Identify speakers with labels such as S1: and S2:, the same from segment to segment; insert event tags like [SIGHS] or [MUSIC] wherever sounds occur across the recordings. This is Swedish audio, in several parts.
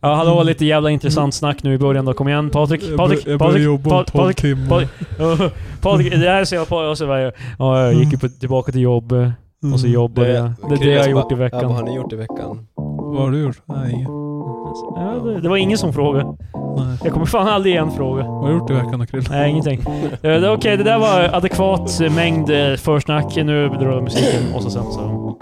S1: Ja, hallå, lite jävla intressant snack nu i början då. Kom igen Patrik,
S2: Jag
S1: Patrik,
S2: bör- jag börjar
S1: Patrik,
S2: jobba om
S1: Pa-
S2: 12 timmar.
S1: Patrik, Patrik, [LAUGHS] Patrik, det här ser jag på, och så var jag, ja, jag gick ju på, tillbaka till jobb, eh,
S2: Mm.
S1: och så jobbade
S3: Det-
S1: jag. Det är det jag har
S3: Chris bara,
S1: gjort i
S3: Ja, vad har
S1: veckan.
S3: ni gjort i
S1: [LAUGHS]
S3: veckan?
S2: Vad har du gjort? Nej, inget.
S1: Ja, det, det var ingen som frågade.
S2: Nej.
S1: Jag kommer fan aldrig igen fråga.
S2: Vad har du gjort i veckan då Krille?
S1: Nej, ingenting. Eh, det- Okej, det där var adekvat eh, mängd eh, försnack. Nu drar jag musiken och så sen så...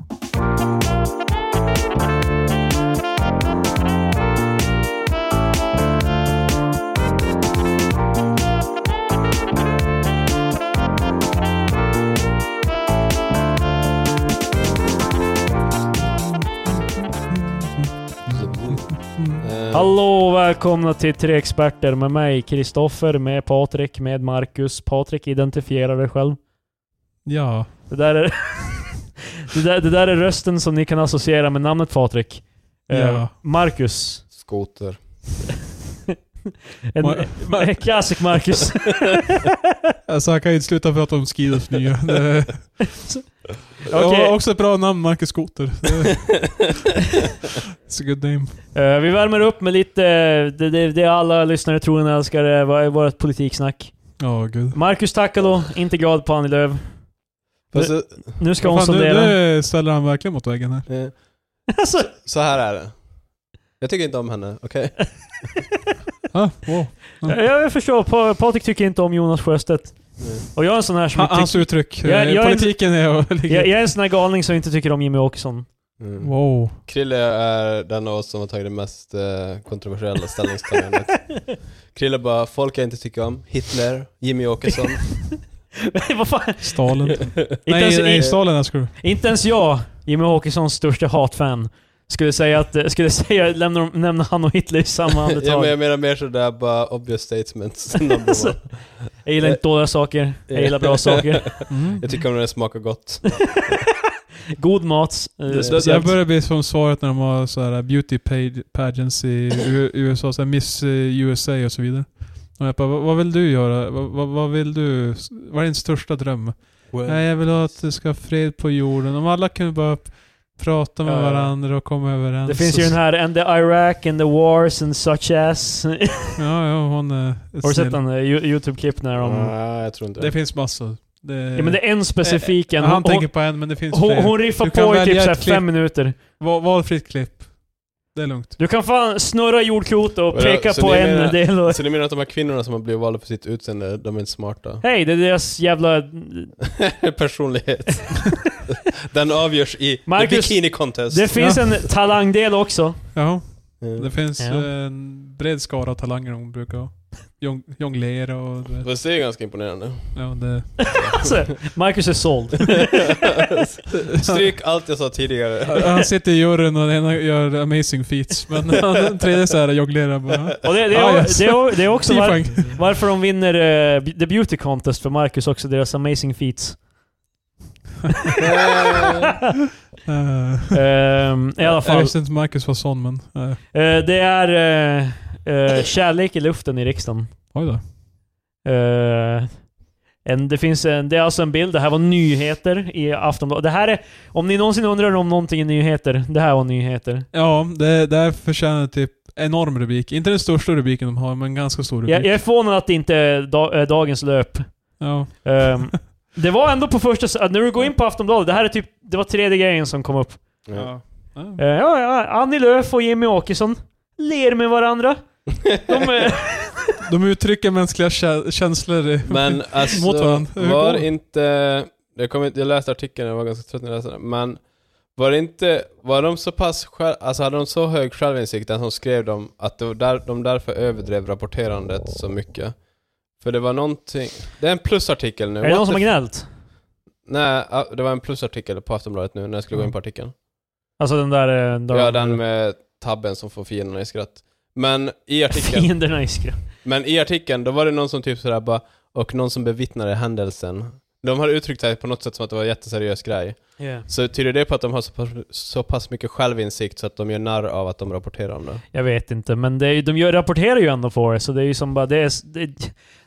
S3: Eh,
S1: Hallå välkomna till Tre Experter med mig, Kristoffer, med Patrik, med Marcus. Patrik, identifiera dig själv.
S2: Ja.
S1: Det där är... [LAUGHS] det, där, det där är rösten som ni kan associera med namnet Patrik. Eh,
S2: Ja.
S1: Marcus.
S3: Skoter.
S1: En,
S2: Mar-
S1: en classic
S2: [LAUGHS]
S1: Marcus.
S2: Alltså han kan ju inte sluta prata om
S1: [LAUGHS]
S2: Skiders nya. Det-
S1: Okej.
S2: Ja, Också ett bra namn, Marcus Skoter. Det- It's a good name.
S1: Eh, vi värmer upp med lite, det, det, det alla lyssnare tror och älskar, eh, vad är vårt politiksnack.
S2: Ja, gud.
S1: Marcus Takalo, inte glad på Annie Lööf.
S3: Fast, eh,
S1: Nu ska hon
S2: Fan, nu,
S1: sondera.
S2: nu ställer han verkligen mot väggen här.
S3: eh,
S1: [LAUGHS] Alltså,
S3: så här är det. Jag tycker inte om henne, okej?
S1: [LAUGHS]
S2: Ah, wow.
S1: jag, jag förstår, pa, Patrik tycker inte om Jonas Sjöstedt.
S3: Nej.
S1: Och jag är en sån här som
S2: Ha-
S1: inte
S2: Hans
S1: tycker...
S2: uttryck.
S1: Jag-
S2: Eh,
S1: jag är-
S2: Politiken är att ligga-
S1: Jag, jag är en sån här galning som inte tycker om Jimmy
S2: [LAUGHS]
S1: Åkesson.
S3: Mm.
S2: Wow.
S3: Krille är den av oss som har tagit det mest eh, kontroversiella
S1: [LAUGHS]
S3: ställningstagandet. Krille bara, folk jag inte tycker om. Hitler, Jimmy
S1: [LAUGHS]
S3: Åkesson.
S1: Vad fan?
S2: Stalin.
S1: Inte ens,
S2: nej, nej,
S1: i-
S2: Stalin älskar du.
S1: Inte ens jag, Jimmy Åkessons största hatfan, skulle säga att, eh, skulle [LAUGHS] säga, lämna, dem- nämna han och Hitler i samma
S3: [LAUGHS] ja,
S1: andetag.
S3: men jag menar mer sådär bara obvious statements. [LAUGHS]
S1: [LAUGHS]
S3: number
S1: Alltså.
S3: one.
S1: jag gillar inte dåliga saker, jag
S3: [LAUGHS]
S1: gillar bra saker.
S2: Mm.
S3: jag tycker om när det smakar gott.
S1: God mat. eh,
S3: Det-
S2: Det här
S1: speciellt.
S2: börjar bli som svaret när de har så här beauty page- pageants i U- USA, så här Miss eh, USA och så vidare. Och jag bara, "Vad- vad vill du göra? Vad, vad, vad vill du? Vad är din största dröm? Nej, jag vill ha att det ska ha fred på jorden. Om alla kunde bara p- prata med
S1: Ja, ja.
S2: varandra och komma överens.
S1: Det finns ju den här And the Iraq and the Wars and such as. [LAUGHS]
S2: Ja, ja, hon är
S1: Har du sett
S2: snill.
S1: den eh, Yo- YouTube-klipp när de...
S3: Nej, jag tror inte
S2: Det finns massor. Det,
S1: Ja men det är en specifik en.
S2: Han
S1: Hon,
S2: tänker
S1: hon,
S2: på en, men det finns
S1: hon,
S2: fler.
S1: hon riffar
S2: Du kan
S1: på i typ
S2: välja
S1: såhär
S2: ett klipp.
S1: fem minuter.
S2: Val, valfritt klipp. Det är lugnt.
S1: Du kan fan snurra jordklotet och
S3: Vadå,
S1: peka
S3: så
S1: på
S3: ni
S1: en
S3: menar-
S1: del och...
S3: Så ni menar att de här kvinnorna som har blivit valda för sitt utseende, de är inte
S1: [LAUGHS]
S3: smarta?
S1: Hej, det är deras jävla...
S3: Personlighet. [LAUGHS] Den avgörs i
S1: Marcus,
S3: the bikini contest.
S1: Det finns en talangdel också.
S2: Jaha.
S3: Mm.
S2: Det finns
S1: Ja.
S2: eh, en bred skara av talanger hon brukar ha. Jong- Jonglera och... du vet.
S3: Fast det är ganska imponerande.
S2: Ja, det,
S1: Alltså, Marcus är såld. [LAUGHS]
S3: Stryk allt jag sa tidigare.
S2: han sitter i juryn och den ena gör amazing feats, men [LAUGHS] han- den tredje så här jonglerar bara.
S1: Och
S2: [LAUGHS]
S1: det, det,
S2: Ah,
S1: är,
S2: yes.
S1: det, är, det är också
S2: Tio
S1: var, [LAUGHS]
S2: poäng.
S1: varför de vinner eh, The Beauty Contest för Marcus också, deras amazing
S2: [LAUGHS]
S1: feats.
S2: Eh,
S1: Ehm, I alla
S2: Jag
S1: fall.
S2: visste inte Marcus var sån, men... eh,
S1: Eh, det är eh, eh, kärlek i luften i riksdagen.
S2: oj då.
S1: Eh, en, det, finns en, det är alltså en bild, det här var nyheter i Aftonbladet. Det här är, om ni någonsin undrar om någonting är nyheter, det här var nyheter.
S2: Ja, det, det här förtjänar typ enorm rubrik. Inte den största rubriken de har, men ganska stor
S1: Jag, jag
S2: rubrik.
S1: är förvånad att det inte är da, eh, dagens löp.
S2: Ja.
S1: Ehm, det var ändå på första... s- att När du går in på Aftonbladet, det här är typ... Det var tredje grejen som kom upp.
S2: Ja. Ja.
S1: Eh, ja, ja, Annie Lööf och Jimmy Åkesson ler med varandra.
S3: [LAUGHS]
S1: De, eh,
S2: De uttrycker mänskliga kä- känslor. i-
S3: Men alltså,
S2: Mot varandra. Hur går
S3: var
S2: det?
S3: inte... Jag, kom inte, jag läste artikeln, jag var ganska trött när jag läste den. Men var det inte... Var de så pass själv, Alltså hade de så hög självinsikt, den som skrev dem, att det var där, de därför överdrev rapporterandet så mycket? För det var någonting... Det är en plusartikel nu.
S1: är det
S3: What
S1: någon som har
S3: the-
S1: gnällt?
S3: Nej, ah, det var en plusartikel på Aftonbladet nu när jag skulle gå in på artikeln.
S1: Alltså den där... eh,
S3: Ja, den med tabben som får fienderna i skratt. Men i
S1: [LAUGHS]
S3: artikeln,
S1: Fienderna i skräp.
S3: men i artikeln, då var det någon som typ sådär bara, och någon som bevittnade händelsen. De har uttryckt sig på något sätt som att det var en jätteseriös grej. Så tyder det på att de har så pass, så pass mycket självinsikt så att de gör narr av att de rapporterar om det?
S1: Jag vet inte, men det är, ju- de gör, rapporterar ju ändå på det, så det är ju som bara... Det är, s- det,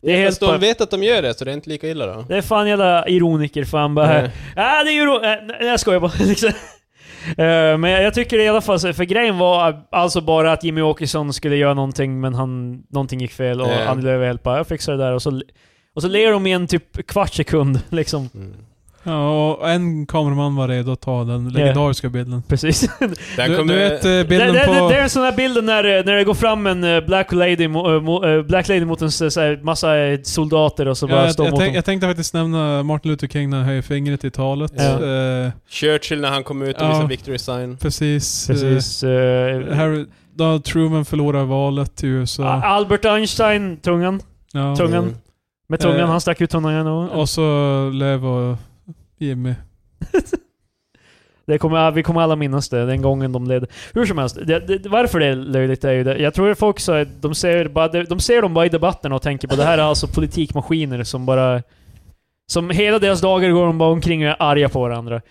S1: det är helt...
S3: Fast de
S1: bara-
S3: vet att de gör det, så det är inte lika illa då.
S1: Det är eh, fan jävla ironiker fan bara...
S3: Nej.
S1: Nej, det är ju ro- äh, Nej, jag skojar bara. [LAUGHS] liksom. Eh, men jag, jag tycker i alla fall, så- för grejen var alltså bara att Jimmy Åkesson skulle göra någonting, men han, någonting gick fel och
S3: Ja.
S1: Annie Lööf hjälpte bara, jag fixar det där. Och så, och så ler de i en typ kvart sekund, [LAUGHS] liksom.
S3: Mm.
S2: Ja, och en kameraman var redo att ta den legendariska bilden.
S1: Precis.
S3: Den
S2: Du,
S3: kommer...
S2: du vet eh,
S1: Det, det,
S2: bilden
S1: det, det är
S2: på...
S1: en sån där bild när, det- när det går fram en eh, Black Lady, mo, eh, mo, eh, black lady mot en så, så här, massa eh, soldater och så bara
S2: Ja, jag,
S1: står
S2: jag,
S1: mot
S2: tänk,
S1: dem.
S2: jag tänkte faktiskt nämna Martin Luther King när han höjer fingret i talet.
S3: Ja.
S2: Eh,
S3: Churchill när han kom ut och
S2: Ja.
S3: visade victory sign.
S2: precis.
S1: Precis. eh,
S2: Eh, Harry, då Truman förlorar valet till USA.
S1: A- Albert Einstein, tungan.
S2: ja.
S1: Tung- Tungan.
S3: Mm.
S1: Med tungan,
S2: Eh,
S1: han stack ut tungan. Och,
S2: Och så Lev och Jimmy.
S1: Det kommer, vi kommer alla minnas det, den gången de ledde. Hur som helst, det, det, varför det är löjligt är ju det. Jag tror att folk så, de, ser bara, de ser dem bara i debatten och tänker på det här är alltså politikmaskiner som bara... Som hela deras dagar går de bara omkring och är arga på varandra.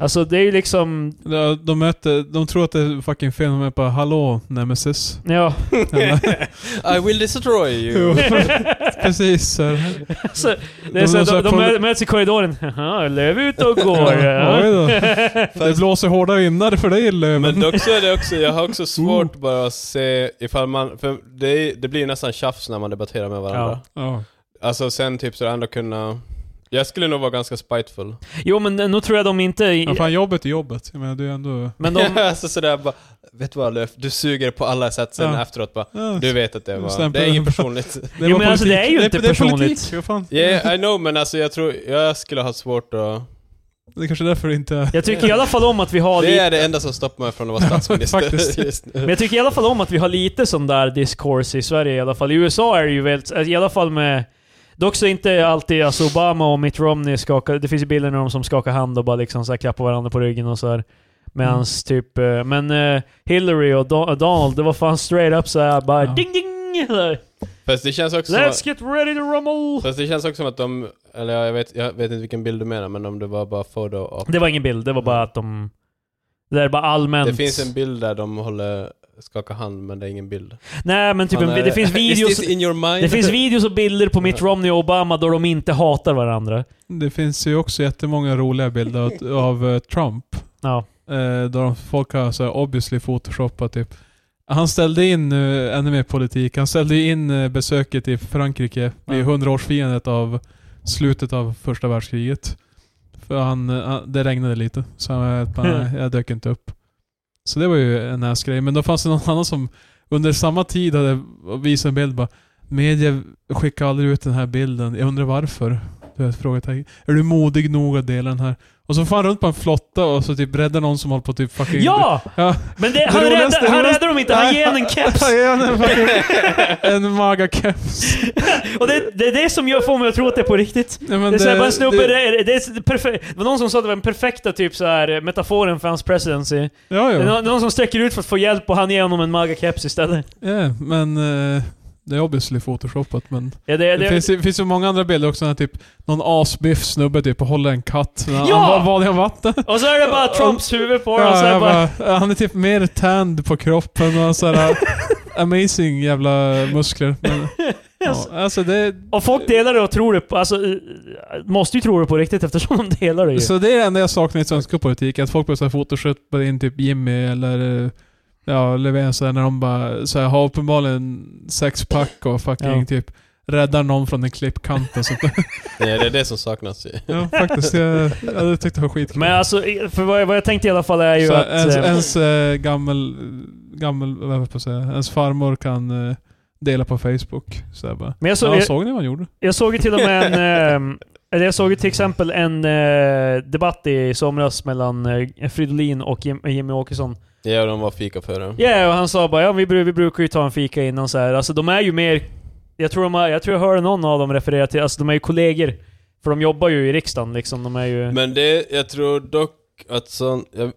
S1: Alltså det är ju liksom...
S2: Ja, De möter, de tror att det är fucking fel, de är bara 'Hallå, Nemesis' [LAUGHS]
S1: Ja,
S3: Mm. [LAUGHS] I will destroy
S2: Jo,
S3: you.
S2: Precis. så här.
S1: alltså, det är
S2: De-
S1: så,
S2: de-
S1: de, de,
S2: de-
S1: mö- möts i korridoren. Jaha, Löv ut och går.
S2: Ja, oj då. Det blåser hårda vindar för dig
S3: Men
S2: Löven.
S3: dock så är det också, jag har
S2: [LAUGHS] Oh.
S3: också svårt bara att se ifall man... För det, är- det blir nästan tjafs när man debatterar med varandra.
S2: Ja.
S3: Alltså sen typ så det ändå kunna... Jag skulle nog vara ganska spiteful.
S1: [LAUGHS] Jo men nu tror jag de inte...
S2: Ja, fan jobbet är jobbet. Jag menar, du är ändå...
S1: Men de,
S3: [LAUGHS] alltså sådär bara, vet du vad Löf, du suger på alla sätt sen
S2: Ja.
S3: efteråt bara,
S2: Ja,
S3: du vet att det var,
S2: Stämpel.
S3: det är inget personligt. [LAUGHS]
S2: var
S1: Jo, men alltså,
S2: politik.
S1: det är ju inte
S2: det är
S1: personligt.
S2: Politik. Vad fan?
S3: Yeah, I know men alltså jag tror, jag skulle ha svårt att...
S2: Det är kanske är därför det inte är...
S1: jag tycker i alla fall om att vi har
S3: Det
S1: lite...
S3: är det enda som stoppar mig från att vara
S1: [LAUGHS]
S3: statsminister
S2: Faktiskt.
S3: just nu.
S1: Men jag tycker i alla fall om att vi har lite sån där discourse i Sverige i alla fall. I USA är det ju väldigt, alltså, i alla fall med... Dock så inte alltid, alltså Obama och Mitt Romney skakar, det finns ju bilder när de som skakar hand och bara liksom så här klappar varandra på ryggen och så här. Medans typ, eh, men eh, Hillary och Do- och Donald, det var fan straight up så här bara
S2: Ja.
S1: ding ding! eller,
S3: Fast det känns också som
S1: Let's
S3: att,
S1: get ready to rumble!
S3: fast det känns också som att de, eller jag vet, jag vet inte vilken bild du menar men om det var bara photo op.
S1: Det var ingen bild, det var bara att de... Det är bara allmänt.
S3: Det finns en bild där de håller, skakar hand men det är ingen bild.
S1: Nej men typ
S3: Han
S1: en,
S3: är-
S1: det finns
S3: [LAUGHS] Is
S1: videos...
S3: this in your mind?
S1: Det finns videos och bilder på Mitt Romney och Obama då de inte hatar varandra.
S2: Det finns ju också jättemånga roliga bilder av, av eh, Trump.
S1: Ja.
S2: Eh, där de, folk har så här, obviously photoshopat typ. Han ställde in, eh, ännu mer politik, han ställde ju in eh, besöket i Frankrike vid
S1: Ja.
S2: 100-årsfirandet av slutet av första världskriget. För han, eh, han, det regnade lite, så han var bara, "Nej, jag dök inte upp. Så det var ju en näsgrej. Men då fanns det någon annan som under samma tid hade visat en bild bara Media skickar aldrig ut den här bilden, jag undrar varför? Du vet, frågetecken. Är du modig nog att dela den här? Och så far han runt på en flotta och så typ räddar någon som håller på typ fucking... [LAUGHS]
S1: Ja!
S2: Ja.
S1: Men det, han,
S2: roligaste-
S1: räddar,
S2: det
S1: han
S2: roligaste-
S1: räddar dem inte, han
S2: Nej.
S1: ger en en keps.
S2: Han ger henne en fucking- en maga-keps.
S1: Och det, det är det som jag får mig att tro att det är på riktigt.
S2: Nej, men
S1: Det är såhär, bara en snubbe, det,
S2: det-
S1: är- det, är perfekt. det var någon som sa att det var den perfekta typ så här, metaforen för hans presidency.
S2: Ja,
S1: Det är
S2: ja.
S1: någon, någon som sträcker ut för att få hjälp och han ger honom en magakeps istället.
S2: Ja, men... eh, Det är obviously photoshopat men...
S1: Ja, det,
S2: Det,
S1: det,
S2: finns, det finns ju många andra bilder också när typ någon asbiff snubbe typ och håller en katt. Ja! Han
S1: Ja!
S2: var vanlig av vatten.
S1: och så är det bara Trumps huvud på honom. och så är
S2: Ja,
S1: det
S2: jag
S1: bara,
S2: bara, han är typ mer tanned på kroppen och sådär amazing jävla muskler.
S1: [LAUGHS]
S2: Men, ja, alltså det,
S1: och folk delar det och tror det på, alltså, eh, måste ju tro det på riktigt eftersom de delar det ju.
S2: så det är det enda jag saknar i svensk politik, att folk börjar photoshoppa in typ Jimmy eller eh, ja, Löfven sådär när de bara såhär, har uppenbarligen sexpack och fucking
S1: Ja.
S2: typ räddar någon från en klippkant och sånt där.
S3: [LAUGHS] Nej, det är det som saknas ju.
S2: ja, faktiskt. Jag, jag hade tyckt det var skitkul.
S1: Men alltså, eh, för vad jag, vad jag tänkte i alla fall är ju
S2: Så
S1: att...
S2: ens,
S1: eh,
S2: ens eh, gammel, gammel, vad höll jag på att säga, ens farmor kan eh, dela på Facebook. Så jag bara,
S1: men jag, så,
S2: ja,
S1: jag,
S2: såg ni vad han gjorde?
S1: Jag såg ju till och med en... ehm, Eller jag såg ju till exempel en eh, debatt i somras mellan eh, Fridolin och Jim, Jimmy Åkesson.
S3: Ja, de var fika före.
S1: Ja, och han sa bara ja, vi, bru- vi brukar ju ta en fika innan så här. Alltså de är ju mer... Jag tror, de har, jag tror jag hörde någon av dem referera till, alltså de är ju kollegor. För de jobbar ju i riksdagen liksom, de är ju...
S3: Men det, jag tror dock att sån, jag,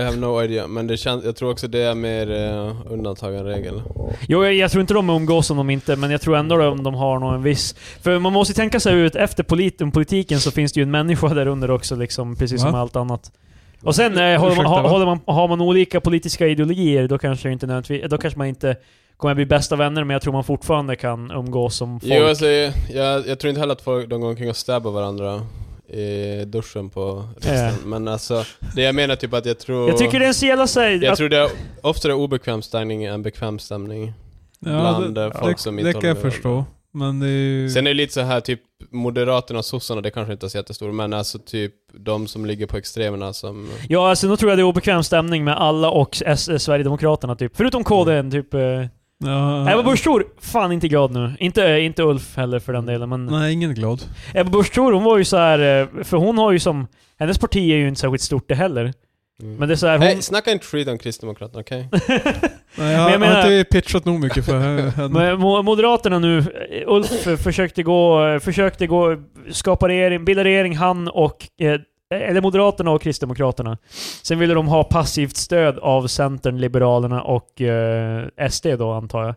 S3: I have no idea, men det känns, jag tror också det är mer eh, undantag än regel.
S1: Jo, jag, jag tror inte de umgås om de inte, men jag tror ändå om de har någon viss... För man måste ju tänka sig ut, efter polit, politiken så finns det ju en människa [LAUGHS] där under också, liksom, precis som
S2: Va?
S1: allt annat. Och sen eh, håller man,
S2: Ursäkta,
S1: ha,
S2: va?
S1: håller man, har man olika politiska ideologier, då kanske, det inte nödvändigtvis- då kanske man inte kommer att bli bästa vänner, men jag tror man fortfarande kan umgås som folk.
S3: alltså- Jo, alltså, jag, jag tror inte heller att folk, de går omkring och stabbar varandra i duschen på resten. Men alltså, det jag menar typ att jag tror...
S1: Jag tycker det är en så jävla såhär...
S3: jag
S1: att-
S3: tror det är oftare obekväm stämning än bekväm stämning. Bland, eh, folk som inte
S2: Det kan jag
S3: håller med
S2: förstå. Men det är ju...
S1: Mm.
S3: Sen är det lite så här typ Moderaterna och sossarna, det kanske inte är så jättestort, men alltså typ de som ligger på extremerna som...
S1: Ja, alltså nu tror jag det är obekväm stämning med alla och S- eh, Sverigedemokraterna typ. Förutom KDN typ. Eh.
S2: ja,
S1: Ebba Busch Thor, fan inte glad nu. Inte, eh, inte Ulf heller för den delen, men...
S2: Nej, ingen glad.
S1: Ebba Busch Thor, hon var ju så här eh, för hon har ju som... Hennes parti är ju inte särskilt stort det heller.
S3: Mm.
S1: Men det är såhär, hon...
S3: Nej, snacka inte skit om Kristdemokraterna, okej?
S2: Nej, jag,
S1: Men jag
S2: har
S1: menar-
S2: inte pitchat nog mycket för henne.
S1: [LAUGHS] Men Mo- Moderaterna nu, eh, Ulf eh, försökte gå, eh, försökte gå, skapa regering, bilda regering han och, eh, eller Moderaterna och Kristdemokraterna. Sen ville de ha passivt stöd av Centern, Liberalerna och eh, SD då antar
S3: Eh.
S1: jag.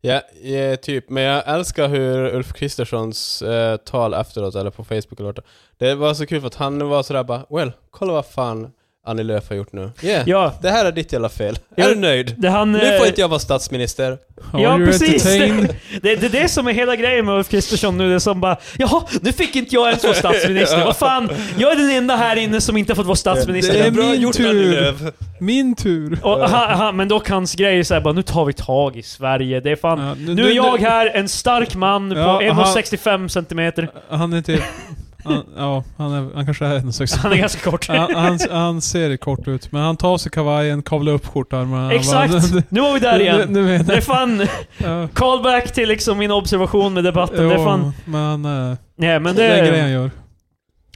S3: Ja, ja, typ. Men jag älskar hur Ulf Kristerssons eh, tal efteråt, eller på Facebook eller vart det- Det var så kul för att han var sådär bara Well, kolla vad fan Annie Lööf har gjort nu. Yeah,
S1: Ja,
S3: det här är ditt jävla fel.
S1: Ja,
S3: är du nöjd?
S1: det han...
S3: Nu får
S1: eh,
S3: inte jag vara statsminister.
S2: Are
S1: ja,
S2: you
S1: precis.
S2: entertained?
S1: Det, det är det som är hela grejen med Ulf Kristersson nu. Det är som bara Jaha, nu fick inte jag ens vara statsminister. Vad fan, jag är den enda här inne som inte har fått vara statsminister.
S2: Det är min tur.
S3: Lööf.
S2: Min tur.
S1: Och, aha, aha, men dock hans grej är såhär bara, nu tar vi tag i Sverige. Det är fan...
S2: Ja,
S1: Nu är jag här, en stark man
S2: Ja,
S1: på
S2: aha.
S1: 1,65 cm.
S2: Han är typ... Han, ja, han, är, han kanske är en sex.
S1: Han är ganska kort.
S2: Han, han, han ser kort ut, men han tar av sig kavajen, kavlar upp skjortärmarna.
S1: Exakt!
S2: Bara,
S1: Nu var vi där
S2: [LAUGHS] Nu,
S1: igen.
S2: nu menar
S1: Det är
S2: jag.
S1: fan
S2: Ja.
S1: callback till liksom min observation med debatten. Det är
S2: Jo,
S1: fan...
S2: men eh,
S1: Nej men
S2: det är
S1: det...
S2: grejen han gör.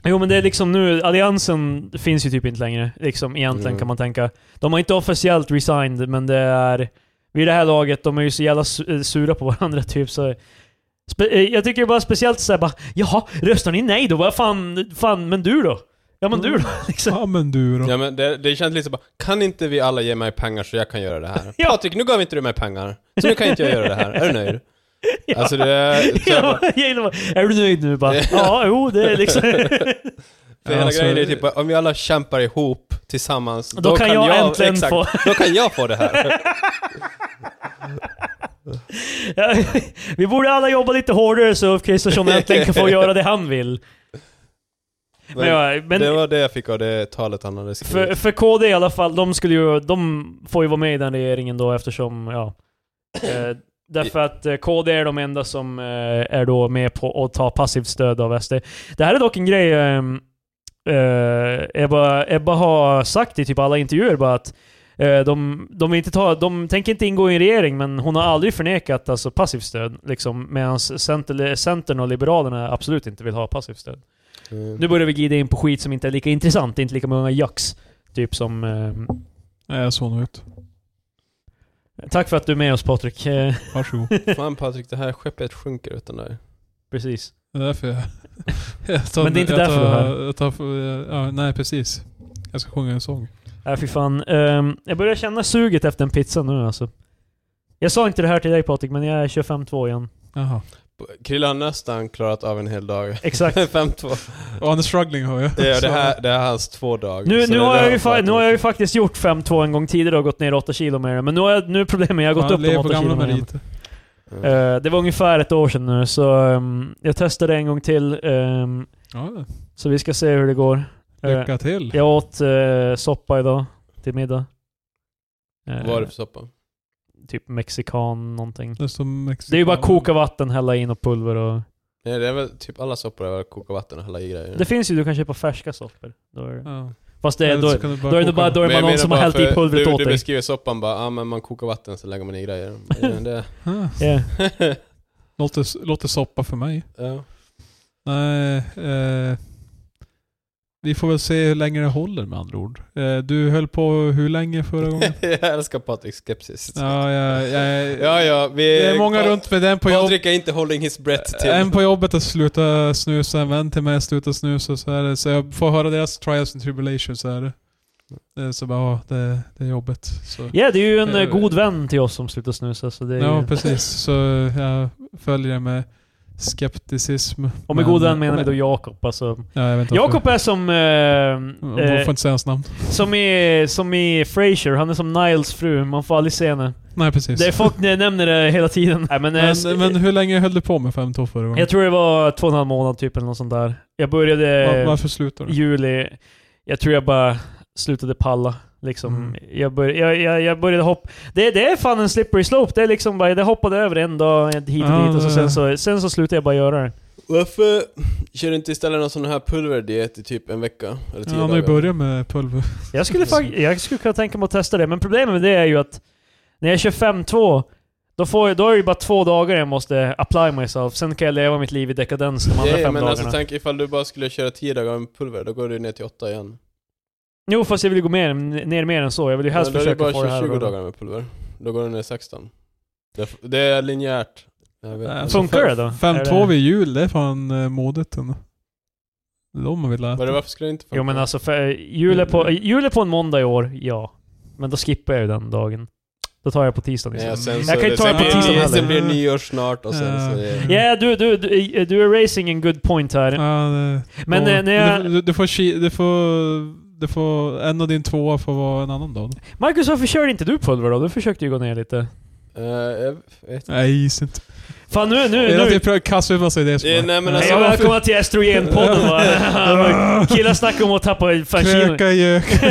S1: Jo men det är liksom nu, Alliansen finns ju typ inte längre. Liksom egentligen
S3: Mm.
S1: kan man tänka. De har inte officiellt resigned, men det är... Vid det här laget, de är ju så jävla su- eh, sura på [LAUGHS] varandra typ så... Spe- eh, jag tycker bara speciellt såhär bara, jaha, röstar ni nej då? Vad fan, fan, men du då? Ja men du då? [LAUGHS] Liksom.
S2: Ja men du då.
S3: Ja men det, det känns lite så bara, kan inte vi alla ge mig pengar så jag kan göra det här?
S1: Ja.
S3: Patrik, nu gav inte du mig pengar. Så nu kan inte jag göra det här. Är du nöjd? Alltså det är... så jag bara-
S1: [LAUGHS] Ja, jag gillar bara, är du nöjd nu?
S3: [LAUGHS]
S1: Bara, ja, jo, det är liksom... [LAUGHS]
S3: För hela
S2: Alltså-
S3: grejen är typ om vi alla kämpar ihop tillsammans,
S1: Då kan jag äntligen
S3: exakt,
S1: få- [LAUGHS]
S3: Då kan jag få det här.
S1: Ja, Vi borde alla jobba lite hårdare så Ulf Kristersson
S3: [LAUGHS]
S1: äntligen kan få göra det han vill.
S3: Men,
S1: Men, ja, men
S3: det var det jag fick av det talet han hade skrivit.
S1: för, för KD i alla fall, de skulle ju... De får ju vara med i den regeringen då eftersom, ja... Eh, därför att eh, KD är de enda som eh, är då med på att ta passivt stöd av SD. Det här är dock en grej... ehm, eh, Ebba, Ebba har sagt i typ alla intervjuer bara att eh, de, de, vill inte ta, de tänker inte ingå i en regering, men hon har aldrig förnekat alltså, passivt stöd. Liksom, Medan Center, Centern och Liberalerna absolut inte vill ha passivt stöd.
S3: Mm.
S1: Nu börjar vi glida in på skit som inte är lika intressant. Det är inte lika många jax. Typ som... Eh,
S2: Nej, jag såg nog ut.
S1: tack för att du är med oss Patrik. Eh, [LAUGHS]
S2: Varsågod.
S3: Fan Patrik, det här skeppet sjunker utan dig.
S1: precis.
S2: Det är därför jag...
S1: [LAUGHS]
S2: jag tar,
S1: Men det är inte
S2: jag
S1: därför
S2: tar,
S1: du är här.
S2: jag tar, ja, Nej, precis. Jag ska sjunga en sång.
S1: Äh, fy fan. Eh, jag börjar känna suget efter en pizza nu alltså. Jag sa inte det här till dig Patrik, men jag är 25-2 igen.
S2: Jaha.
S3: Krilla har nästan klarat av en hel dag. [LAUGHS]
S1: Exakt.
S3: 5-2.
S2: Och han är struggling hör jag.
S3: Ja, det,
S2: Så-
S3: här, det här är hans två dag.
S1: Nu,
S3: Så
S1: nu,
S3: det
S1: har
S3: där
S1: jag ju fa-
S3: Patrik.
S1: nu har jag ju faktiskt gjort 5-2 en gång tidigare och gått ner 8 kilo med det. Men nu, har jag, nu är problemet, jag har gått
S2: Han
S1: upp
S2: lever
S1: de
S2: på
S1: 8
S2: gamla
S1: kilo med det.
S2: meriter.
S3: Mm.
S1: Eh, Det var ungefär ett år sedan nu, så ehm, jag testade en gång till. ehm,
S2: Ja,
S1: så vi ska se hur det går. Eh,
S2: lycka till.
S1: Jag åt eh, soppa idag till middag. Eh,
S3: Vad är det för soppa?
S1: Typ mexikan någonting.
S2: Det är som Mexiko.
S1: Det är ju bara koka vatten, hälla i och pulver och...
S3: Nej, det är väl typ alla soppor är väl koka vatten och hälla i grejer.
S1: Det finns ju, du kan köpa färska soppor. Då är det.
S2: Ja.
S1: Fast det är,
S2: Eller
S1: då,
S2: så kan du
S1: då är det nog bara,
S2: koka-
S1: då är det
S3: Men jag
S1: bara någon
S3: menar
S1: som har
S3: bara
S1: hällt
S3: för
S1: i pulvret
S3: du,
S1: åt
S3: Du
S1: dig.
S3: beskriver soppan bara, ah, men man kokar vatten så lägger man i grejer. Men
S1: [LAUGHS]
S3: det,
S2: Ah,
S1: Yeah.
S2: Låter, låter soppa för mig.
S3: [LAUGHS] ja.
S2: Nej, eh, vi får väl se hur länge det håller med andra ord. Eh, du höll på hur länge
S1: [LAUGHS]
S2: förra gången?
S3: [LAUGHS] jag älskar Patriks skepsis.
S2: ja, ja, jag,
S3: Ja, ja, vi...
S2: det är många runt med den på jobbet.
S3: Patrik är inte holding his breath
S1: Eh,
S3: till...
S2: Eh, En på jobbet har slutat snusa, en vän till mig har slutat snusa. Så, här, så jag får höra deras trials and tribulations. Så, här. Eh, så bara, ja, det, det är jobbigt. Så.
S1: Ja, det är ju en
S2: Eh,
S1: eh, god vän till oss som slutar snusa, så det är
S2: Ja,
S1: ju...
S2: precis. Så jag följer det med skepticism.
S1: Och med
S2: men-
S1: god vän menar vi
S2: men-
S1: då Jakob. Alltså.
S2: Ja, jag vet inte
S1: Jakob är som...
S2: varför.
S1: Eh,
S2: Man
S1: eh,
S2: får inte säga hans namn.
S1: som, i, som i Frasier, han är som Niles fru, man får aldrig se henne.
S2: Nej, precis.
S1: Det är folk nä- nämner det hela
S2: [LAUGHS]
S1: tiden. Nej, men, eh, s-
S2: men, men hur länge höll du på med fem tår förra gången?
S1: Jag tror det var två och en halv månad typ eller något sånt där. Jag
S2: Var,
S1: började
S2: varför slutar du?
S1: juli. Jag tror jag bara slutade palla. Liksom.
S2: Mm.
S1: Jag, började, jag, jag, jag började hoppa. Det, det är fan en slippery slope. Det är liksom bara, det hoppade över en dag hit och
S2: Ja,
S1: dit och så,
S2: det-
S1: sen, så, sen så slutade jag bara göra det.
S3: Varför kör du inte istället någon sån här pulverdiet i typ en vecka? Eller tio
S2: Ja, han har ju
S3: dagar?
S2: börjat med pulver.
S1: Jag skulle, fak- jag skulle kunna tänka mig att testa det, men problemet med det är ju att när jag kör 5-2, då, får jag, då är det ju bara två dagar jag måste apply myself. Sen kan jag leva mitt liv i dekadens de andra
S3: Ja,
S1: fem
S3: men
S1: dagarna.
S3: alltså tänk ifall du bara skulle köra 10 dagar med pulver, då går du ner till 8 igen.
S1: Jo, fast jag vill ju gå mer, ner mer än så. Jag vill ju helst
S3: då är det
S1: försöka
S3: bara
S1: få det här
S3: 20
S1: att-
S3: dagar med pulver. Då går du ner 16. Det, det är linjärt. Jag vet inte.
S2: Alltså,
S1: Eh, Funkar
S2: fem-
S1: det då?
S2: Fem
S1: Är
S2: tår
S1: det-
S2: vid jul, det är fan eh, modet ändå. Det är de man vill
S3: Var det,
S2: äta.
S3: varför skulle det inte funka?
S1: Jo men alltså, för, jul, är på,
S2: Mm.
S1: jul är på en måndag i år, ja. Men då skippar jag ju den dagen. Då tar liksom- jag på tisdagen
S3: Ja,
S1: istället.
S3: sen
S2: Jag
S3: så
S1: kan ju
S3: det-
S1: ta det
S3: sen
S1: på
S3: blir- Sen
S1: tisdagen heller.
S3: blir det nyår snart och sen så...
S2: Ja.
S1: [LAUGHS]
S3: är-
S1: Ja, du, du, du, du är racing en good point här.
S2: Ja, det,
S1: Men,
S2: ja.
S1: eh, när jag-
S2: du, du får, chi- du får... Du får... En av din tvåa får vara en annan dag. då.
S1: Marcus, varför körde inte du pulver då? Du försökte ju gå ner lite.
S3: Eh, jag vet inte.
S2: Nej, gis inte.
S1: Fan nu, nu,
S2: Det är att
S1: nu.
S2: jag prövar kasta ut massa idéer. som
S3: Eh,
S2: bara-
S3: nej, men
S2: Ja,
S3: alltså-
S1: Hej och
S2: varför-
S1: välkomna till estrogenpodden
S2: [LAUGHS]
S1: va. Killar snackar om att tappa fan kilo.
S2: Kröka gök.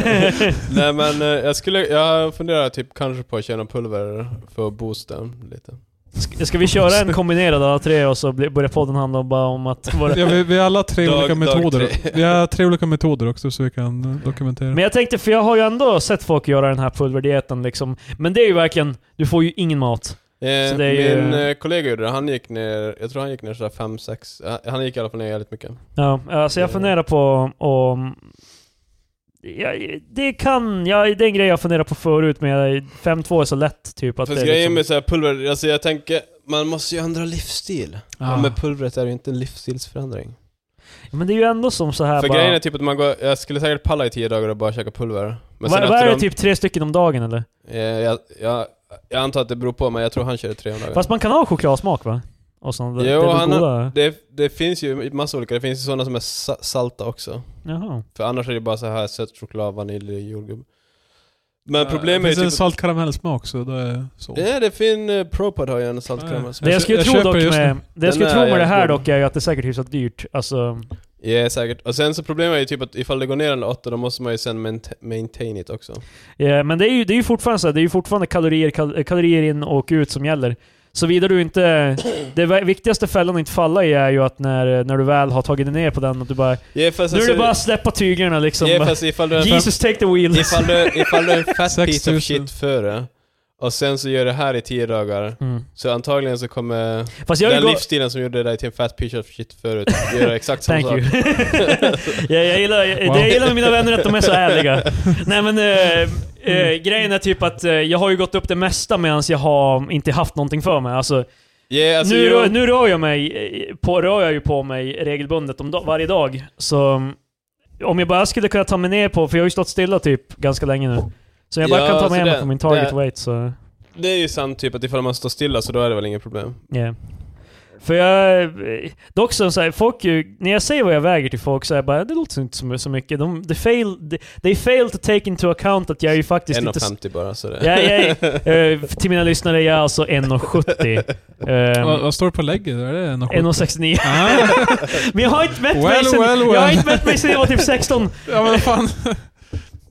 S3: Nej men eh, jag skulle, jag funderar typ kanske på att köra pulver för att boosta den lite.
S1: Ska- Ska vi köra en kombinerad alla tre och så bli- börjar podden handla om bara om att...
S2: [LAUGHS]
S1: vara-
S2: Ja, vi, vi har alla tre
S3: Dag-
S2: olika
S3: dag
S2: metoder.
S3: tre.
S2: Vi har tre olika metoder också så vi kan eh, dokumentera.
S1: Men jag tänkte, för jag har ju ändå sett folk göra den här pulverdieten liksom. Men det är ju verkligen, du får ju ingen mat. Så
S3: Eh,
S1: det är ju-
S3: Min eh, kollega gjorde det, han gick ner, jag tror han gick ner sådär 5-6, eh, han gick i alla fall ner jävligt mycket.
S1: Ja, alltså jag
S3: Eh.
S1: funderar på om... Ja, det kan... Ja, det är en grej jag funderar på förut, men jag- 5-2 är så lätt typ att
S3: Fast
S1: det är
S3: grejen
S1: liksom,
S3: med så här pulver, alltså jag tänker, man måste ju ändra livsstil.
S2: Ah.
S3: Och med pulvret är det ju inte en livsstilsförändring.
S1: Men det är ju ändå som så här
S3: För
S1: bara...
S3: grejen är typ att man går, jag skulle säkert palla i 10 dagar och bara käka pulver. Men
S1: vad,
S3: sen
S1: vad är
S3: efter
S1: det,
S3: dem-
S1: typ tre stycken om dagen eller?
S3: eh, jag, jag, jag antar att det beror på, men jag tror han körde 3 dagar.
S1: Fast man kan ha chokladsmak va? Och sånt, det,
S3: Jo,
S1: det är väl
S3: han har-
S1: goda?
S3: det, det finns ju massa olika, det finns ju sådana som är sa- salta också.
S1: Jaha.
S3: För annars är det bara så här söt choklad, vanilj, jordgubb. Men
S2: Ja,
S3: problemet
S2: Det
S3: är
S2: finns en
S3: typ...
S2: saltkaramellsmak så det är så.
S3: Ja, det är fin... eh, Propad har ju en saltkaramell.
S1: Ah, Det
S2: Jag
S1: jag
S2: kö-
S1: skulle
S2: jag
S1: tro
S2: köper
S1: dock
S2: just
S1: med, det jag skulle
S3: Den
S1: tro
S3: är
S1: med det här
S3: jävligt
S1: dock är ju att det är säkert hyfsat dyrt. Alltså,
S3: Ja, säkert. Och sen så problemet är ju typ att ifall det går ner en åtta, då måste man ju sen maint- maintain it också.
S1: ja, Eh, men det är ju, det är ju fortfarande så här, det är ju fortfarande kalorier, kal kalorier in och ut som gäller. Såvida du inte... Det va- viktigaste fällan att inte falla i är ju att när, när du väl har tagit dig ner på den, att du bara...
S3: Ja, fast
S1: Nu är
S3: alltså-
S1: det bara att släppa tyglarna liksom.
S3: Ja, fast ifall du är en,
S1: [LAUGHS] Jesus take the wheels.
S3: ifall du, ifall du är en fat
S2: 6 000.
S3: piece of shit före, och sen så gör det här i tio dagar,
S1: Mm.
S3: så antagligen så kommer
S1: Fast jag
S3: den
S1: vill gå...
S3: livsstilen som gjorde dig till en fat piece of shit förut, göra exakt samma
S1: Thank
S3: sak.
S1: you. [LAUGHS] ja, jag gillar,
S2: Wow.
S1: Det jag gillar med mina vänner är att de är
S3: [LAUGHS]
S1: så ärliga. Nej men eh, eh,
S3: Mm.
S1: grejen är typ att eh, jag har ju gått upp det mesta medan jag har inte haft någonting för mig. Alltså,
S3: Ja, alltså,
S1: nu,
S3: jo.
S1: rör, nu rör jag mig eh, på, rör jag ju på mig regelbundet om da- varje dag. Så mm, om jag bara skulle kunna ta mig ner på, för jag har ju stått stilla typ ganska länge nu. Så om jag bara
S3: Ja,
S1: kan ta
S3: alltså
S1: mig ner
S3: det-
S1: på min target
S3: det-
S1: weight så...
S3: Det är ju sant typ att ifall man står stilla så då är det väl inget problem.
S1: Yeah. För jag... eh, Dock så, så här, folk ju, när jag säger vad jag väger till folk så är jag bara, det låter inte så, så mycket. De, they, fail, they, they fail to take into account att jag är ju faktiskt inte... s-
S3: 1,50 bara så det...
S1: Ja,
S3: [LAUGHS]
S1: ja, eh, till mina lyssnare, jag är alltså 1,70. Ehm,
S2: Vad, vad står det på lägget? Är det en och
S1: 1,69.
S2: Ah,
S1: Men jag har inte mätt mig
S2: Well,
S1: sen,
S2: well,
S1: Jag har
S2: well.
S1: inte mätt mig sen jag var typ 16.
S2: ja men vad fan. [LAUGHS]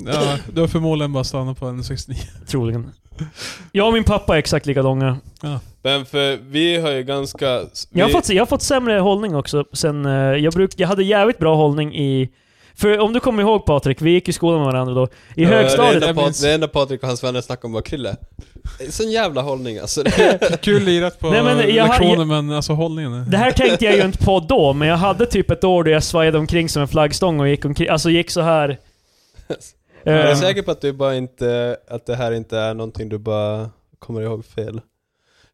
S2: Ja, du har förmodligen bara stannat på en 69.
S1: Troligen. Jag och min pappa är exakt lika långa.
S3: Men för vi har ju ganska... Vi,
S1: Jag har, fått, jag har fått sämre hållning också sen... eh, jag, bruk, jag hade jävligt bra hållning i... För om du kommer ihåg Patrik, vi gick i skolan med varandra då. I
S3: Ja,
S1: högstadiet...
S3: Det
S2: Jag
S3: enda,
S2: minns-
S3: Pat- det enda Patrik och hans vänner snackar om var Krille. Sån jävla hållning alltså.
S1: [LAUGHS]
S3: Det,
S2: Kul lirat på
S1: Nej, men jag har-
S2: lektionen men alltså hållningen är...
S1: Det här tänkte jag ju inte på då, men jag hade typ ett år då jag svajade omkring som en flaggstång och gick omkring, alltså gick
S3: [LAUGHS]
S1: så här.
S3: jag är
S1: Eh,
S3: säker på att du bara inte... Att det här
S1: [LAUGHS]
S3: inte är någonting du bara [LAUGHS] kommer ihåg fel.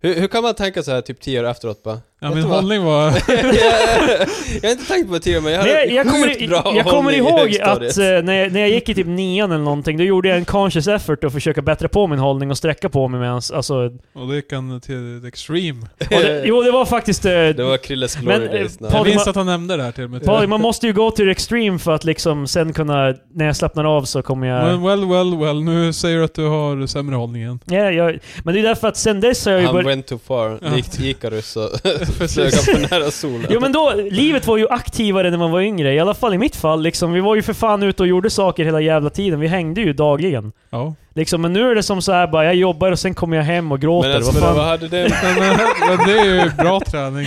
S3: Hur, hur kan man tänka så här typ tio år efteråt bara?
S2: Ja,
S3: Vet
S2: min
S3: du vad?
S2: hållning var...
S3: jag har inte tänkt på det tidigare, men jag hade
S1: Nej, jag
S3: sjukt
S1: kommer,
S3: bra
S1: jag kommer
S3: hållning i
S1: ihåg
S3: högstadiet.
S1: [LAUGHS] att eh, när, jag, när jag gick i typ nian eller någonting, då gjorde jag en conscious effort att försöka bättra på min hållning och sträcka på mig medans, alltså... Och
S2: Och då gick han till the extreme.
S1: det,
S3: [LAUGHS]
S1: jo, det var faktiskt... eh,
S3: Det var Krilles glory
S1: Men,
S3: men,
S1: eh,
S3: days. när-
S1: Paul-
S2: Jag
S1: det
S2: minns
S1: var-
S2: att han nämnde det här till mig.
S1: Patrik, man måste ju gå till extreme för att liksom sen kunna... När jag slappnar av så kommer jag...
S2: Men well, well, well. Nu säger du att du har sämre hållning igen.
S1: Ja, jag men det är därför att sen dess har jag ju
S3: Han
S1: börjat...
S3: went too far.
S2: Ja.
S3: Det gick till Icarus och
S1: [LAUGHS]
S3: [LAUGHS] flög han för nära solen.
S1: Jo men då, livet var ju aktivare när man var yngre. I alla fall i mitt fall liksom. Vi var ju för fan ute och gjorde saker hela jävla tiden. Vi hängde ju dagligen.
S2: Ja.
S1: Liksom, men nu är det som så här bara, jag jobbar och sen kommer jag hem och gråter.
S3: men alltså,
S1: Vad fan?
S3: vad hade
S1: [LAUGHS]
S3: det...
S2: Men, men, men det är ju bra träning.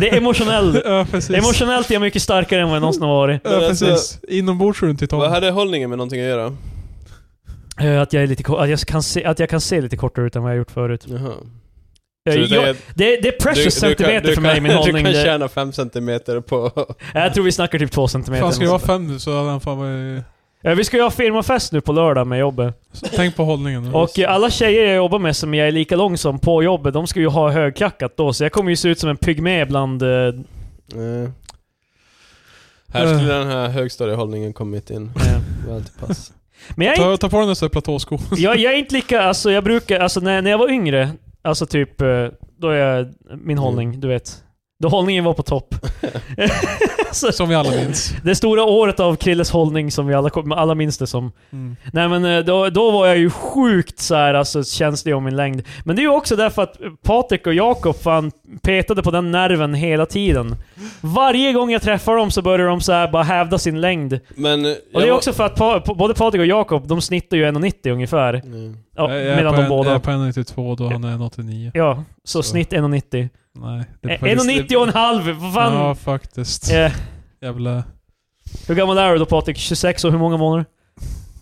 S1: Det är emotionellt.
S2: [LAUGHS] ja, precis.
S1: Emotionellt är jag mycket starkare än vad jag någonsin har varit.
S2: Ja,
S3: Men alltså-
S2: precis. Inombords är du inte i
S3: Vad
S2: topp.
S3: hade hållningen med någonting att göra?
S1: Eh, Att jag, är lite, ko- att, jag kan se, att jag kan se lite kortare ut än vad jag gjort förut.
S3: Jaha.
S1: Eh,
S3: Så du tänker
S1: Jag,
S3: att
S1: det, det är precious
S3: du- du kan-
S1: centimeter
S3: du
S1: för
S3: kan-
S1: mig, min hållning.
S3: [LAUGHS] Du kan
S1: Det,
S3: tjäna fem centimeter på...
S1: [LAUGHS] jag tror vi snackar typ två centimeter.
S2: Fan, ska det vara
S1: någonstans.
S2: fem nu så hade han fan varit...
S1: Eh, Vi ska ju ha firmafest nu på lördag med jobbet.
S3: Mm,
S2: Tänk på hållningen nu.
S1: Och eh, alla tjejer jag jobbar med som jag är lika lång som på jobbet, de ska ju ha högklackat då. Så jag kommer ju se ut som en pygmé bland... eh,
S3: Eh. Här
S1: Eh.
S3: skulle den här högstadiehållningen kommit in.
S1: Ja.
S3: Väl till pass.
S1: eh. Men jag är
S2: Ta, ta på dig
S1: [LAUGHS]
S2: nästa platåsko.
S1: jag, jag är inte lika, alltså jag brukar, alltså när, när jag var yngre, alltså typ, eh, då är jag,
S3: Mm.
S1: min hållning, du vet. Då hållningen var på topp. så,
S2: Som vi alla minns.
S1: det stora året av Krilles hållning som vi alla, kom- alla minns det som.
S2: Mm.
S1: Nej men eh, då, då var jag ju sjukt så här, alltså känslig om min längd. Men det är ju också därför att Patrik och Jakob fan petade på den nerven hela tiden. Varje gång jag träffar dem så börjar de så här bara hävda sin längd.
S3: Men... eh,
S1: Och det är också för att pa, både Patrik och Jakob, de snittar ju 1,90 ungefär.
S3: Mm.
S1: [LAUGHS] Ja,
S2: Jag- jag är
S1: mellan
S2: på
S1: de
S2: en-
S1: båda.
S2: Jag är på 1,92 då han är 1,89.
S1: Ja, så,
S2: Så.
S1: snitt 1,90.
S2: Nej. det är
S1: Eh,
S2: faktiskt-
S1: 1,90 och en halv! Vad fan?
S2: Ja, faktiskt.
S1: Eh,
S2: Jävla...
S1: hur gammal är du då Patrik? 26 och hur många månader?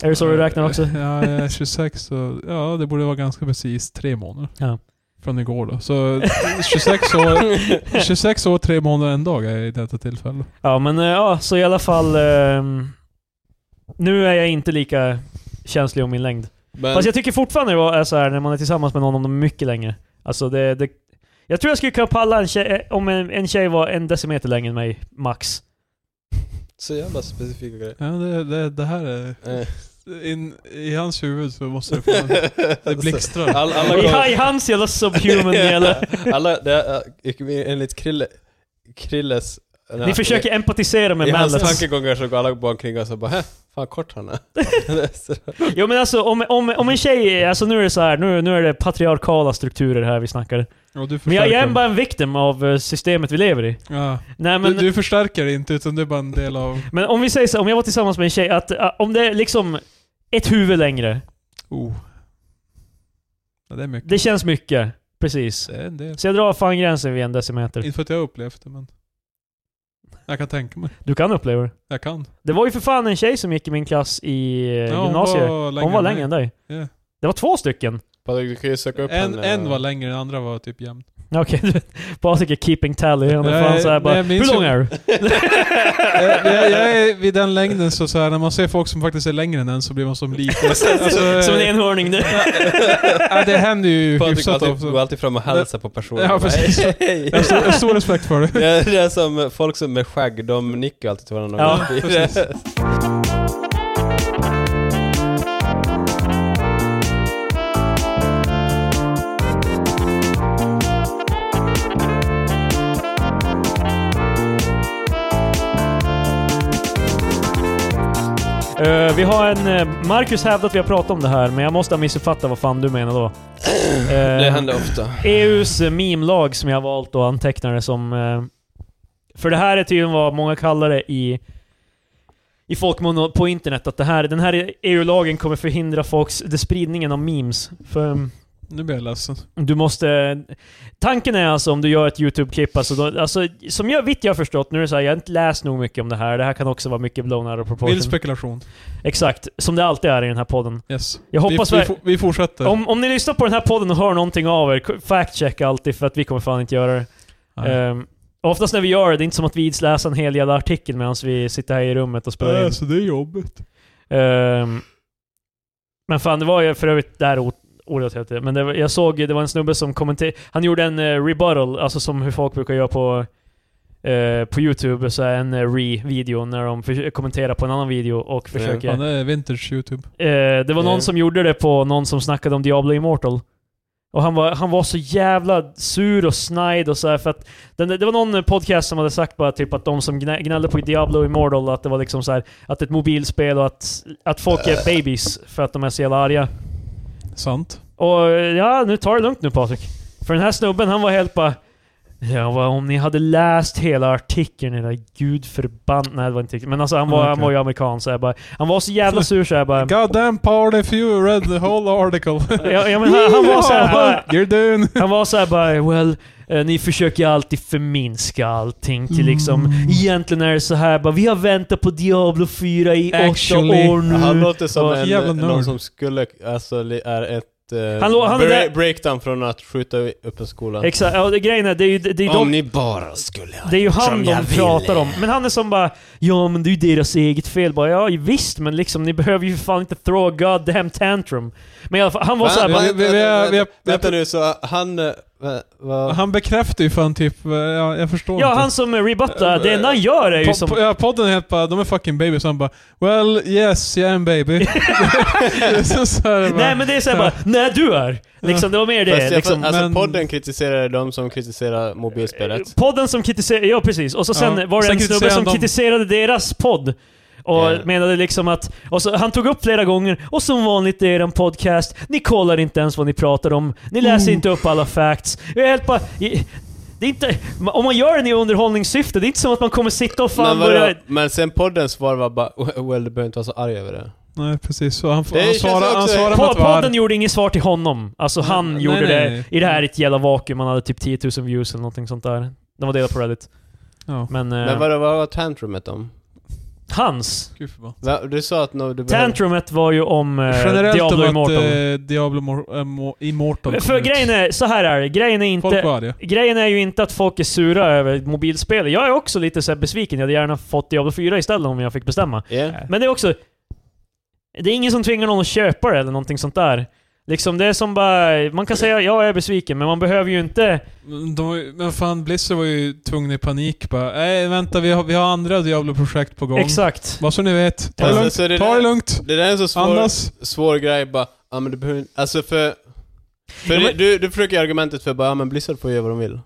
S1: Är det så
S2: Eh,
S1: du räknar också?
S2: Ja, jag är 26 så ja, det borde vara ganska precis tre månader.
S1: Ja.
S2: Från igår då. Så [LAUGHS] 26 år, 26 år, tre månader, en dag är jag i detta tillfälle.
S1: Ja men eh, ja, så i alla fall... ehm, nu är jag inte lika känslig om min längd.
S3: [LAUGHS] Men,
S1: Fast jag tycker fortfarande det är så här när man är tillsammans med någon om de är mycket längre. Alltså det, det, jag tror jag skulle kunna palla en tjej, eh, om en, en tjej var en decimeter längre än mig, max.
S3: Så jävla specifika grejer.
S2: Ja, det, det, det här är...
S3: Eh.
S2: In, I hans huvud så måste
S3: [LAUGHS]
S2: det få... Det blixtrar.
S3: Alla, alla,
S1: I,
S3: gånger,
S1: I hans
S3: [LAUGHS]
S1: jävla subhuman jävla...
S3: alla det är, eh, enligt Krille, Krilles...
S1: Ni försöker empatisera med
S3: I hans
S1: Mallets.
S3: tankegångar så går alla barn kring oss och bara "Hä, fan kort han är. [LAUGHS] Så-
S1: Jo men alltså om, om, om en tjej, alltså nu är det så här, nu, nu är det patriarkala strukturer här vi snackar.
S2: Och du
S1: Men jag, jag är
S2: förstärker.
S1: bara en victim av eh, systemet vi lever i.
S2: Ja.
S1: Nej
S2: Du,
S1: men,
S2: du förstärker inte utan du är bara en del av...
S1: men om vi säger så, om jag var tillsammans med en tjej, att eh, om det är liksom ett huvud längre,
S2: Oh. Ja, det är mycket.
S1: det känns mycket. Precis.
S2: Det är en del.
S1: Så jag drar fan gränsen vid en decimeter.
S2: Inte för att jag har upplevt det men... Jag kan tänka mig.
S1: Du kan uppleva det.
S2: Jag kan.
S1: Det var ju för fan en tjej som gick i min klass i eh,
S2: Ja,
S1: gymnasiet. Hon var,
S2: längre än
S1: längre än dig.
S2: Ja.
S1: Det var två stycken. [LAUGHS]
S3: Patrik, du kan ju söka upp eh,
S2: En,
S3: henne.
S2: en var längre, den andra var typ jämn.
S1: Ja, Okej, du vet. Patrik är keeping tally. Han är
S2: Nej,
S1: fan såhär bara,
S2: nej, jag minns
S1: hur lång
S2: ju-
S1: är du?
S2: jag, Eh, jag, jag är vid den längden så, så här, när man ser folk som faktiskt är längre än en så blir man
S1: [LAUGHS]
S2: som liten. Alltså,
S1: Som en enhörning. nu.
S2: ja, det händer ju
S3: Patrik går
S2: hyfsat
S3: alltid, går
S2: ofta.
S3: alltid fram och hälsar på personer.
S2: Ja,
S3: Bara,
S2: precis.
S3: "Hej, hej."
S2: Jag har stor, jag har stor respekt för det.
S3: Det är, det är som folk som med skägg, de nickar alltid till varandra.
S1: Ja,
S2: precis.
S1: Eh, vi har en... eh, Marcus hävdar att vi har pratat om det här, men jag måste ha missuppfattat vad fan du menar då. Eh,
S3: Det händer ofta.
S1: EUs eh, meme-lag som jag har valt och antecknar det som... eh, För det här är tydligen vad många kallar det i, i folkmun och på internet, att det här, den här EU-lagen kommer förhindra folks, det spridningen av memes. För mm,
S2: Nu blir jag ledsen.
S1: du måste... Tanken är alltså om du gör ett YouTube-klipp, alltså, då, alltså som jag vitt jag har förstått, nu är det så här, jag har inte läst nog mycket om det här, det här kan också vara mycket blown out of
S2: Vild
S1: proportion.
S2: spekulation.
S1: Exakt, som det alltid är i den här podden.
S2: Yes.
S1: Jag hoppas
S2: vi, vi,
S1: ver-
S2: for- vi fortsätter.
S1: om, om ni lyssnar på den här podden och hör någonting av er, k- fact-checka alltid för att vi kommer fan inte göra det.
S2: Nej.
S1: Ehm, och oftast när vi gör det, det är inte som att vi läser en hel jävla artikel medan vi sitter här i rummet och spelar
S2: Nej,
S1: in.
S2: så det är alltså, jobbigt.
S1: Ehm, men fan, det var ju för övrigt där or- ordet heter. Men det var, jag såg, det var en snubbe som kommenterade, han gjorde en eh, rebuttal, alltså som hur folk brukar göra på, eh, på YouTube, så här en eh, re-video när de förs- kommenterar på en annan video och försöker...
S2: Fan, det är vintage YouTube.
S1: Eh, det var någon
S3: Mm.
S1: som gjorde det på någon som snackade om Diablo Immortal. Och han var, han var så jävla sur och snide och så här för att den, Det var någon podcast som hade sagt bara typ att de som gnä- gnällde på Diablo Immortal att det var liksom så här Att det är ett mobilspel och att, att folk är babies för att de är så jävla arga.
S2: Sant.
S1: Och ja, nu tar det lugnt nu Patrik. För den här snubben han var helt bara... Ja, vad, om ni hade läst hela artikeln, era gudförbannade... Nej det var inte riktigt. Men alltså han var, han
S2: Okej.
S1: var ju amerikan så jag bara... Han var så jävla sur så jag
S2: [LAUGHS]
S1: bara...
S2: God damn party if you read the whole article.
S1: Ja, ja, men han, han var såhär bara,
S2: You're done.
S1: han var såhär bara well, eh, ni försöker alltid förminska allting till liksom, egentligen är det så här bara, vi har väntat på Diablo 4 i
S2: Actually.
S1: åtta år nu.
S3: Han låter som
S1: Vad
S3: en,
S2: Mm. jävla nörd.
S3: någon som skulle, alltså li- är ett eh,
S1: Han lå- han är
S3: bre-
S1: där-
S3: breakdown från att skjuta upp en skola.
S1: Exakt, ja, det- grejen är, det är ju, det är ju
S3: Om
S1: de,
S3: ni bara skulle ha
S1: det är ju han
S3: som jag
S1: de
S3: vill.
S1: pratar om. Men han är som bara, ja men det är ju deras eget fel. Bara, ja visst, men liksom ni behöver ju fan inte throw a goddamn tantrum. Men i alla fall, han var
S3: Va?
S1: såhär bara,
S2: vi- vi- vi-
S3: Vänta,
S2: vi- vi-
S3: vänta, Vänta nu, så han... eh, va- va-
S2: Han bekräftar ju fan typ, eh, ja, jag förstår
S1: ja
S2: inte.
S1: han som rebuttar, det enda han gör är ju
S2: Po-
S1: som...
S2: po- ja, podden heter bara 'De är fucking babies' han bara 'Well yes, yeah I'm baby'
S1: [LAUGHS]
S2: [LAUGHS] Det är så- så här, bara,
S1: Nej men det är såhär bara, nej du är! Liksom, det var mer det.
S3: Fast jag,
S1: liksom.
S3: alltså
S2: men-
S3: podden kritiserade de som kritiserar mobilspelet.
S1: Podden som kritiserade, ja precis. Och så sen
S2: Ja.
S1: var det
S2: Sen
S1: en snubbe
S2: kritiserade
S1: som
S2: de-
S1: kritiserade deras podd. Och
S3: Ja.
S1: menade liksom att, och så, han tog upp flera gånger, och som vanligt i er podcast, ni kollar inte ens vad ni pratar om, ni läser
S2: Mm.
S1: inte upp alla facts. Jag är helt bara, i- det är inte, om man gör det i underhållningssyfte, det är inte som att man kommer sitta och fan
S3: Men, vadå?
S1: börja...
S3: men sen poddens svar var bara [LAUGHS] well, du behöver inte vara så arg över det.
S2: Nej precis, så han,
S3: Det
S2: han
S3: känns
S2: svarar, han
S3: också-
S2: svarar med
S1: Po-
S2: att vara
S1: Podden gjorde inget svar till honom. Alltså han
S2: Nej,
S1: gjorde
S2: nej,
S1: det
S2: nej.
S1: i det här ett jävla vakuum, han hade typ 10 000 views eller någonting sånt där. De var delade på Reddit.
S2: Ja,
S1: Men, eh,
S3: Men vad, vad var tantrumet om?
S1: hans
S2: gud förbannat.
S3: Va- Du sa att no, du behöver...
S1: Tantrumet var ju om eh,
S2: Generellt
S1: Diablo
S2: om att
S1: Immortal.
S2: eh, Diablo Mor- eh, Mo- Immortal kom
S1: För
S2: ut.
S1: grejen är, så här är det. Grejen är
S2: Folk
S1: inte...
S2: var arga.
S1: Grejen är ju inte att folk är sura över mobilspel. Jag är också lite så här besviken. Jag hade gärna fått Diablo 4 istället om jag fick bestämma.
S3: Yeah.
S1: Men det är också... Det är ingen som tvingar någon att köpa det eller någonting sånt där. Liksom det är som bara... Man kan säga ja, jag är besviken, men man behöver ju inte...
S2: Men Mm, De var ju, men fan, Blizzard var ju tvungna i panik bara Nej vänta, vi har, vi har andra Diablo-projekt på gång.
S1: Exakt.
S2: Vad så ni vet. Ta
S1: Ja.
S3: Alltså,
S2: det lugnt,
S3: så det
S2: ta det
S3: där-
S2: lugnt.
S3: Det där är en så svår,
S2: Andas.
S3: svår grej bara, ja men du behöver inte- Alltså för... för
S1: Ja, men-
S3: det- du, du försöker göra argumentet för bara, ja men Blizzard får göra vad de vill.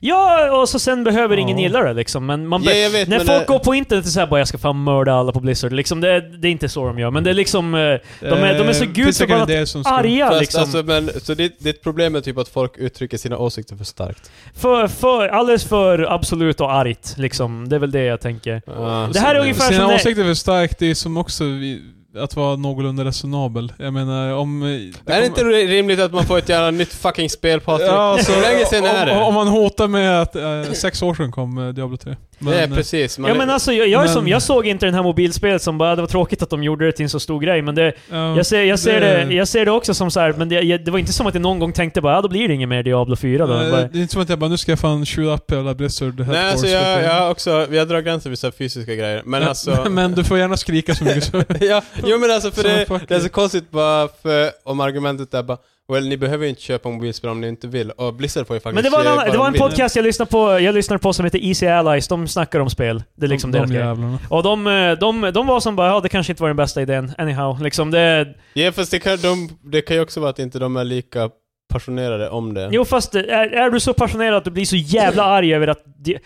S1: Ja, och så sen behöver ingen
S2: Ja.
S1: gilla det liksom. Men man
S3: Ja,
S1: be-
S3: jag vet,
S1: när
S3: men
S1: folk
S3: det-
S1: går på internet och säger bara jag ska fan mörda alla på Blizzard. Liksom, det, det är inte så de gör, men det är liksom... eh, De är- de är så
S2: Eh,
S1: gud
S2: finns säkert
S1: förbannat
S2: en del som skulle-
S1: arga
S3: Fast,
S1: liksom.
S3: alltså, men, så ditt, ditt problem är typ att folk uttrycker sina åsikter för starkt.
S1: För, för, alldeles för absolut och argt liksom. Det är väl det jag tänker.
S3: Ja.
S1: Det här är ungefär som
S2: Sina
S1: det-
S2: åsikter är för starkt, det är som också vi, att vara någorlunda resonabel. Jag menar om... eh, Det
S3: är det inte rimligt att man får ett jävla nytt fucking spel Patrik?
S2: Ja,
S3: [LAUGHS]
S2: alltså,
S3: Hur länge sedan är
S2: Om,
S3: det?
S2: om man hotar med att eh, sex år sedan kom eh, Diablo 3. Men,
S3: Nej,
S2: eh,
S3: precis. Man
S1: Ja
S3: är-
S1: men alltså, jag, jag, är
S2: men-
S1: som, jag såg inte den här mobilspelet som bara, det var tråkigt att de gjorde det till en så stor grej, men det,
S2: eh, ja,
S1: jag, ser, jag, ser
S2: det-
S1: det, jag ser det också som så här, men det, jag, det var inte som att jag någon gång tänkte bara, ja då blir det inget mer Diablo 4 då.
S2: eh,
S1: bara,
S2: Det är inte som att jag bara nu ska jag fan shoot up hela Blizzard
S3: Nej,
S2: headquarters.
S3: alltså jag,
S2: Vet du.
S3: jag har också, vi har dragit gränser vid så här fysiska grejer, men alltså...
S2: [LAUGHS] men du får gärna skrika så mycket så.
S3: [LAUGHS] ja, jo men alltså för
S2: Som en
S3: det,
S2: fucking-
S3: det är så konstigt bara för, om argumentet är bara Well, ni behöver ju inte köpa mobilspel om ni inte vill, och Blizzard får ju faktiskt
S1: men det var, en,
S3: göra
S1: annan,
S3: vad
S1: det var
S3: de
S1: en
S3: vill.
S1: podcast jag lyssnade på, jag lyssnade på som heter Easy Allies, de snackar om spel. Det är [LAUGHS] liksom
S2: de,
S1: deras
S2: de
S1: grej.
S2: jävlarna.
S1: Och de, eh, de, de var som bara, ja det kanske inte var den bästa idén, anyhow. Liksom det,
S3: Ja, fast det kan, de, det kan ju också vara att inte de är lika passionerade om det.
S1: Jo fast eh, är, är du så passionerad att du blir så jävla arg över att Di-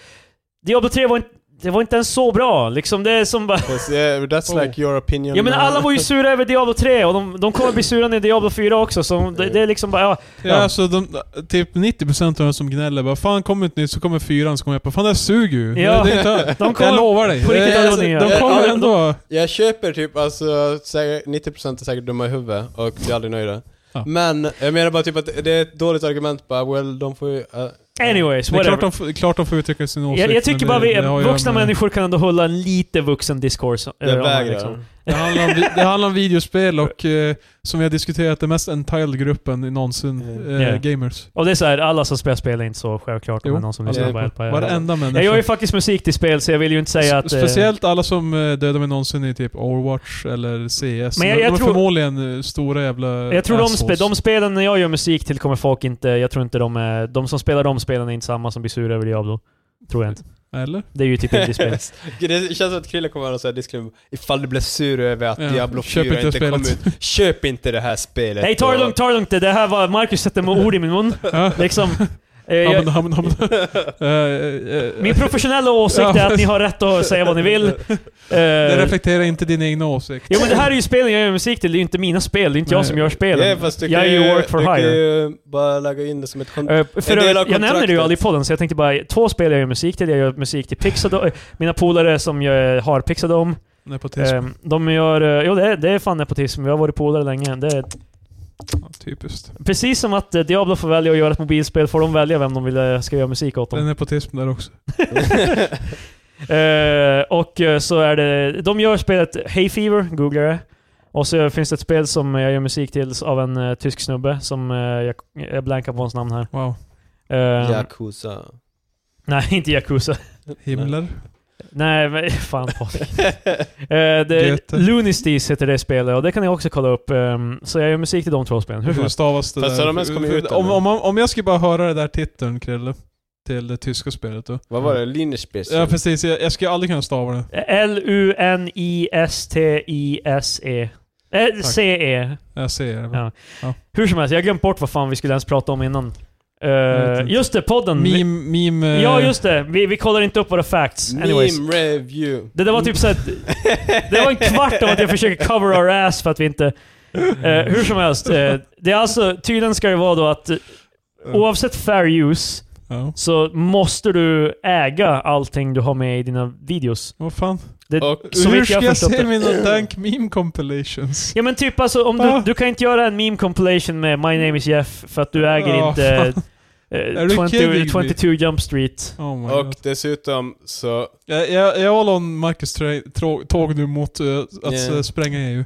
S1: Diablo 3 var inte, det var inte ens så bra. Liksom det är som bara...
S3: Fast, yeah, that's
S2: Oh.
S3: like your opinion.
S1: Ja men
S3: man.
S1: alla var ju sura över Diablo 3 och de, de kommer bli sura när Diablo 4 också, så det, det är liksom bara... Ja,
S2: Ja, alltså de, typ 90% av de som gnäller bara 'Fan kommer ett nytt' så kommer fyran så kommer jag på 'Fan det här suger ju'
S1: Ja.
S2: det, det är inte,
S1: [LAUGHS] de
S2: Jag
S1: kommer...
S2: lovar dig.
S1: på riktigt
S2: Eh,
S1: alla nya.
S2: de
S3: Ja,
S2: kommer
S3: ja,
S2: ändå.
S3: alltså, Jag köper typ, alltså säkert- 90% är säkert dumma i huvudet och blir aldrig nöjda.
S2: Ja.
S3: Men jag menar bara typ att det är ett dåligt argument bara, well de får ju... eh,
S1: Anyways,
S2: Det är klart
S1: whatever.
S2: de, får- klart de får uttrycka sin åsikt.
S1: Jag, jag tycker
S2: men
S1: bara
S2: det-
S1: vi,
S2: det har att göra
S1: vuxna
S2: med-
S1: människor kan ändå hålla en lite vuxen diskurs. eh,
S3: det
S1: om man
S3: vägrar.
S1: liksom-
S2: Det handlar om, vi- det handlar om videospel och eh, som vi har diskuterat, den mest entitled-gruppen i någonsin.
S3: Mm.
S2: Eh,
S1: Yeah.
S2: Gamers.
S1: Och det är så här, alla som spelar spel är inte så självklart om
S2: Jo. Alltså,
S1: det är någon som
S3: Ja,
S1: lyssnar
S3: det-
S1: på hjälpa er.
S2: Varenda
S1: Jag
S2: människa.
S1: gör ju faktiskt musik till spel så jag vill ju inte säga att...
S2: S-
S1: eh,
S2: Speciellt alla som eh, dödar mig någonsin i typ Overwatch eller CS.
S1: Men jag-
S2: de
S1: jag
S2: är
S1: tror-
S2: förmodligen eh, stora jävla
S1: Jag tror de, spe,
S2: assholes.
S1: de spelen när jag gör musik till kommer folk inte... Jag tror inte de är... De som spelar de spelen är inte samma som blir sura över Diablo. Tror jag inte. [LAUGHS]
S2: Eller?
S1: Det är ju typ indiespel.
S3: [LAUGHS] det känns som att Krille kommer att säga disclaimer. Ifall du blev sur över att
S2: Ja,
S3: Diablo
S2: köp
S3: 4
S2: inte
S3: inte kom
S2: spelet.
S3: ut, köp inte det här spelet.
S1: Nej, ta det lugnt, ta det lugnt. Det här var... Marcus sätter med ord i min mun.
S2: Ja.
S3: [LAUGHS]
S1: Liksom... eh,
S2: Ja,
S1: jag,
S2: men- ja, men- ja,
S1: [LAUGHS]
S2: men- Eh, eh,
S1: min professionella åsikt är att ni har rätt att säga vad
S3: [LAUGHS]
S1: ni vill. Eh,
S2: Det reflekterar inte din egna åsikt.
S1: Jo men det här är ju spelen jag gör musik till, det är ju inte mina spel, det är inte jag
S2: Nej.
S1: som gör spelen.
S3: Ja, fast du
S1: Jag
S3: kan
S1: är ju work for
S3: du kan
S1: hire.
S3: ju bara lägga in det som ett kontrakt.
S1: Eh, För
S3: En del av
S1: övrigt, jag nämner det ju
S3: kontraktet.
S1: aldrig i podden, så jag tänkte bara, två spel jag gör musik till, jag gör musik till Pixadome, mina polare som jag har Pixadome,
S2: Nepotism.
S1: eh, de gör, eh, jo det är, det är fan nepotism, vi har varit polare länge. Det är,
S2: Ja, typiskt.
S1: precis som att eh, Diablo får välja att göra ett mobilspel, får de välja vem de vill eh, ska göra musik åt
S2: Det är
S1: dem.
S2: nepotism där också.
S1: Eh, och eh, så är det, de gör spelet Hey Fever, googla det. Och så finns det ett spel som jag gör musik till av en eh, tysk snubbe som eh, jag, jag blankar på hans namn här.
S2: Wow.
S1: Eh,
S3: Yakuza. [LAUGHS]
S1: Nej, inte Yakuza.
S2: Himmler.
S1: Nej, men [LAUGHS] fan Patrik. Eh, det,
S2: Goethe.
S1: Lunistis heter det spelet och det kan ni också kolla upp. Ehm, så jag gör musik till de två spelen. Hur som
S2: Hur
S1: helst.
S2: stavas det
S3: Fast
S2: där?
S3: har de ens kommit ut
S2: om,
S3: ännu?
S2: om, om jag skulle bara höra det där titeln, Krille. Till det tyska spelet då.
S3: Vad var det? Linespiel?
S2: Ja precis, jag, jag skulle aldrig kunna stava det.
S1: L-U-N-I-S-T-I-S-E. Eh, C-E.
S2: Jag ser det.
S1: Ja. Hur som helst, jag har glömt bort vad fan vi skulle ens prata om innan. Eh,
S2: vet inte.
S1: just det, podden. Vi-
S2: Meme, meme... eh,
S1: Ja, just det. Vi, vi kollar inte upp våra facts. Anyways.
S3: Meme review.
S1: Det där var typ såhär...
S2: [LAUGHS]
S1: Det var en kvart av att jag försöker cover our ass för att vi inte... Eh, hur som helst. Eh, det är alltså, tydligen ska det vara då att eh, oavsett fair use
S2: Ja.
S1: så måste du äga allting du har med i dina videos.
S2: Vad fan?
S1: Det,
S3: Och
S1: så
S2: Hur
S1: vitt
S2: ska
S1: jag
S2: jag,
S1: har förstått
S2: se
S1: det.
S2: mina dank meme compilations?
S1: Ja men typ alltså, om du,
S2: Ah.
S1: du kan inte göra en meme compilation med My name is Jeff för att du äger
S2: Ah, [LAUGHS]
S1: inte
S2: fan.
S1: eh,
S2: Är du kidding
S1: 20,
S2: me?
S1: 22 Jump Street.
S2: Oh my
S3: Och
S2: god.
S3: dessutom så...
S2: Jag, jag, jag håller om Marcus tra- trå- tåg nu mot eh, att
S3: Yeah.
S2: eh, spränga EU.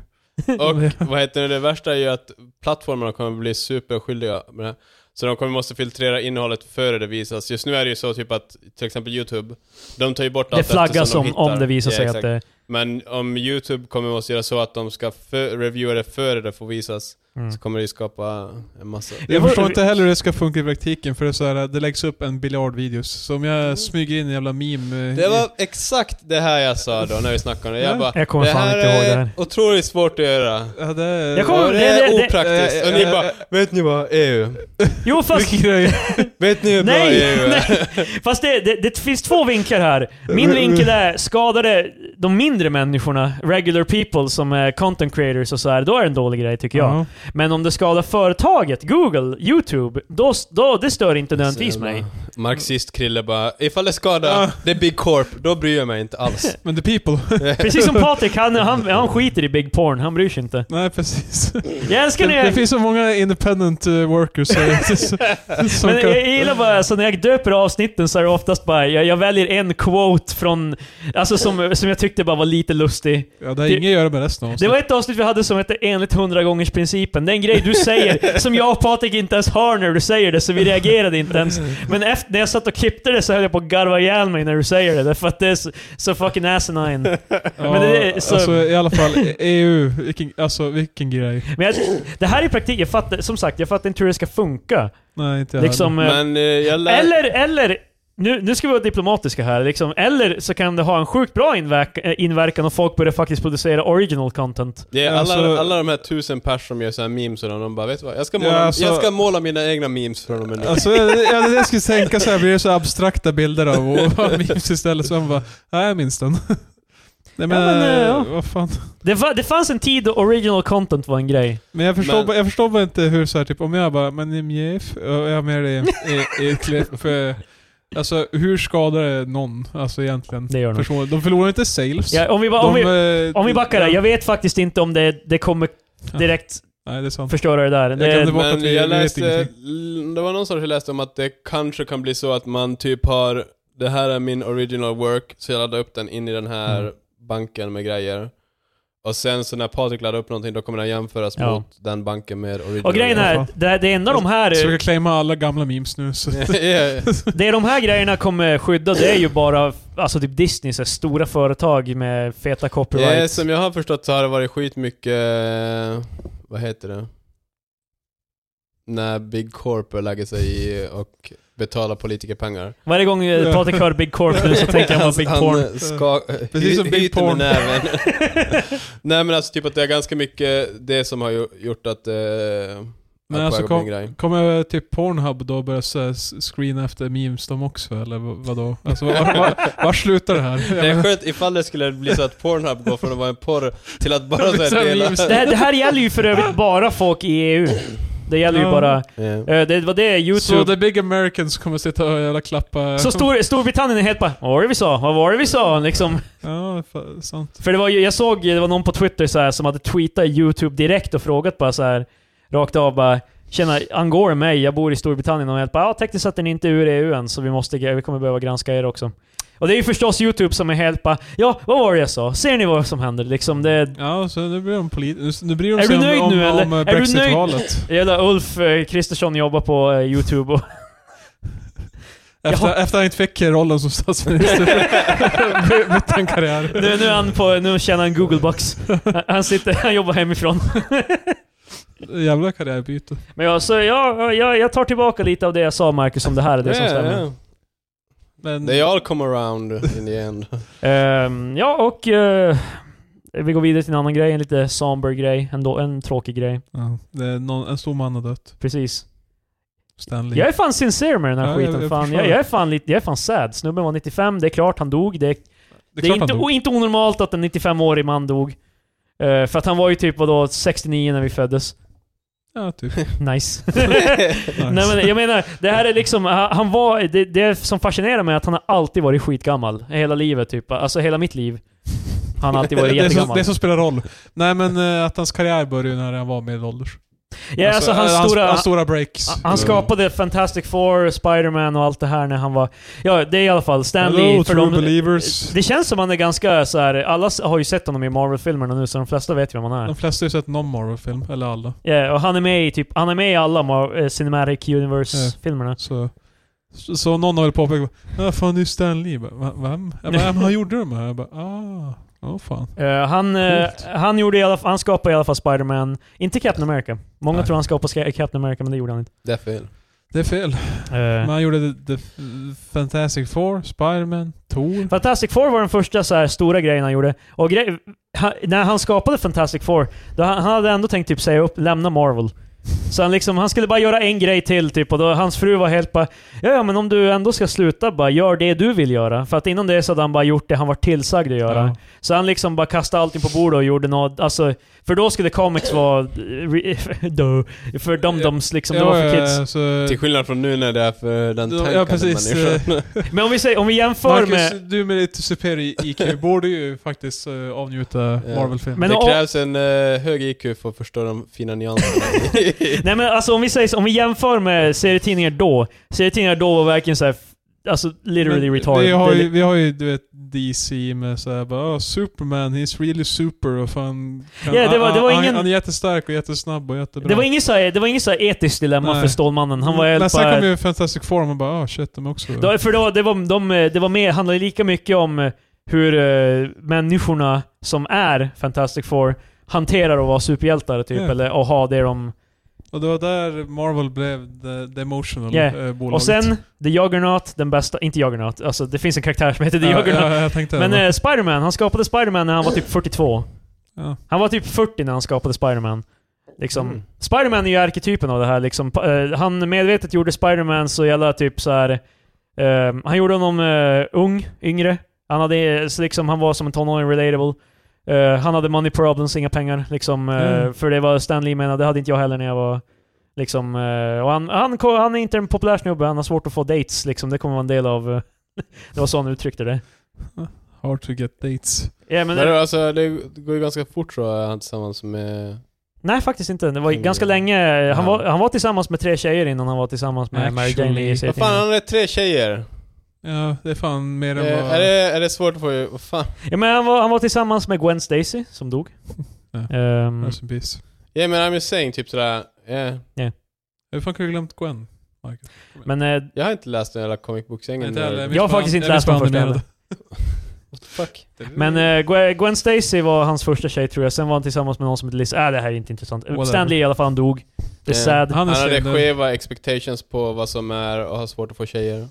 S3: Och
S1: [LAUGHS]
S3: vad heter det, det värsta är ju att plattformarna kommer bli superskyldiga med det här. Så de kommer måste filtrera innehållet före det visas. Just nu är det ju så typ att till exempel YouTube, de tar ju bort
S1: Det
S3: allt
S1: flaggas
S3: eftersom de
S1: om, om
S3: hittar.
S1: det visar
S3: Ja,
S1: sig
S3: exakt.
S1: att det...
S3: Men om YouTube kommer måste göra så att de ska för, reviewa det före det får visas,
S1: Mm.
S3: så kommer det ju skapa en massa...
S1: Ja.
S2: Jag
S1: var-
S2: förstår inte heller hur det ska funka i praktiken för det, är så här, eh, det läggs upp en biljardvideos. Så om
S1: Mm.
S2: jag smyger in en jävla meme... eh,
S3: Det
S2: i-
S3: var exakt det här jag sa då när vi snackade om det. Jag bara,
S1: Jag kommer
S3: det
S1: fan
S3: här
S1: inte ihåg det
S3: är
S1: här.
S3: otroligt svårt att göra.
S2: Ja, det är...
S1: Jag kommer-
S3: Och det
S1: det- det-
S3: är opraktiskt.
S2: det-
S3: Och ni
S2: eh,
S3: bara,
S2: eh,
S3: vet ni vad EU?
S2: [LAUGHS]
S1: Jo fast...
S2: Vilken grej.
S3: Vet ni hur bra
S1: Nej! [LAUGHS]
S3: EU är?
S1: nej. Fast det, det, det finns två vinklar här. Min vinkel är, skadade de mindre människorna, regular people som är content creators och så här, då är det en dålig grej tycker jag.
S2: Ja.
S1: Men om det skadar företaget, Google, YouTube, då, då det stör inte nödvändigtvis
S3: Så jävla
S1: mig.
S3: Marxist-Krille bara, ifall det skadar,
S2: Ja.
S3: det är Big Corp, då bryr jag mig inte
S1: [LAUGHS]
S3: alls.
S2: Men the people. [LAUGHS]
S1: Precis som Patrik, han, han, han skiter i big porn, han bryr sig inte.
S2: Nej, precis.
S1: Jag älskar när
S2: Det, det
S1: jag...
S2: finns så många independent eh, workers
S1: [LAUGHS]
S2: eh, som
S1: Men
S2: kan...
S1: jag gillar bara, så när jag döper avsnitten så är det oftast bara, jag, jag väljer en quote från, alltså som, som jag tyckte bara var lite lustig.
S2: Ja, det har inget att göra med resten av oss.
S1: Det var ett avsnitt vi hade som hette enligt 100 gångers principen. Det är en grej du
S2: [LAUGHS]
S1: säger som jag och Patrik inte ens hör när du säger det, så vi reagerade inte ens. Men efter, när jag satt och klippte det så höll jag på att garva ihjäl mig när du säger det, därför att det är så, så fucking asinine.
S2: ja,
S1: men det är så-
S2: Alltså i alla fall, EU. Vilken, alltså vilken grej.
S1: Men jag, det här i praktiken, jag fattar, som sagt, jag fattar inte hur det ska funka.
S2: Nej, inte jag
S1: Liksom, eh,
S3: Men eh, jag lär...
S1: eller, eller, nu, nu ska vi vara diplomatiska här, liksom. eller så kan det ha en sjukt bra inverk, eh, inverkan och folk börjar faktiskt producera original content.
S3: Det är alla,
S2: Alltså-
S3: alla de här tusen pers som gör så här memes och de- de bara, vet du vad? Jag ska
S2: Ja,
S3: måla,
S2: alltså-
S3: jag ska måla mina egna memes från och med nu.
S2: Alltså, ja, det ja, det jag skulle tänka så här blir det så abstrakta bilder av och och [LAUGHS] memes istället. Så man bara, nej jag minns den. [LAUGHS] Nej men,
S1: men, eh, ja.
S2: vad fan.
S1: Det, fa- det fanns en tid då original content var en grej.
S2: Men jag förstår,
S3: Men-
S2: bara- jag förstår bara inte hur så här, typ om jag bara, men i MJF, och jag har med det
S3: [LAUGHS]
S2: i, i ett klipp. eh, Alltså hur skadar det någon, alltså egentligen?
S1: Det gör det.
S2: Förstår- De förlorar inte sales.
S1: Ja, om vi bara, om
S2: de,
S1: vi,
S2: eh,
S1: Om vi backar där, jag vet faktiskt inte om det, det kommer direkt
S2: Nej det är sant.
S1: förstöra det där.
S2: Jag glömde
S1: Det,
S2: bort- att
S3: Men
S2: vi-
S3: jag
S2: vi vet
S3: läste, det var någonstans jag läste om att det kanske kan bli så att man typ har, det här är min original work, så jag laddar upp den in i den här
S2: Mm.
S3: banken med grejer. Och sen så när Patrik laddar upp någonting, då kommer den jämföras
S1: Ja.
S3: mot den banken med original.
S1: Och grejen är, det, det enda de här...
S2: Så vi kan claima alla gamla memes nu. Så.
S3: [LAUGHS] Ja, ja, ja.
S1: Det de här grejerna kommer skydda, det är ju bara alltså typ Disney, så här, stora företag med feta
S3: Ja,
S1: copyrights.
S3: Eh, som jag har förstått så har det varit skitmycket... eh, Vad heter det? När Big Corp lägger sig i och betalar politikerpengar.
S1: Varje gång eh, Patrik hör Big Corp nu så
S3: [LAUGHS]
S1: tänker han på Big
S3: han
S1: Porn.
S3: eh, Ska,
S2: Precis som
S3: hy-
S2: Big
S3: hyter med
S2: Porn.
S3: näven.
S1: [LAUGHS]
S3: Nej men alltså typ att det är ganska mycket det som har ju- gjort att... Eh,
S2: Men
S3: att
S2: alltså
S3: Quagga blir en
S2: kom-
S3: grej.
S2: [LAUGHS] Kommer typ Pornhub då börja så här s- screena efter memes de också eller v- vadå? Alltså var, var, var slutar det här?
S3: Det
S2: [LAUGHS]
S3: är skönt ifall det skulle bli så att Pornhub går från att vara en porr till att bara
S2: Det är
S3: så här
S2: så
S3: dela...
S2: Alltså, memes.
S1: Det här, det här gäller ju för
S2: [LAUGHS]
S1: övrigt bara folk i EU. Det gäller ju
S2: Ja.
S1: bara...
S3: Ja.
S1: eh, Det var det
S2: Så
S1: YouTube...
S2: the big Americans kommer sitta och jävla klappa...
S1: Så Stor, Storbritannien är helt bara Vad var det vi sa? Vad var det vi sa? Liksom.
S2: Ja, fa- sant.
S1: För det var ju, jag såg, det var någon på Twitter så här, som hade tweetat YouTube direkt och frågat bara så här rakt av bara Tjena, angår det mig? Jag bor i Storbritannien och jag bara ja, tekniskt sett är ni inte ur EU än så vi, måste, vi kommer behöva granska er också. Och det är ju förstås YouTube som är helt bara ja, vad var det jag sa? Ser ni vad som händer? Liksom det,
S2: Ja, så nu blir de polit... Nu blir
S1: Är
S2: de sig
S1: du nöjd
S2: om, om,
S1: nu, eller?
S2: om
S1: Är
S2: eh,
S1: du nöjd? [LAUGHS]
S2: Brexit-valet.
S1: jävla Ulf eh, Kristersson jobbar på eh, YouTube och
S2: Efter, efter han inte fick eh, rollen
S1: [LAUGHS]
S2: som statsminister by- bytte han karriär.
S1: nu, nu, är han på, nu tjänar han Google Bucks. Han- Han, sitter, han jobbar hemifrån.
S2: Jävla karriärbyte.
S1: Men jag, så jag, jag, jag tar tillbaka lite av det jag sa Marcus om det här är det som
S3: Ja, ja,
S1: stämmer.
S3: ja.
S2: Men,
S3: They all come around in the
S1: [LAUGHS]
S3: end.
S1: Ehm, ja, och eh, vi går vidare till en annan grej, en lite somber grej, ändå, en tråkig grej.
S2: ja, det är någon, en stor man har dött.
S1: Precis.
S2: Stanley.
S1: Jag är fan sincere med den här
S2: Ja, jag-
S1: skiten.
S2: jag
S1: fan.
S2: förstår
S1: Jag,
S2: det.
S1: jag, är fan lite, jag är fan sad. Snubben var 95, det är klart han dog. Det, det,
S2: det
S1: är inte, o- inte onormalt att en 95-årig man dog. Eh, för att han var ju typ vadå, 69 när vi föddes.
S2: Ja, typ.
S1: Nice. [LAUGHS] Nej, men jag menar, det här är liksom, han han var, det, det som fascinerar mig är att han har alltid varit skitgammal. Hela livet typ. Alltså hela mitt liv. Han har alltid varit
S2: [LAUGHS] det, är så,
S1: jättegammal.
S2: det är som spelar roll. Nej men eh, att hans karriär började när han var medelålders.
S1: ja, alltså,
S2: eh,
S1: hans stora,
S2: hans stora breaks.
S1: Han- Han skapade Fantastic Four, Spider-Man och allt det här när han var... Ja, det är i alla fall Stanley.
S2: Hello
S1: för
S2: true
S1: de-
S2: believers.
S1: Det känns som han är ganska så här. alla s- har ju sett honom i Marvel-filmerna nu, så de flesta vet ju vem han är.
S2: De flesta har ju sett någon Marvel-film, eller alla.
S1: Ja, och han är med i typ, han är med i alla Mar- eh, Cinematic Universe-filmerna.
S2: Så, så så någon har väl påpekat bara, "Ah, fan det är ju Stan Lee. Jag bara, "Va- Vem? Jag bara, "Ja, men han gjorde de här. Jag bara, ah, åh fan.
S1: Eh, han, eh, han, gjorde i alla, fall- han skapade i alla fall Spider-Man, inte Captain America. Många
S2: Nej.
S1: tror han skapade Sca- Captain America, men det gjorde han inte.
S3: Det är fel.
S2: Det är fel.
S1: Eh,
S2: Men han gjorde The, the Fantastic Four, Spiderman, Thor.
S1: Fantastic Four var den första så här, stora grejen han gjorde. Och grej, han, när han skapade Fantastic Four, då han, han hade ändå tänkt typ säga upp, lämna Marvel. Så han, liksom, han skulle bara göra en grej till typ, och då, hans fru var helt bara ja, ja men om du ändå ska sluta, bara gör det du vill göra. För att innan det så hade han bara gjort det han var tillsagd att göra.
S2: Ja.
S1: Så han liksom bara kastade allting på bordet och gjorde något, alltså, för då skulle comics vara... [LAUGHS] Duh. för dum-dums liksom, det var för kids.
S2: ja, så,
S3: Till skillnad från nu när det är för den
S2: Ja,
S3: tänkande
S2: precis,
S3: människan.
S1: Men om vi, säger, om vi jämför med...
S2: Marcus, du med ditt superior IQ borde ju faktiskt eh, avnjuta Marvel-filmer.
S1: Men-
S3: det
S1: och-
S3: krävs en eh, hög IQ för att förstå de fina nyanserna.
S1: Nej men alltså om vi, säger, så- om vi jämför med serietidningar då. Serietidningar då var verkligen såhär, alltså literally
S2: Men
S1: retarded.
S2: Vi har,
S1: Det-
S2: ju, vi har ju du vet DC med såhär bara oh, Superman, he's really super och fan... Kan,
S1: Ja, det var- det var
S2: han,
S1: ingen-
S2: han är jättestark och jättesnabb och jättebra.
S1: det var inget såhär, det var inget såhär etiskt dilemma
S2: Nej.
S1: för Stålmannen. Han var
S2: Men
S1: helt
S2: sen
S1: bara...
S2: kom ju Fantastic Four och man bara ah shit, de är också...
S1: Då, för då, det, var, de, det var mer, handlade lika mycket om eh, hur eh, människorna som är Fantastic Four hanterar att vara superhjältar typ,
S2: Ja.
S1: eller att ha det de...
S2: och det var där Marvel blev the, the emotional
S1: Yeah.
S2: eh, bolaget.
S1: Och sen, The Juggernaut, den bästa... Inte Juggernaut, alltså det finns en karaktär som heter The
S2: ja,
S1: Juggernaut.
S2: ja, jag tänkte
S1: Men
S2: det.
S1: eh, Spider-Man, han skapade Spider-Man när han var typ 42.
S2: ja.
S1: Han var typ 40 när han skapade Spider-Man. Liksom,
S3: Mm.
S1: Spider-Man är ju arketypen av det här. Liksom, Pa- eh, han medvetet gjorde Spider-Man så jävla typ så här. eh, han gjorde honom eh, ung, yngre. Han, hade, eh, så liksom, han var som en tonåring relatable. Eh, han hade money problems, inga pengar. Liksom, eh,
S2: Mm.
S1: För det var Stan Lee menade, det hade inte jag heller när jag var... Liksom, eh, och han, han, ko- han är inte en populär snubbe, han har svårt att få dates. Liksom. Det kommer vara en del av... eh, [LAUGHS] det var så han uttryckte det.
S2: Hard to get dates.
S1: Ja, men,
S3: Men det, alltså, det går ju ganska fort tror jag, han tillsammans med...
S1: Nej, faktiskt inte. Det var ju
S3: Mm.
S1: ganska länge. Han
S3: Ja.
S1: var, han var tillsammans med tre tjejer innan han var tillsammans med Mary Jane
S2: Actually.
S1: Lee i
S3: Vad fan,
S1: serietidningen.
S3: han är tre tjejer!
S2: Ja, det är fan mer än
S3: Eh,
S2: vad...
S3: är, det, är det svårt att få... Vad fan?
S1: Ja, men han, var, han var tillsammans med Gwen Stacy, som dog.
S2: Ja.
S1: Ehm,
S2: Rest in peace.
S3: Yeah, men I'm just saying, typ sådär... Yeah.
S2: Hur fan kunde jag glömt Gwen? Michael?
S1: men eh,
S3: Jag har inte läst den jävla comic
S2: Nej,
S3: book-sängen.
S2: inte heller.
S1: Jag har faktiskt inte läst den första heller.
S3: [LAUGHS] Fuck.
S1: Men eh, Gwen- Gwen Stacy var hans första tjej tror jag, sen var han tillsammans med någon som hette Liz... Äh, det här är inte intressant.
S2: Whatever.
S1: Stanley i alla fall, han dog. Det är
S3: Eh,
S1: sad.
S2: han är
S3: Han hade
S2: synd.
S3: skeva expectations på vad som är och har svårt att få
S2: [LAUGHS]
S3: tjejer.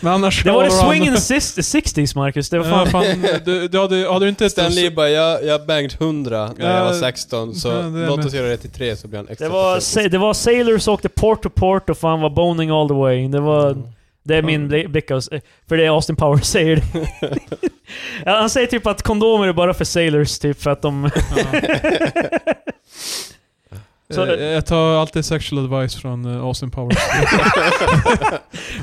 S2: Men annars...
S1: det var det
S2: Colorado-
S1: swing in the sis- 60s, Marcus. Det var fan...
S2: Ja, fan, du, du hade, hade du inte...
S3: Stanley bara, jag, jag banged 100 när jag
S2: Ja,
S3: var 16, så
S2: ja, det är
S3: låt
S2: med.
S3: oss göra det till 3 så blir han extra
S1: Det var,
S3: patetisk.
S1: sa- det var sailors åkte port to port och fan var boning all the way. Det var... Det är min bli- blick av, För det är Austin Powers säger det.
S3: [LAUGHS]
S1: Ja, han säger typ att kondomer är bara för sailors, typ för att de... [LAUGHS] Så-
S2: Så, Eh, jag tar alltid sexual advice från eh, Austin Powers.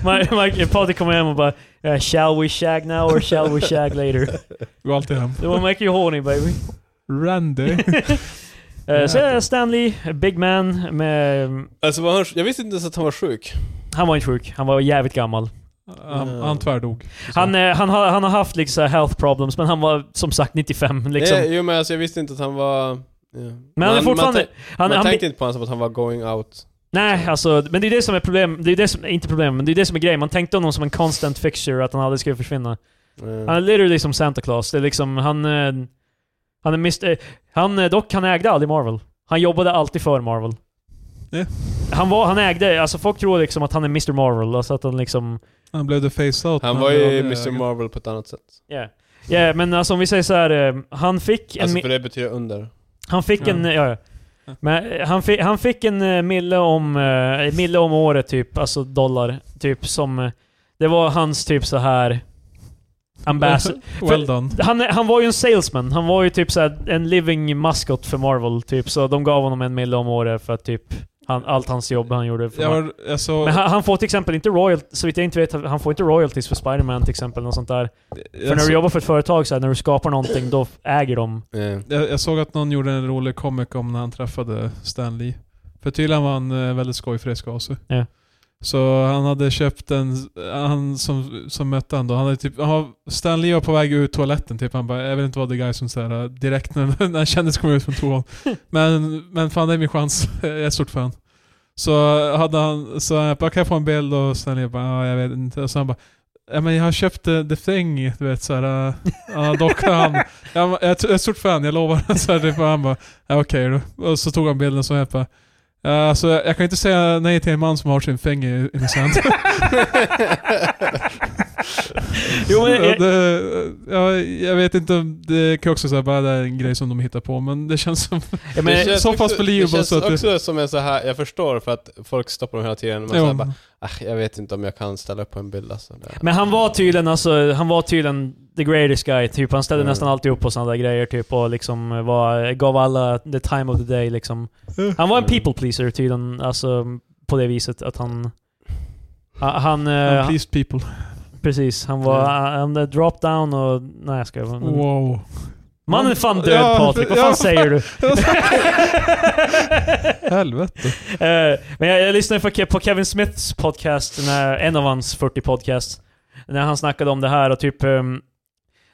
S1: Mar- Mar- Patrik kommer hem och bara eh, “Shall we shag now or shall we shag later?”
S2: Går alltid hem.
S1: Det var “Make you horny baby”.
S2: Randy.
S1: [LAUGHS] Eh, Så är Stanley, big man, med,
S3: Alltså, var han, jag visste inte ens att han var sjuk.
S1: han var inte sjuk. Han var jävligt gammal.
S2: Han, han tvärdog. Så.
S1: Han, eh, han, har, han har haft liksom så här health problems, men han var som sagt 95 liksom.
S3: Nej, jo men alltså, jag visste inte att han var... Ja. Men
S1: men han är fortfarande...
S3: Man, tän-
S1: han,
S3: man
S1: han,
S3: tänkte inte på honom som att han var going out.
S1: nej, alltså, men det är det som är problem. Det är det som, inte problem, men det är det som är grejen. Man tänkte honom som en constant fixture, att han aldrig skulle försvinna.
S3: Eh,
S1: Han är literally som Santa Claus. Det är liksom, han... eh, Han är mist, eh, Han eh, dock, han ägde aldrig Marvel. Han jobbade alltid för Marvel.
S2: Ja.
S1: Han var, han ägde, alltså folk tror liksom att han är Mr Marvel, alltså att han liksom...
S2: Han blev the face out.
S3: Han
S2: men
S3: var
S2: blev
S3: ju
S2: aldrig
S3: Mr
S2: ägare.
S3: Marvel på ett annat sätt.
S1: Ja, ja men alltså om vi säger så här, eh, han fick en...
S3: Alltså
S1: mi-
S3: för det betyder under.
S1: Han fick en...
S2: Ja.
S1: Ja, ja.
S2: Ja.
S1: Men eh, han, fick, han fick en eh, mille om, eh, mille om året typ, alltså dollar, typ som... eh, Det var hans typ så här ambassador.
S2: Well done.
S1: Han, eh, han var ju en salesman. Han var ju typ så här en living mascot för Marvel, typ. Så de gav honom en mille om året för att typ han, allt hans jobb han gjorde för
S2: Jag
S1: Marvel.
S2: har, alltså,
S1: Men han, han får till exempel inte royalties, så vitt jag inte vet, han får inte royalties för Spider-Man till exempel, något sånt där. För när
S2: jag,
S1: du jobbar för ett företag, så här, när du skapar någonting, då äger de.
S3: Eh,
S2: jag, jag såg att någon gjorde en rolig comic om när han träffade Stan Lee. För tydligen var han eh, väldigt skojfrisk av sig.
S1: Ja.
S2: Så han hade köpt en, han som, som mötte han då, han hade typ, han var, Stan Lee var på väg ut toaletten typ, han bara jag vill inte vara the guy som såhär direkt när, [LAUGHS] när en kändis kommer ut från toan. Men, men fan det är min chans, [LAUGHS] jag är ett stort fan. Så hade han, så jag bara kan jag få en bild och Stan Lee bara ah, jag vet inte. Och så han bara Ja, men jag har köpt uh, The Thing, du vet såhär. Uh, ja, dockan. Han, jag, jag är ett stort fan, jag lovar. [LAUGHS] Så här, typ, och han bara, ja, okej då. Och så tog han bilden så jag bara, Uh, alltså, jag kan inte säga nej till en man som har sin fäng i i min hand.
S1: [LAUGHS] Jo,
S2: [LAUGHS]
S1: men,
S2: Ja,
S1: jag,
S2: det- ja, jag vet inte, om- det kan också säga bara det är en grej som de hittar på, men det känns som...
S1: jag, men,
S3: det känns
S2: så pass
S3: också-
S2: believable
S3: Det känns
S2: så att det-
S3: också som en så här, jag förstår för att folk stoppar dem hela tiden. Men
S2: Ja,
S3: så bara, "Ah, jag vet inte om jag kan ställa upp på en bild alltså. Det-
S1: Men han var tydligen alltså, han var tydligen the greatest guy, typ. Han ställde
S3: Mm.
S1: nästan alltid upp på sådana där grejer, typ. Och liksom var, gav alla the time of the day, liksom. Han var en
S3: Mm.
S1: people pleaser tydligen, alltså på det viset att han... Han... han eh,
S2: han pleased people.
S1: precis, han var... Han eh, drop down och... Nej jag skojar. Men-
S2: Wow.
S1: [LAUGHS] Mannen är fan död
S2: Ja,
S1: Patrik, vad fan
S2: ja.
S1: säger
S2: [LAUGHS]
S1: du?
S2: Helvete.
S1: Eh, men jag, jag lyssnade på Ke- på Kevin Smiths podcast, när, en av hans 40 podcasts, när han snackade om det här och typ... ehm,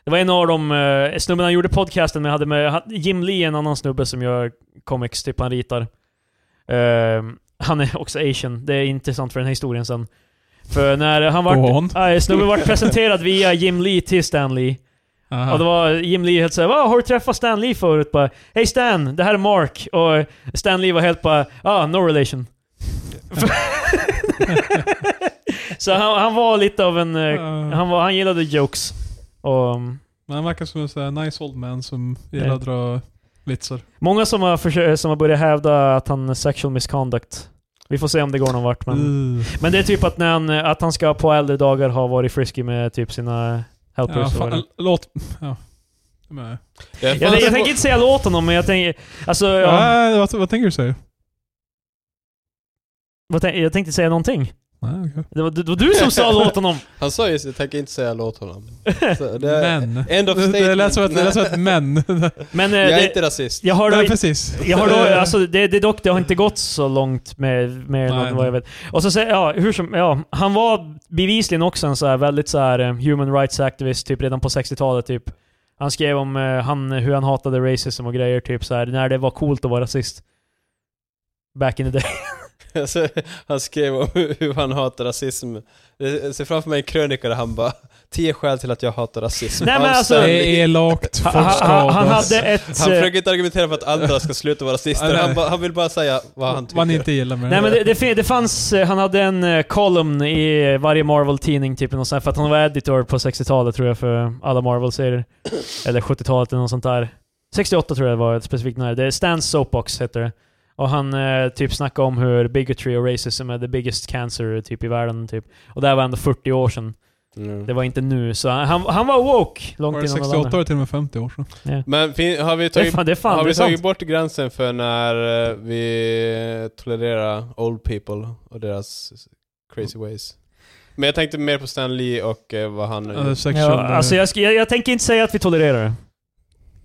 S1: det var en av de uh, snubben han gjorde podcasten med, hade med han- Jim Lee, en annan snubbe som gör comics, typ han ritar. Ehm, han är också asian, det är intressant för den här historien sen. För när han var...
S2: Go on.
S1: Nej, snubben vart presenterad via Jim Lee till Stan Lee.
S2: Aha.
S1: Och det var Jim Lee helt såhär “Wow, har du träffat Stan Lee förut?” bara “Hej Stan, det här är Mark” och Stan Lee var helt bara “Ah, no relation”.
S2: [LAUGHS]
S1: så han, han var lite av en... eh,
S2: Ja.
S1: Han, var, han gillade jokes. Och, um,
S2: Men han verkar som en sån här nice old man som gillar att dra vitsar.
S1: många som har, försökt, som har börjat hävda att han är sexual misconduct. Vi får se om det går någon vart. Men,
S2: Mm.
S1: men det är typ att, när han, att han ska på äldre dagar ha varit frisky med typ sina helpers.
S2: Ja,
S1: och vad det är.
S2: fan, låt... Ja. Men-
S3: Det är fan
S1: jag, jag,
S3: svårt-
S1: tänker inte säga låt honom, men jag tänker... Alltså, ja,
S2: Nej, vad, vad tänker du säga?
S1: vad tänk, jag tänkte säga någonting.
S2: Nej, okej.
S1: Det var, det var du som sa låt honom! [LAUGHS]
S3: Han sa just jag tänker inte säga låt honom. Så det är
S2: Men.
S3: end of
S2: Det, det lät som att, det
S3: statement.
S2: lät som att men.
S1: Men eh,
S3: Jag är
S1: det,
S3: inte rasist.
S1: jag [LAUGHS] har då
S2: Nej,
S1: inte-
S2: precis.
S1: Jag har
S2: [LAUGHS]
S1: då, alltså, det, det, dock, det har inte gått så långt med, med
S2: Nej.
S1: någon, vad jag vet. Och så säger, ja, hur som, ja, han var bevisligen också en så här väldigt så här eh, human rights activist, typ redan på 60-talet typ. Han skrev om eh, han, hur han hatade racism och grejer, typ så här när det var coolt att vara rasist. Back in the day.
S3: [LAUGHS] Alltså, han skrev om hur hur han hatar rasism. Jag ser framför mig en krönika där han bara 10 skäl till att jag hatar rasism.
S1: Nej, men alltså-
S3: Avständigt.
S2: Det är elakt.
S1: Han,
S2: Folk
S1: han, han
S2: skadas.
S1: hade ett...
S3: Han
S1: eh,
S3: försöker inte argumentera för att andra ska sluta vara rasister.
S2: Nej.
S3: Han, bara- han vill bara säga vad han
S2: Man
S3: tycker.
S2: inte gillar med
S1: Nej
S2: det.
S1: men det, det, fin- det fanns, eh, han hade en eh, kolumn i varje Marvel-tidning typ, något sånt, för att han var editor på 60-talet tror jag för alla Marvel-serier. Eller 70-talet eller något sånt där. 68 tror jag det var ett specifikt när. Det är Stans Soapbox heter det. Och han eh, typ snackade om hur bigotry och racism är the biggest cancer typ i världen typ. Och det här var ändå 40 år sedan.
S3: Mm.
S1: Det var inte nu, så han, han, han var woke
S2: Var
S1: långt
S2: det
S1: innan alla
S2: 68
S1: andra.
S2: år till och typ- med 50 år sedan?
S3: Men fin, har vi
S1: Det är
S3: tagit,
S1: fan, det är fan,
S3: har
S1: det är
S3: vi
S1: sant.
S3: tagit bort gränsen för när eh, vi tolererar old people och deras crazy ways? Men jag tänkte mer på Stan Lee och eh, vad han...
S2: Ja, sexual,
S1: Ja, alltså jag, ska- jag, jag tänker inte säga att vi tolererar det.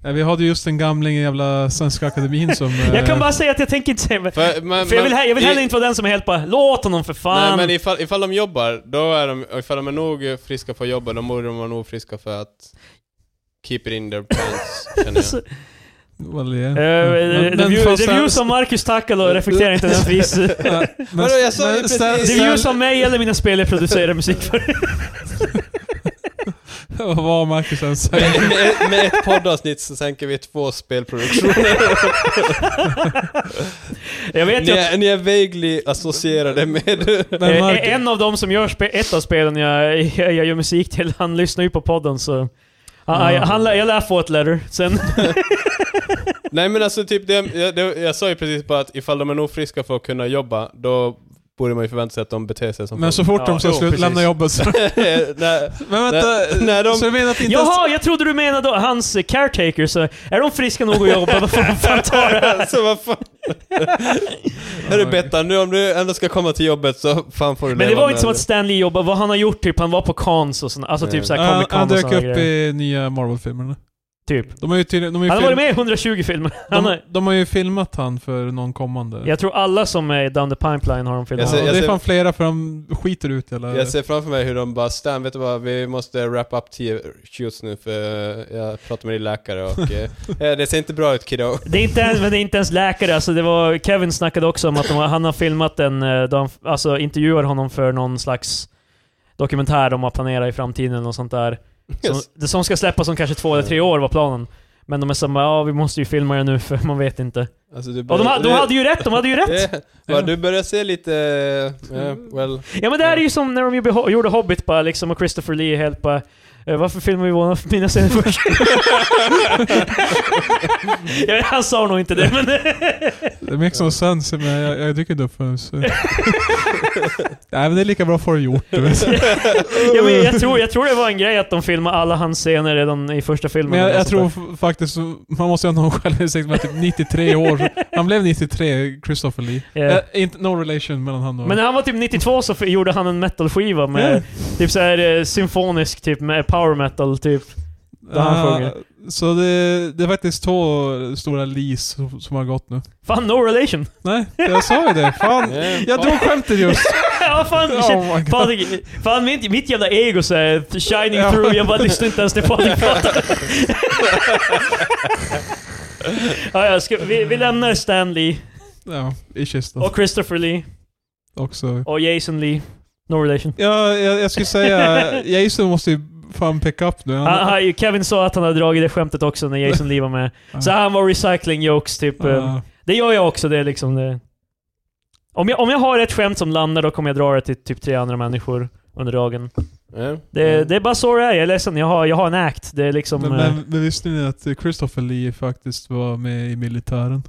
S2: Nej, vi hade just en gamling i jävla Svenska Akademin som...
S1: [LAUGHS] Jag kan
S2: eh,
S1: bara säga att jag tänker inte säga...
S3: För, men,
S1: För jag vill,
S3: men-
S1: he- jag vill
S3: i-
S1: heller inte vara den som är helt bara Låt honom för fan!
S3: Nej men ifall, ifall de jobbar, då är de, och ifall de är nog friska för att jobba, då borde de vara nog friska för att keep it in their
S1: [LAUGHS]
S3: pants, känner jag.
S2: Well, yeah.
S1: Eh,
S2: Mm.
S1: eh,
S2: Men-
S1: the
S2: men
S1: view-
S2: fast
S1: the view
S2: sen-
S1: som Marcus Takalo reflekterar inte ens vis.
S2: [LAUGHS] Nej,
S1: [LAUGHS]
S2: men-
S3: Vadå, jag sa ju
S2: men
S3: precis-
S2: Stan-
S1: The view som mig eller mina spel jag producerar musik för. [LAUGHS]
S2: Vad var Marcus än
S1: Eh,
S2: säger?
S3: Med, med, med ett poddavsnitt så sänker vi två
S1: [LAUGHS]
S3: spelproduktioner.
S1: Jag vet
S3: ni,
S1: ju att
S3: är, ni är vaguely associerade med... [LAUGHS]
S2: Men
S1: eh,
S2: Marcus,
S1: en av dem som gör spe- ett av spelen jag, [LAUGHS] jag, jag gör musik till, han lyssnar ju på podden så... Han,
S2: Ja.
S1: han, lär- jag lär få ett letter sen.
S3: Nej men alltså typ, det, jag, det, jag sa ju precis bara att ifall de är nog friska för att kunna jobba, då borde man ju förvänta sig att de beter sig som
S2: men så
S3: folk.
S2: fort
S1: Ja,
S2: de ska
S1: jo,
S2: slut,
S1: precis.
S2: lämna jobbet så... [LAUGHS]
S3: [LAUGHS] Nej,
S2: Men vänta,
S3: Nej, nej, de-
S2: så du menar att inte ens-
S1: Jaha, jag trodde du menade då hans eh, caretaker, så är de friska nog att jobba, då får de fan ta det
S3: [LAUGHS]
S1: här.
S3: alltså vad fan. Hörru Bettan, nu om du ändå ska komma till jobbet så fan får du
S1: Men det
S3: leva
S1: var
S3: med
S1: inte som att Stan Lee jobbade, vad han har gjort typ, han var på cons och såna, alltså typ
S3: Mm.
S1: såhär
S2: han,
S1: Comic Con
S2: han
S1: och
S2: dök
S1: såna
S2: upp
S1: grejer.
S2: i nya Marvel-filmerna.
S1: Typ.
S2: De har ju tydligen... De har ju
S1: Han har
S2: film-
S1: varit med i 120 filmer. Han
S2: de,
S1: har,
S2: de har ju filmat han för någon kommande.
S1: jag tror alla som är down the pipeline har de
S2: Ja,
S1: filmat.
S3: Jag ser- Alltså,
S2: och
S3: jag
S2: det är
S3: ser-
S2: fan flera för de skiter ut hela...
S3: Jag ser framför mig hur de bara Stan, vet du vad? Vi måste wrap up 10 shoots nu för eh, jag pratar med din läkare och
S1: [LAUGHS]
S3: eh, eh, det ser inte bra ut kiddo.
S1: Det är, inte ens, men det är inte ens läkare, alltså det var, Kevin snackade också om att de, har- han har filmat en, eh, de, alltså intervjuar honom för någon slags dokumentär de har planerat i framtiden och sånt där.
S3: [LAUGHS]
S1: Som,
S3: Yes.
S1: det som ska släppas om kanske två eller tre år var planen. Men de är såhär ja vi måste ju filma det nu för man vet inte.
S3: Alltså, du
S1: Och de, ha- de hade ju rätt, de hade ju rätt!
S3: [LAUGHS] rätt! du börjar se lite... eh, well...
S1: Ja men det här är ju som när de gjorde Ho- gjorde Hobbit bara liksom, och Christopher Lee helt bara "Eh, Varför filmar vi våra mina scener först? [LAUGHS] ja, han sa nog inte det men...
S2: Det makes no sense, men jag, jag dyker inte upp
S1: [LAUGHS]
S2: förrän... så- Nej men det är lika bra för att gjort, du vet.
S1: ja, men jag, tror, jag tror det var en grej att de filmade alla hans scener redan i första filmen.
S2: Men jag,
S1: eller
S2: jag
S1: något
S2: tror
S1: sånt
S2: f- faktiskt, man måste ju ha någon självinsikt med typ 93 år. Han blev 93, Christopher Lee.
S1: där. Ja.
S2: Eh, inte, no relation mellan han och...
S1: Men när han var typ 92 så f- gjorde han en metalskiva med
S2: Yeah.
S1: typ såhär eh, symfonisk typ med power metal typ. där han
S2: Ah,
S1: sjunger.
S2: så det, det är faktiskt två stora Lees som, som har gått nu.
S1: Fan, no relation! [LAUGHS]
S2: Nej, jag sa ju det. [LAUGHS] Fan.
S3: eh,
S2: Jag drog skämtet just.
S1: ja, fan, shit.
S2: [LAUGHS] Oh my god.
S1: Patrik, fan mitt, mitt jävla ego så här, shining
S2: Ja.
S1: through, jag bara lyssnar inte
S2: [LAUGHS]
S1: ens till Patrik pratar. ja, ja, ska, vi, vi lämnar Stan Lee
S2: Ja, i kistan
S1: och Christopher Lee
S2: också.
S1: och Jason Lee. No relation.
S2: Ja, jag, jag skulle säga, Jason måste ju fan pick up nu. Han-
S1: Han, han, Ah, Kevin sa att han hade dragit det skämtet också när Jason Lee var med. Så
S2: Ja.
S1: han var recycling jokes typ. eh,
S2: Ja.
S1: Det gör jag också, det är liksom det. Om jag, om jag har ett skämt som landar då kommer jag dra det till typ tre andra människor under dagen.
S3: eh,
S1: Det,
S3: eh.
S1: det är bara så det är, jag är ledsen. Jag har, jag har en act. Det är liksom...
S2: men,
S1: eh,
S2: men, men visste ni att Christopher Lee faktiskt var med i militären?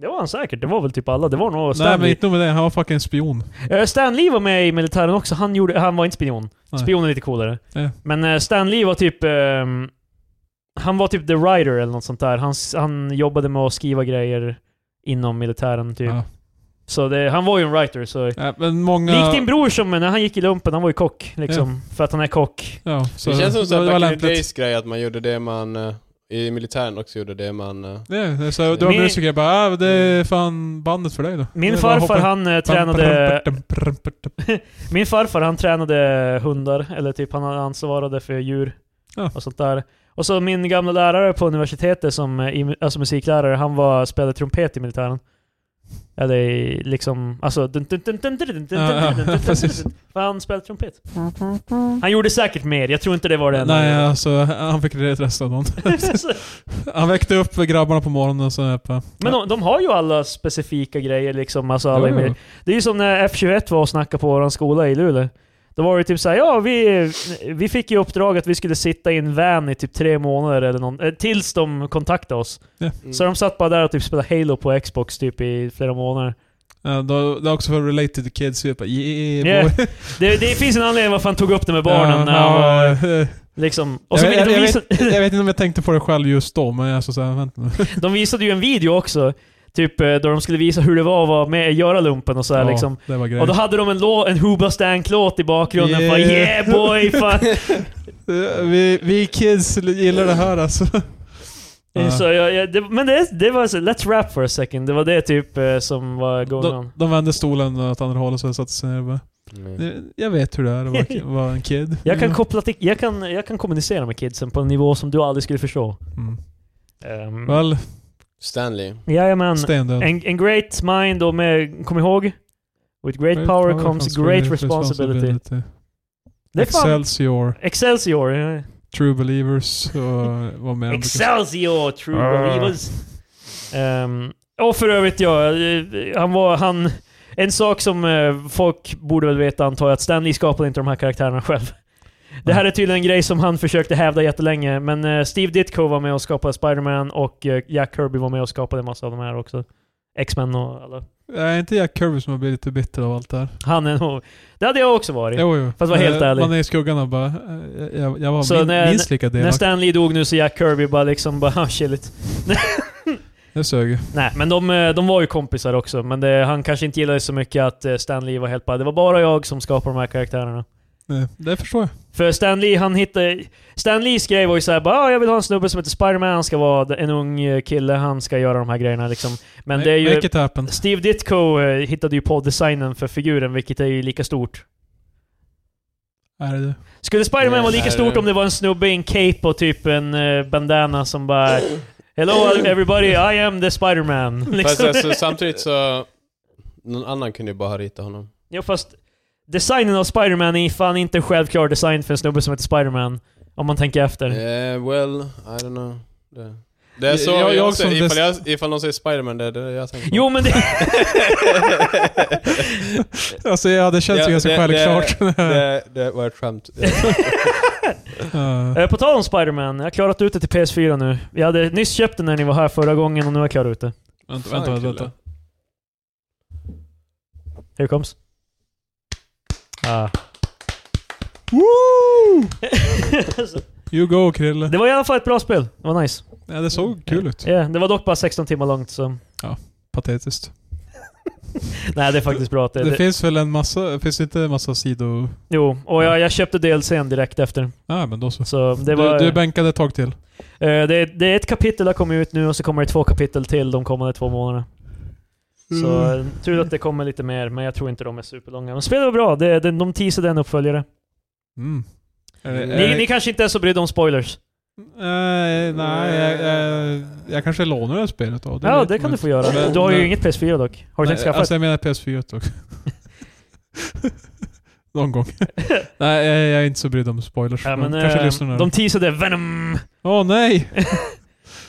S1: Det var han säkert. Det var väl typ alla. Det var nog
S2: Nej men
S1: Stanley.
S2: inte nog med det, han var fucking spion.
S1: Eh, Stanley var med i militären också. Han, gjorde, han var inte spion.
S2: Nej.
S1: Spion är lite coolare.
S2: Ja.
S1: Men eh, Stanley var typ... ehm, han var typ the writer eller något sånt där. Han, s- han jobbade med att skriva grejer inom militären typ.
S2: Ja.
S1: Så det, han var ju en writer, så...
S2: Ja, men många...
S1: Likt din bror som när han gick i lumpen, han var ju kock liksom. För att han är kock.
S2: Ja,
S3: Så
S2: så
S3: det känns som
S2: det
S3: såhär
S2: var
S3: back in the
S2: lämpligt.
S3: days grej att man gjorde det man... eh, I militären också gjorde det man... eh,
S2: Det är, det är så, du var
S1: Min-
S2: musiker, jag bara ah, det är fan bandet för dig då. Det
S1: Min
S2: är bara att
S1: farfar
S2: hoppa-
S1: han eh, tränade... Min farfar han tränade hundar, eller typ han ansvarade för djur
S2: Ja.
S1: och sånt där. Och så min gamla lärare på universitetet som eh, i- alltså musiklärare, han var, spelade trumpet i militären. Eller i, liksom, alltså... dun- dun- dun- dun- dun- dun- dun- dun-
S2: Ja, ja,
S1: dun- dun-
S2: precis.
S1: dun- För han spelade trumpet. Han gjorde säkert mer, jag tror inte det var det enda han
S2: Nej,
S1: gjorde.
S2: alltså han fick redan resten av
S1: [LAUGHS]
S2: dagen. Han väckte upp grabbarna på morgonen och så här på...
S1: Men de, de har ju alla specifika grejer liksom. Alltså alla
S2: Jo,
S1: emir-
S2: jo.
S1: Det är ju som när F21 var och snackade på vår skola i Luleå. Då var det typ såhär, ja vi, vi fick ju uppdrag att vi skulle sitta i en van i typ tre månader eller någon, eh, tills de kontaktade oss.
S3: mm.
S1: Så de satt bara där och typ spelade Halo på Xbox typ i flera månader.
S2: Ja, då, det är också för related to kids, vi bara yeah,
S1: Yeah.
S2: boy.
S1: Det, det finns en anledning varför han tog upp det med barnen
S2: Ja,
S1: när han var,
S2: ja, eh,
S1: liksom... Och så
S2: jag,
S1: ville
S2: jag,
S1: de
S2: jag,
S1: visa... [LAUGHS]
S2: vet, jag vet inte om jag tänkte på det själv just då, men alltså såhär, vänta nu.
S1: De visade ju en video också, typ eh, där de skulle visa hur det var att vara med göra lumpen och sådär
S2: Ja,
S1: liksom.
S2: Det var
S1: Och
S2: grejen.
S1: då hade de en, lå- en Huba Stank-låt i bakgrunden.
S2: Yeah.
S1: Yeah, yeah boy!
S2: [LAUGHS]
S1: Fan.
S2: Eh, Vi, vi kids gillar det här alltså. Ja.
S1: så jag, jag, det, men det, det var så, let's rap for a second. Det var det typ eh, som var going
S2: De,
S1: on.
S2: de vände stolen åt andra hållet så jag satte sig ner och bara,
S3: Mm.
S2: "Nu- Jag vet hur det är att
S1: [LAUGHS]
S2: vara- vara en kid.
S1: Jag kan, koppla till, jag, kan, jag kan kommunicera med kidsen på en nivå som du aldrig skulle förstå.
S2: Mm.
S1: Um,
S2: Väl,
S3: Stanley.
S1: jajamän.
S2: stendöd.
S1: En, en great mind och med, kom ihåg, with great, power, comes great responsibility. Det är fan
S2: Excelsior,
S1: Excelsior. ja.
S2: True
S1: [LAUGHS]
S2: Believers och vad mer?
S1: Excelsior, true
S2: Ah.
S1: believers. Ehm, och för övrigt, ja, eh, han var, han... En sak som eh, folk borde väl veta antar jag, att Stan Lee skapade inte de här karaktärerna själv. Det här är tydligen en grej som han försökte hävda jättelänge, men eh, Steve Ditko var med och skapade Spider-Man och eh, Jack Kirby var med och skapade en massa av de här också. X-Men och alla.
S2: Nej, inte Jack Kirby som har blivit lite bitter av allt det här.
S1: Han är nog... Det hade jag också varit.
S2: Jo, jo.
S1: Fast var helt
S2: Eh,
S1: ärlig.
S2: Man är i skuggan och bara, eh, jag, jag var
S1: Så
S2: min,
S1: när-
S2: minst lika
S1: När
S2: delaktig.
S1: Stan Lee dog nu så Jack Kirby bara liksom bara "Ah, shit.
S2: Det sög ju.
S1: Nej, men de, eh, de var ju kompisar också, men det, han kanske inte gillade så mycket att eh, Stan Lee var helt bara, det var bara jag som skapade de här karaktärerna.
S2: Nej, Det förstår jag.
S1: För Stan Lee, han hittade... Stan Lees grej var ju såhär bara, "Ah, jag vill ha en snubbe som heter Spiderman, han ska vara en ung eh, kille, han ska göra de här grejerna liksom. Men det är ju...
S2: Make it happen.
S1: Steve Ditko eh, hittade ju på designen för figuren, vilket är ju lika stort.
S2: Är det det?
S1: Skulle Spiderman
S3: Nej,
S1: vara lika
S3: nej,
S1: stort
S3: det-
S1: om det var en snubbe i en cape och typ en eh, bandana som bara Hello everybody, I am the Spiderman.
S3: Fast
S1: Liksom. [LAUGHS]
S3: alltså, samtidigt så... Någon annan kunde ju bara rita honom.
S1: Ja fast designen av Spider-Man är fan inte en självklar design för en snubbe som heter Spider-Man. Om man tänker efter.
S3: Eh, well, I don't know. Det, det är så
S2: Jag- jag
S3: jag,
S2: också-
S3: också, ifall, jag, ifall någon säger Spiderman, det är det jag tänker på.
S1: Jo men det... [LAUGHS]
S2: Alltså ja, det känns
S3: Ja,
S2: ju ganska
S3: det-
S2: [LAUGHS] självklart.
S3: det, det var ett [LAUGHS] skämt.
S2: Ja.
S1: Eh, På tal om Spider-Man, jag har klarat ut det till PS4 nu. Jag hade nyss köpt den när ni var här förra gången och nu har jag klarat ut det.
S2: Vänta,
S3: Fan,
S2: vänta, vänta.
S3: kille.
S2: vänta.
S1: Here it comes. Ah. Ah.
S3: [LAUGHS]
S2: You go Krille.
S1: det var i alla fall ett bra spel. Det var nice.
S2: Ja, det såg Oh, kul ut.
S1: Yeah, det var dock bara 16 timmar långt så...
S2: Patetiskt.
S1: Nej det är faktiskt bra att det...
S2: Det,
S1: det
S2: finns väl en massa, finns det inte en massa sido...
S1: jo, och jag, jag köpte DLCn direkt efter.
S2: Nej men då så.
S1: Så det var...
S2: du, du är bänkad ett tag till.
S1: Eh, det, det är ett kapitel har kommit ut nu och så kommer det två kapitel till de kommande två månaderna. Så
S2: Mm.
S1: eh, tur att det kommer lite mer, men jag tror inte de är superlånga. Men spelet var bra, det, det, de teasade en uppföljare.
S2: Mm. Är det- är
S1: Ni,
S2: det-
S1: ni kanske inte är så brydda om spoilers?
S2: Eh, nej, jag, jag, jag kanske lånar det här spelet då.
S1: ja,
S2: vet
S1: det
S2: man
S1: kan du
S2: inte.
S1: få göra.
S2: Men-
S1: du har ju
S2: men-
S1: inget PS4 dock. Har du tänkt
S2: nej,
S1: skaffa
S2: Alltså jag menar PS4 också. [LAUGHS]
S1: [LAUGHS]
S2: Någon gång. nej, jag, jag är inte så brydd om spoilers.
S1: ett? Ja, men,
S2: kanske
S1: eh,
S2: lyssnar nu.
S1: de teasade Venom!
S2: Åh nej!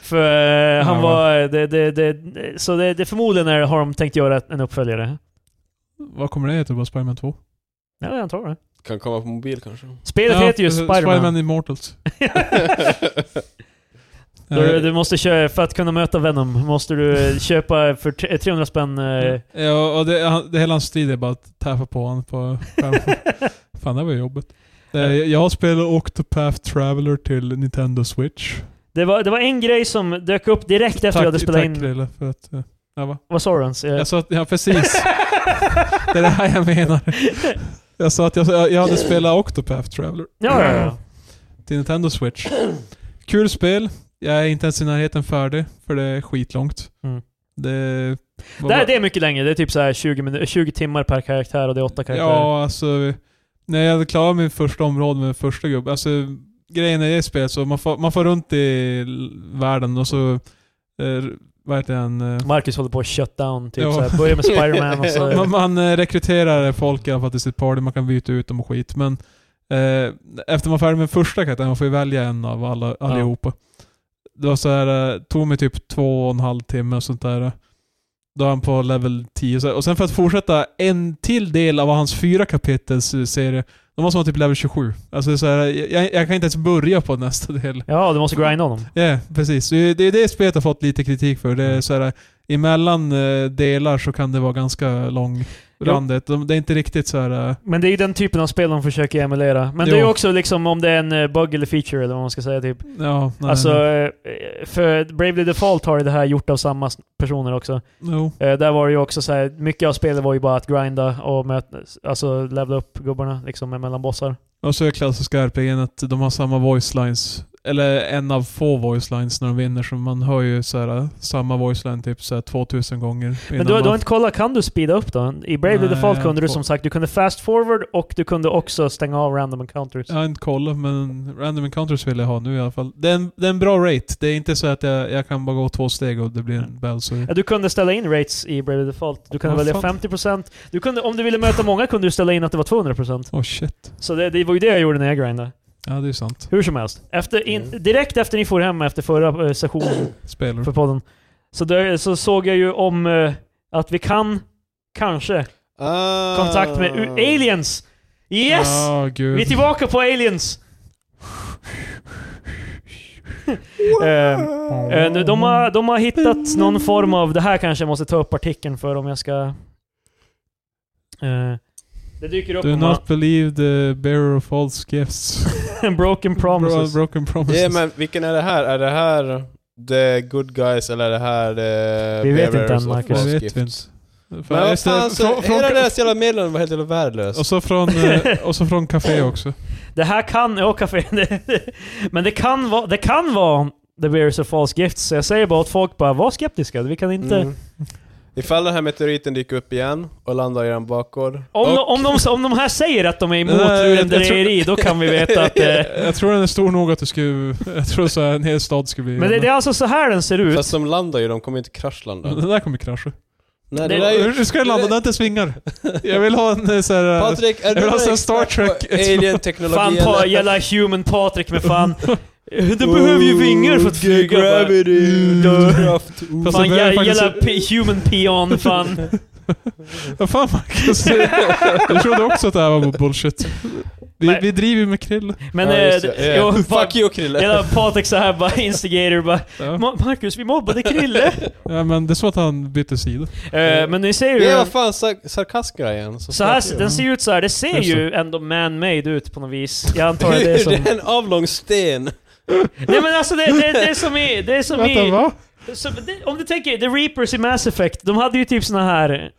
S1: För eh, han
S2: Ja,
S1: var... Det, det, det, så det, det förmodligen är, har de tänkt göra en uppföljare.
S2: Vad kommer det heta? Bara Spiderman 2?
S1: Ja, jag tror det.
S3: kan komma på mobil
S1: [LAUGHS]
S3: kanske.
S1: Spelet heter ju
S2: precis.
S1: Spider-Man.
S2: eh, Spiderman Immortals. Eh,
S1: Du, du måste köra, för att kunna möta Venom måste du eh, köpa för tre- 300 spänn... eh,
S2: Ja, och det, han- det hela hans tid är bara att täpa på honom på [LAUGHS]
S1: [LAUGHS]
S2: skärmen. Fan, det var jobbigt. Eh, Jag har spelat Octopath Traveler till Nintendo Switch.
S1: Det var, det var en grej som dök upp direkt efter
S2: Tack,
S1: jag hade spelat
S2: tack
S1: in.
S2: Krille för att... eh, Ja, va?
S1: Vad sa du ens? Eh,
S2: Jag sa att, ja precis. det är det här jag menar. Jag sa att jag, jag hade spelat Octopath Traveler
S1: [LAUGHS] Ja, ja, ja.
S2: till Nintendo Switch. Kul spel. Jag är inte ens i närheten färdig, för det är skitlångt.
S1: Mm.
S2: Det,
S1: Det, här, det är mycket längre. Det är typ så här 20, minu- 20 timmar per karaktär och det är åtta karaktärer.
S2: Ja, alltså... När jag hade klarat min första område med första gubben, alltså grejen i det spelet så man får, man får runt i l- världen och så... Eh, vad heter han? Eh,
S1: Marcus håller på att shut down, typ
S2: Ja.
S1: så här. Börjar med Spiderman
S2: [LAUGHS]
S1: och så...
S2: Man, man eh, rekryterar folk i alla fall till sitt party, man kan byta ut dem och skit. Men eh, efter man är färdig med första karaktären, man får ju välja en av alla, allihopa. Det var så här, eh, tog mig typ två och en halv timme och sånt där. Då är han på level 10. Så- Och sen för att fortsätta en till del av hans fyra kapitels eh, serie, då måste man typ level 27. Alltså det är så här, jag, jag kan inte ens börja på nästa del.
S1: Ja, du måste grinda honom.
S2: Ja, precis. Det är det, är det spelet har fått lite kritik för. Det
S1: Mm.
S2: är så här, emellan eh, delar så kan det vara ganska lång randet. De, det är inte riktigt så här... eh,
S1: Men det är ju den typen av spel de försöker emulera. Men det är ju
S2: Jo.
S1: också liksom om det är en eh, bug eller feature eller vad man ska säga typ.
S2: Ja, nej.
S1: Alltså, eh, för Bravely Default har ju det här gjort av samma s- personer också.
S2: Jo.
S1: Eh, Där var det ju också så här, mycket av spelet var ju bara att grinda och möta, alltså levla upp gubbarna liksom mellan bossar.
S2: Och så är klassiska RPG'n att de har samma voice lines. Eller en av få voice lines när de vinner, så man hör ju så här, eh, samma voice line typ så här 2000 gånger.
S1: Men
S2: innan
S1: du, har-
S2: man-
S1: du har inte kollat, kan du speeda upp då? I Bravely
S2: Nej,
S1: Default
S2: jag
S1: kunde du
S2: får-
S1: som sagt, du kunde fast forward och du kunde också stänga av random encounters.
S2: Jag har inte kollat, men random encounters vill jag ha nu i alla fall. Det är en, det är en bra rate. Det är inte så att jag, jag kan bara gå två steg och det blir
S1: Mm.
S2: en bellsur.
S1: Ja, du kunde ställa in rates i Bravely Default. Du kunde
S2: Vad
S1: välja
S2: fan?
S1: 50%. Du kunde, om du ville möta många kunde du ställa in att det var 200%.
S2: Åh oh, shit.
S1: Så det, det var ju det jag gjorde när jag grindade.
S2: Ja, det är ju sant.
S1: Hur som helst. Efter, in,
S3: Mm.
S1: direkt efter ni får hem efter förra eh, sessionen
S2: Spelar.
S1: för podden, så, där, så såg jag ju om eh, att vi kan, kanske,
S3: Ah.
S1: kontakt med u- aliens. Yes!
S2: Ja, Ah, gud.
S1: Vi
S3: [LAUGHS]
S1: är tillbaka på aliens! Eh, eh, nu, de, har, de har hittat någon form av... Det här kanske jag måste ta upp artikeln för om jag ska... Eh, det dyker upp
S2: Do
S1: om
S2: not believe the bearer of false gifts.
S1: man- broken [LAUGHS] promises.
S2: Bro- broken
S3: Ja,
S2: promises.
S3: men vilken är det här? Är det här the good guys eller är det här the
S1: Vi vet
S3: bearers
S1: inte än,
S3: of
S1: Marcus.
S2: det
S3: false
S2: vet
S3: gift?
S2: vi inte. Fan,
S3: Men vad
S2: just det,
S3: fan, så
S2: från- från-
S3: hela deras jävla meddelande var helt jävla värdelös.
S2: och så från,
S1: [LAUGHS]
S2: eh, och så från Café också.
S1: Det här kan... Ja, kaffe. Men [LAUGHS] det kan vara... Det kan vara The Bears of False Gifts. Så jag säger bara åt folk bara, var skeptiska. Vi kan inte...
S3: Mm. Ifall den här meteoriten dyker upp igen och landar i en bakgård.
S1: Om,
S2: Och-
S1: de, om, de, om de här säger att de är emot
S2: Nej, jag- jag
S1: lurendrejeri, då kan vi veta
S3: [LAUGHS]
S1: att... Eh,
S2: Jag tror den är stor nog att det skulle... Jag tror så här, en hel stad skulle bli...
S1: men det, det är alltså så här den ser ut.
S3: Fast de landar ju, de kommer inte
S1: [LAUGHS]
S3: kraschlanda.
S2: Den där kommer krascha.
S3: Nej,
S1: Det-
S3: det där är [LAUGHS] ju...
S2: Hur ska den landa? Den har inte svingar. Jag vill ha en eh, så här...
S3: Patrik, är
S2: vill
S3: du
S2: ha
S3: någon
S2: sån Star
S3: expert på
S2: Trek-
S1: Fan
S3: Alien-teknologi
S1: pa,
S3: eller? [LAUGHS]
S1: jävla human Patrik med fan. Du behöver ju vingar för att
S3: Oh,
S1: flyga.
S3: Gravity,
S1: bara.
S3: luftkraft.
S2: Fast
S1: Fan
S2: det behöver
S1: jä-
S2: faktiskt-
S1: jävla p- human peon fan.
S2: Vad fan Marcus? [LAUGHS] Jag trodde också att det här var bullshit. Vi,
S1: Nej.
S2: vi driver ju med krill.
S1: Men
S3: Ja,
S1: eh,
S3: just det.
S1: d-
S3: Ja.
S1: jo, fan,
S3: Fuck you Krille!
S1: Jävla Patrik så här bara instigator bara.
S2: Ja.
S1: "Ma- Marcus vi mobbade Krille.
S3: [LAUGHS]
S2: Ja, men det är så att han
S1: [LAUGHS]
S2: bytte sida.
S1: Eh, men ni ser ju.
S3: Det var fan sar- sarkasmgrejen.
S1: så här,
S3: fuck you.
S1: den ser ju ut så här. det ser
S2: Just
S1: ju ändå man-made ut på något vis. Jag [LAUGHS] antar att det är som...
S3: [LAUGHS] Det är en avlång sten.
S1: Nej men alltså det, det, det är som i... Det är som
S2: Vänta,
S1: i
S2: [LAUGHS] va?
S1: så, det, om du tänker, The Reapers i Mass Effect, de hade ju typ såna här...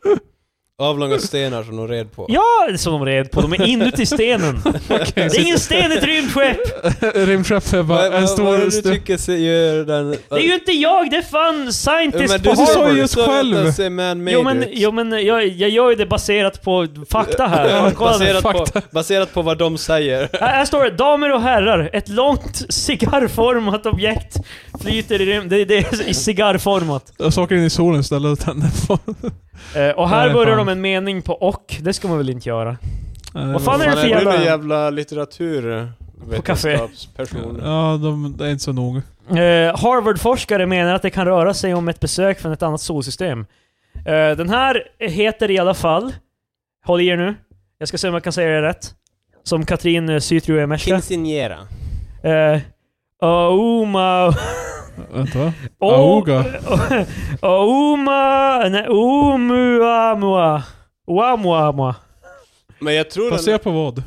S3: Avlånga stenar som de red på.
S1: Ja, som de red på. De är
S3: [LAUGHS]
S1: inuti stenen. Det är ingen sten i ett rymdskepp!
S2: Rymdskepp är
S3: Vad-
S2: bara
S3: vad-
S2: en
S3: Vad är
S2: stor...
S3: det du tycker sig gör den...
S1: Det är ju inte jag, det är fan scientist
S3: Men
S1: på
S3: du
S2: sa
S1: Harvard!
S2: ju just själv.
S3: att den ser man-made
S1: Jo men,
S3: ut.
S1: jo, men jag, jag gör ju det baserat på
S3: [LAUGHS]
S1: fakta här. Kolla nu.
S3: baserat, på, baserat på vad de säger.
S1: Här, här står det, damer och herrar, ett långt cigarrformat objekt flyter i rymden. Det, det är i cigarrformat.
S2: Jag Saker in i solen istället och tänder på. [LAUGHS]
S1: Eh, och här
S2: Nej,
S1: börjar
S2: fan.
S1: de en mening på och, det ska man väl inte göra? Vad fan
S3: Fan,
S1: är det för
S3: är
S1: jävla-
S3: du en jävla litteratur...
S1: café.
S3: vetenskapsperson?
S2: Ja, de, det är inte så noga.
S1: Eh, Harvard-forskare menar att det kan röra sig om ett besök från ett annat solsystem. Eh, den här heter i alla fall, håll i er nu, jag ska se om jag kan säga det rätt, som Katrin eh, Sytrio är mästare.
S3: Quinceañera.
S1: Eh, oh Ouma... [LAUGHS]
S2: Vänta va?
S1: O- [LAUGHS]
S2: Auga.
S1: Ouma... Nej, Oumuamua. Oumuamua.
S3: Men jag tror den,
S2: Baserat på vad?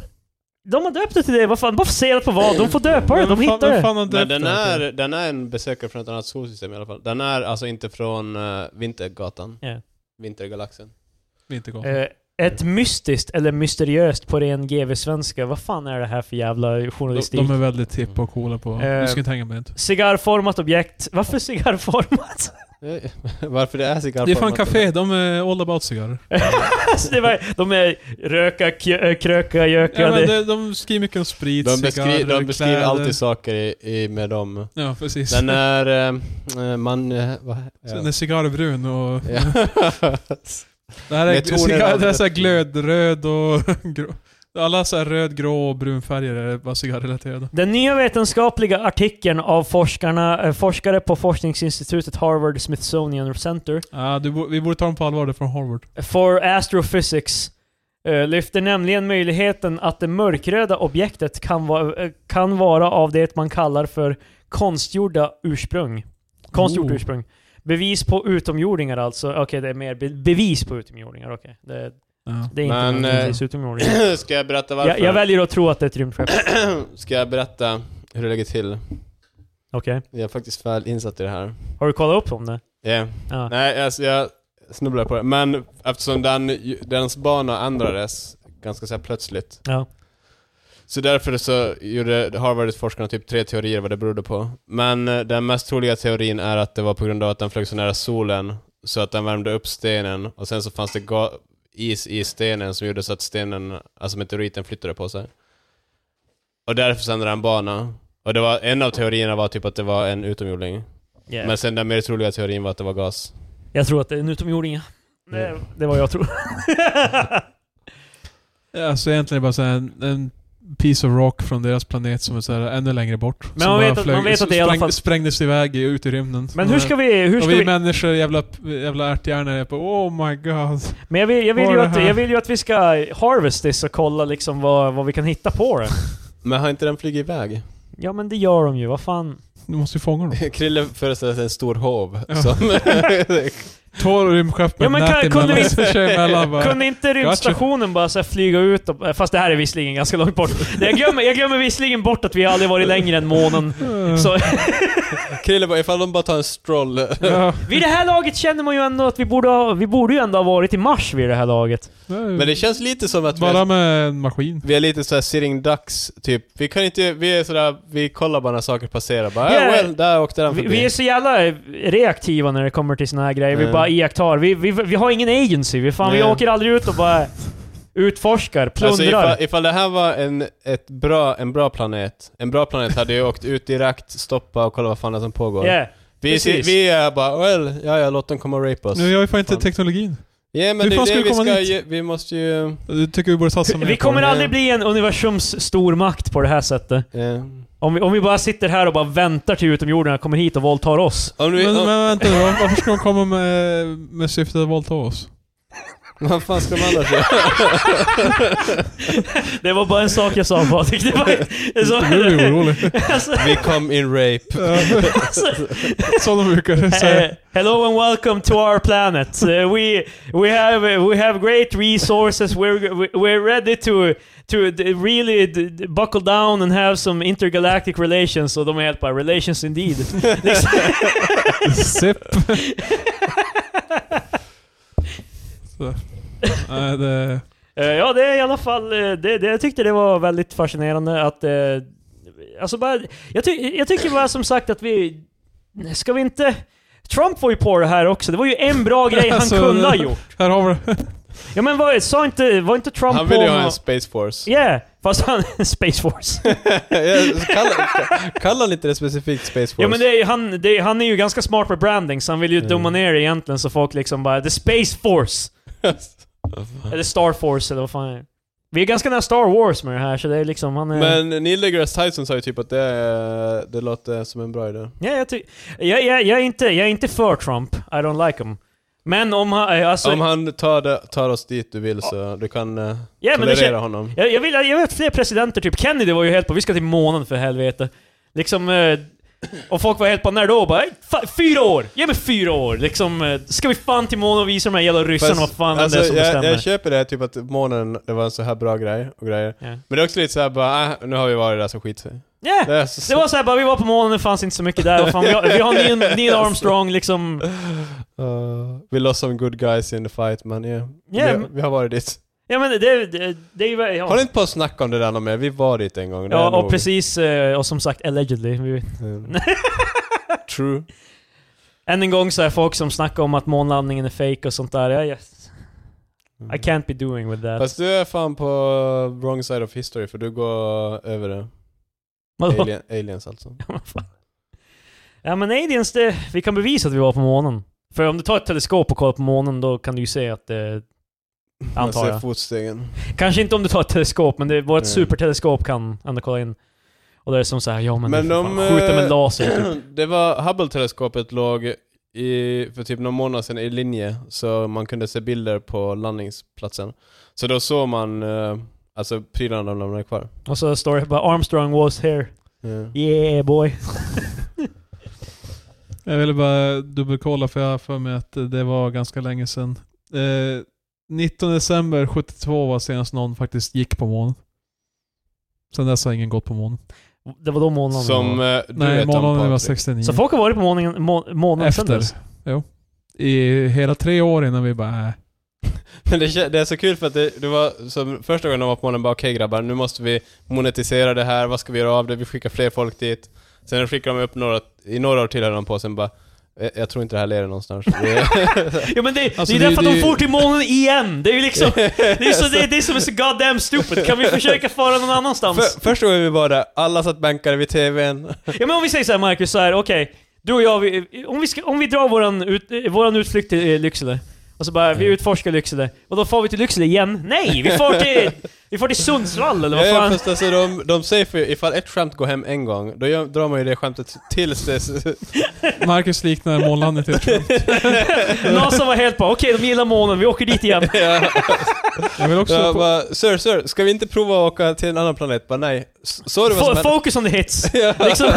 S1: De har döpt det till det, vad fan, baserat på vad? De får döpa det,
S2: Vem
S1: de
S2: fan-
S1: hittar
S2: vem
S1: det.
S2: fan har
S3: Men
S2: döpt
S3: den
S2: den här
S3: är,
S2: till?
S3: den är en besökare från ett annat solsystem i alla fall. Den är alltså inte från eh, Vintergatan.
S1: Ja.
S3: Vintergalaxen.
S2: Det är inte gott.
S1: Eh, Ett mystiskt eller mysteriöst på ren GV-svenska. Vad fan är det här för jävla
S2: De,
S1: journalistik?
S2: de är väldigt tippa och coola på...
S1: Eh,
S2: du ska inte hänga med inte.
S1: Cigarrformat objekt. Varför cigarrformat? [LAUGHS]
S3: Eh, [LAUGHS] Varför det är cigarrformat?
S2: Det är fan café, de är all about cigarrer.
S1: alltså, det var, de är röka, kö- äh, kröka, jöka.
S2: Ja,
S1: det-
S2: men de, de skriver mycket om sprit,
S3: De,
S2: cigarrer,
S3: beskri de beskriver
S2: kläder.
S3: alltid saker i, i, med dem.
S2: Ja, precis.
S3: Den är... eh, man... eh, vad-
S2: Så
S3: [LAUGHS] ja.
S2: Den är cigarrbrun och...
S3: Ja.
S2: Det här
S3: Med
S2: är, [LAUGHS]
S3: tonen
S2: cigarr,
S3: av-
S2: det är så här glödröd och [LAUGHS] grå. Alla så här röd, grå och brun färger är bara cigarrrelaterade.
S1: Den nya vetenskapliga artikeln av forskarna, eh, forskare på forskningsinstitutet Harvard Smithsonian Center
S2: Ja, du, bo- vi borde ta dem på allvar, det är från Harvard.
S1: for Astrophysics eh, lyfter nämligen möjligheten att det mörkröda objektet kan, va, eh, kan vara av det man kallar för konstgjorda ursprung. Konstgjort
S2: Oh.
S1: ursprung. Bevis på utomjordingar alltså. Okej, det är mer be bevis på utomjordingar. Okej, det,
S2: Ja.
S1: det är inte
S3: Men,
S1: nödvändigtvis
S3: [COUGHS] [CLEARS THROAT]
S1: utomjordingar.
S3: Ska jag berätta varför?
S1: Jag, jag väljer att tro att det är ett rymdskepp.
S3: [CLEARS THROAT] Ska jag berätta hur det ligger till?
S1: Okej.
S3: Jag är faktiskt väl insatt i det här.
S1: Har du kollat upp om det?
S3: Yeah. [LAUGHS]
S1: Ja.
S3: Nej, alltså jag snubblar på det. Men eftersom den, dens bana ändrades ganska så här plötsligt.
S1: Ja.
S3: Så därför så gjorde Harvard-forskarna typ tre teorier vad det berodde på. Men eh, den mest troliga teorin är att det var på grund av att den flög så nära solen så att den värmde upp stenen och sen så fanns det ga- is i stenen som gjorde så att stenen, alltså meteoriten flyttade på sig. Och därför så ändrade den bana. Och det var, en av teorierna var typ att det var en utomjording.
S1: Yeah.
S3: Men sen den mer troliga teorin var att det var gas.
S1: Jag tror att det är en utomjording. ja. Det, det var
S3: [LAUGHS]
S1: jag tror.
S2: Alltså egentligen är det bara så här en, en piece of rock från deras planet som är så här ännu längre bort.
S1: Men
S2: som
S1: man
S2: bara
S1: vet att- man vet att det i alla fall-
S2: Sprängdes iväg i- ut i rymden.
S1: Men hur ska vi... Hur
S2: och
S1: ska
S2: vi,
S1: vi
S2: människor, jävla, jävla ärthjärnor, är på oh my god.
S1: men jag vill, jag, vill
S2: Vad
S1: ju
S2: är det
S1: att,
S2: här?
S1: jag vill ju att vi ska harvest this och kolla liksom vad, vad vi kan hitta på det.
S3: Men har inte den flugit
S2: [LAUGHS]
S3: iväg?
S1: Ja men det gör de ju, vad fan.
S2: Du måste ju fånga dem.
S3: Krille föreställer sig en stor hov
S2: Ja.
S3: som...
S2: [LAUGHS]
S3: [LAUGHS]
S2: Två rymdskepp med
S1: Ja, men kan-
S2: nät
S1: kunde
S2: emellan.
S1: vi-
S2: Så kör
S1: [LAUGHS]
S2: emellan bara.
S1: Kunde inte rymdstationen bara så här flyga ut och, eh, Fast det här är visserligen ganska långt bort. Det- Jag glömmer, jag glömmer visserligen bort att vi aldrig varit längre än månen.
S2: Eh,
S1: Så,
S3: Krille bara, ifall de bara tar en stroll.
S2: ja.
S1: vid det här laget känner man ju ändå att vi borde, ha, vi borde ju ändå ha varit i Mars vid det här laget.
S3: Men det känns lite som att vi
S2: Bara
S3: är,
S2: med en maskin.
S3: vi är lite såhär sitting ducks, typ. Vi kan inte, vi är sådär, vi kollar bara när saker passerar. Bara,
S1: Ja,
S3: yeah. well, där åkte den
S1: Vi,
S3: förbi.
S1: vi är så jävla reaktiva när det kommer till såna här grejer. Vi
S3: Mm.
S1: bara iakttar. Vi, vi, vi har ingen agency. Vi, fan, vi
S3: Nej.
S1: åker aldrig ut och bara utforskar,
S3: Alltså,
S1: plundrar.
S3: ifall, ifall det här var en, ett bra, en bra planet, en bra planet hade ju åkt ut direkt, stoppa och kolla vad fan det är som pågår.
S1: yeah.
S3: vi, si-
S1: precis.
S3: vi är bara, well, ja ja, låt dem komma och rape oss.
S2: Nu, jag har ju fan inte
S3: Fan.
S2: teknologin.
S3: Ja, men
S2: Hur
S3: det
S2: fan
S3: är
S2: ska
S3: det vi
S2: vi komma
S3: ska
S2: dit?
S3: ju, vi måste ju...
S2: Du tycker vi borde satsa mer
S1: Vi
S2: på
S1: kommer
S2: det.
S1: aldrig bli en universums stormakt på det här sättet.
S3: eh,
S1: Om vi, om vi bara sitter här och bara väntar till utomjordingarna kommer hit och våldtar oss.
S3: om du,
S2: Men,
S3: om,
S2: men vänta nu, varför ska de komma med, med syftet att våldta oss?
S3: Vad fan ska man annars göra?
S1: Det var bara en sak jag sa Patrik. Det var, det
S2: Nu blir jag
S3: [LAUGHS]
S1: var,
S2: orolig.
S1: [LAUGHS] alltså,
S3: Vi kom in rape.
S2: [LAUGHS]
S1: alltså,
S2: Som de brukar
S1: eh,
S2: säga.
S1: hello and welcome to our planet. Eh, we, we, have, uh, we have great resources. We're, we're ready to, to d- really d- d- buckle down and have some intergalactic relations. Och de är helt bara relations indeed.
S2: Sipp. Så. Nej, det...
S1: Eh, Ja, det är i alla fall... eh, Det, det, jag tyckte det var väldigt fascinerande att... eh, Alltså bara, jag, ty, jag tycker bara som sagt att vi... Ska vi inte... Trump var ju på det här också. Det var ju
S3: [LAUGHS]
S1: en bra grej han
S2: Alltså,
S1: kunde ha gjort.
S2: Här har vi det.
S1: Ja men vad, sa inte, var inte Trump
S3: Han vill
S1: på...
S3: ju ha en
S1: något-
S3: Space Force. [LAUGHS]
S1: Yeah, fast han... [LAUGHS] Space Force.
S3: Ja, så Kallar kalla inte det specifikt Space Force?
S1: Ja men det är, ju- han, det är, han är ju ganska smart med branding, så han vill ju
S3: Mm.
S1: dumma ner det egentligen så folk liksom bara 'The Space Force'
S3: Mm.
S1: Eller Star Force eller vad fan är det? Vi är ganska nära Star Wars med det här, så det är liksom... Han är...
S3: Men Neil deGrasse Tyson sa ju typ att det, är- det låter som en bra idé.
S1: Ja, jag, ty- jag, jag, jag, är inte, jag är inte för Trump. I don't like him. Men om han... eh, Alltså,
S3: Om han tar, det, tar oss dit du vill så du kan eh,
S1: ja, men det
S3: tolerera
S1: kän-
S3: honom.
S1: jag, jag, vill, jag vill att fler presidenter, typ Kennedy var ju helt på vi ska till månen för helvete. Liksom... eh, Och folk var helt bara, när då? Bara, "Ey, fa- fyra år! Ge mig fyra år! Liksom, eh, ska vi fan till månen och visa de här jävla ryssarna vad fan
S3: alltså,
S1: det är som
S3: jag,
S1: bestämmer?
S3: jag köper det, typ att månen, det var en så här bra grej och grejer.
S1: Ja.
S3: Men det är också lite såhär bara, äh, nu har vi varit där så skit sig.
S1: Ja.
S3: Det är så,
S1: Det var såhär bara, vi var på månen, det fanns inte så mycket där. Och fan, vi har, vi
S3: [LAUGHS]
S1: har Neil, Neil Armstrong liksom...
S3: Uh, we lost some good guys in the fight men yeah.
S1: Ja,
S3: vi,
S1: men-
S3: vi har varit dit.
S1: Ja men det, det, det är ju... Ja.
S3: Håll inte på att snacka om det där någon mer, vi var dit en gång. det är
S1: Ja, och
S3: nog-
S1: precis, eh, och som sagt allegedly. Vi-
S3: Mm. True.
S1: Än en gång så är folk som snackar om att månlandningen är fake och sånt där. Ja, yes.
S3: Mm.
S1: I can't be doing with that.
S3: Fast du är fan på wrong side of history för du går över
S1: [LAUGHS]
S3: det.
S1: Vadå?
S3: Alien, aliens alltså.
S1: Ja, vad fan. ja men aliens, det, vi kan bevisa att vi var på månen. För om du tar ett teleskop och kollar på månen, då kan du ju se att
S3: Mm.
S1: det...
S3: Man
S1: Antar
S3: ser
S1: jag.
S3: fotstegen.
S1: Kanske inte om du tar ett teleskop, men det, vårt
S3: Alltså, Mm.
S1: superteleskop kan ändå kolla in. Och det är som såhär, ja men,
S3: Men
S1: det är för
S3: de,
S1: fan, skjuta med
S3: eh, [CLEARS THROAT]
S1: laser typ.
S3: Det var, Hubble-teleskopet låg i, för typ någon månad sedan i linje, så man kunde se bilder på landningsplatsen. Så då såg man, eh, alltså prylarna de lämnade kvar.
S1: Och så står det bara Armstrong was here.
S3: Yeah.
S1: Yeah boy.
S2: Jag ville bara dubbelkolla för jag har för mig att det var ganska länge sedan. Eh, 19 december 72 var senast någon faktiskt gick på månen. Sen dess har ingen gått på månen.
S1: Det var då månen
S3: Som eh, du
S2: Nej,
S3: vet om
S2: månen var
S3: Patrik.
S2: 69.
S1: Så folk har varit på månen, må, månen sen
S2: Efter.
S1: dess?
S2: Jo. I hela tre år innan vi bara äh.
S3: Men det, kä- det är så kul för att det, det var som första gången de var på månen bara okej grabbar, nu måste vi monetisera det här, vad ska vi göra av det, vi skickar fler folk dit. Sen skickar de upp några, i några år till höll de på sen bara "Eh, jag tror inte det här leder
S2: [LAUGHS]
S3: någonstans. Det-
S1: [LAUGHS] Ja men det,
S2: Alltså,
S1: det är
S2: det-
S1: därför att de
S2: det-
S1: for till månen igen! Det är ju liksom... Det är, så, det, är det som är så goddamn stupid. Kan vi försöka fara någon annanstans?
S3: För, första gången vi var där, alla satt bänkade vid TVn.
S1: Ja men om vi säger såhär Marcus, så här, okej. du och jag, vi, om, vi ska, om vi drar våran, ut, eh, våran utflykt till eh, Lycksele. Och så bara, vi utforskar Lycksele. Och då får vi till Lycksele igen? Nej! Vi får till, vi får till Sundsvall eller
S3: Ja,
S1: vad
S3: ja,
S1: fan?
S3: fast alltså de, de säger för ifall ett skämt går hem en gång, då gör, drar man ju det skämtet tills
S2: [LAUGHS]
S3: det...
S2: Marcus liknar månlandet helt sjukt.
S1: Nasa var helt bara, okej de gillar månen, vi åker
S3: [LAUGHS]
S1: dit igen.
S3: [LAUGHS] ja,
S2: Jag vill också...
S3: jag
S2: på,
S3: bara, sir, sir, ska vi inte prova att åka till en annan planet? Bara nej. S- Såg du vad som
S1: Fo-
S3: hände?
S1: Focus on the hits.
S3: Ja.
S1: Liksom.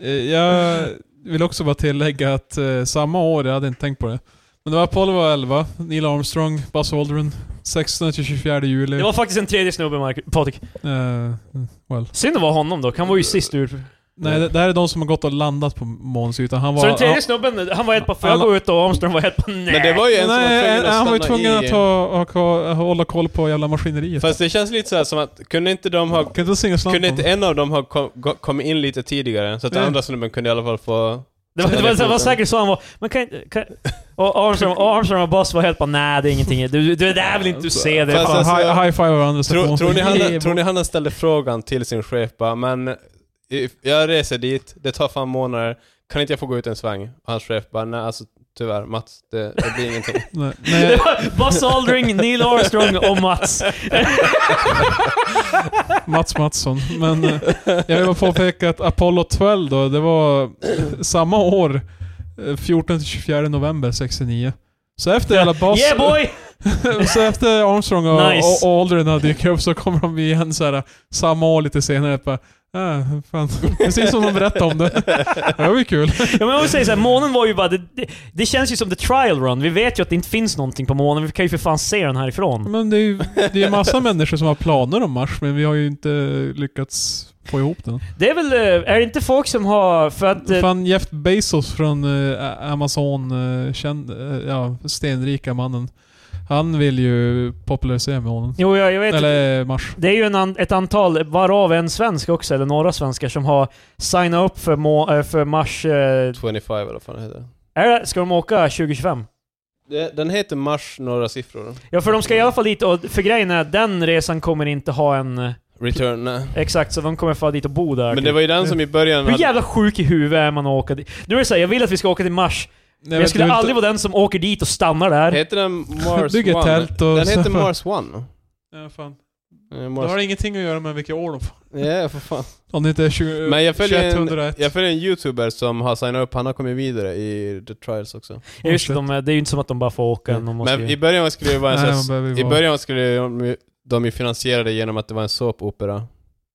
S2: eh, jag vill också bara tillägga att eh, samma år, jag hade inte tänkt på det. Men det var Apollo 11, Neil Armstrong, Buzz Aldrin, 16 till 24 juli.
S1: Det var faktiskt en tredje snubbe Marcus, Patrik.
S2: Eh, well.
S1: Synd att vara honom dock, han var ju sist ut.
S2: Nej, det, det här är de som har gått och landat på månens yta. Han var...
S1: Så den tredje
S2: han-
S1: snubben, han var helt på får jag gå ut och Armstrong var helt på nej.
S3: Men det var ju en som var
S2: Nej,
S3: tvungen att
S2: han var ju
S3: stanna
S2: tvungen
S3: i-
S2: att ta, och, ha- hålla koll på jävla maskineriet.
S3: Fast det känns lite så här som att, kunde inte de ha...
S2: kan inte singa
S3: Kunde
S2: slanten?
S3: inte en av dem ha kom- gå- kommit in lite tidigare? Så att den
S2: Ja.
S3: andra snubben kunde i alla fall få...
S1: Det var, det var, det var säkert så han var. Men kan, kan, och Armstrong, och Armstrong och Boss var helt bara nej det är ingenting. Du, du, det där vill inte du se. Det är
S3: Fast
S1: fan.
S3: alltså-
S2: High, high five varandra. så
S3: Tro,
S2: kom-
S3: tror, ni
S2: Yeah,
S3: han, tror ni han ställde frågan till sin chef bara, men if- jag reser dit, det tar fan månader, kan inte jag få gå ut en sväng? Och hans chef bara, nej alltså tyvärr Mats, det, det blir ingenting. [LAUGHS]
S2: Nej,
S1: Det
S2: nej,
S1: var Boss Aldring, Neil Armstrong och Mats.
S2: Mats Mattsson. Men eh, jag vill bara påpeka att Apollo 12 då, det var eh, samma år. eh, 14-24 november 69. Så efter alla bas...
S1: Yeah boy!
S2: [LAUGHS] så efter Armstrong och,
S1: Nice.
S2: och, och Aldrin har dykt upp så kommer de igen så här, eh, samma år lite senare. Bara, äh, fan. [LAUGHS] Precis som de berättade om det. Det var ju kul.
S1: Ja, men jag vill säga så här, månen var ju bara... Det, det, det känns ju som the trial run. Vi vet ju att det inte finns någonting på månen. Vi kan ju för fan se den härifrån.
S2: Men det är ju det är massa människor som har planer om Mars, men vi har ju inte lyckats få ihop den.
S1: Det är väl... eh, Är det inte folk som har... För att... eh,
S2: Fan, Jeff Bezos från eh, Amazon, eh, känd, eh, ja, stenrika mannen. Han vill ju popularisera månen.
S1: Jo, jag, jag vet
S2: Eller eh, Mars.
S1: Det är ju en an, ett antal, varav en svensk också, eller några svenskar, som har signat upp för, må, eh, för Mars... eh,
S3: 25 eller vad fan det heter.
S1: Är det, ska de åka 2025?
S3: Det- Den heter Mars några siffror.
S1: Ja, för de ska i alla fall dit och... För grejen är att den resan kommer inte ha en... eh,
S3: Return, nej.
S1: Exakt, så de kommer få dit och bo där.
S3: Men
S1: typ.
S3: det var ju den som i början...
S1: Hur
S3: hade-
S1: jävla sjuk i huvudet är man att åka dit? Nu är det såhär, jag vill att vi ska åka till Mars,
S2: Nej,
S1: men jag skulle aldrig vara den som åker dit och stannar där.
S3: Heter
S2: [LAUGHS]
S3: den Mars
S2: Bygga
S3: 1?
S2: tält och
S3: Den
S2: så-
S3: heter Mars 1.
S2: Ja, fan.
S3: Eh,
S2: Det har
S3: Mars...
S2: ingenting att göra med vilka år de får.
S3: Ja, för fan.
S2: Om det inte är 20,
S3: Men jag följer en-
S2: 2101.
S3: Jag följer en youtuber som har signat upp, han har kommit vidare i The Trials också.
S1: Ja, just det, de, är- det är ju inte som att de bara får åka. De måste
S3: Men
S1: ju-
S3: i början skulle det vara en
S2: Nej,
S3: sån
S2: man behöver ju
S3: I
S2: vara-
S3: början skulle de, de ju finansiera det genom att det var en såpopera.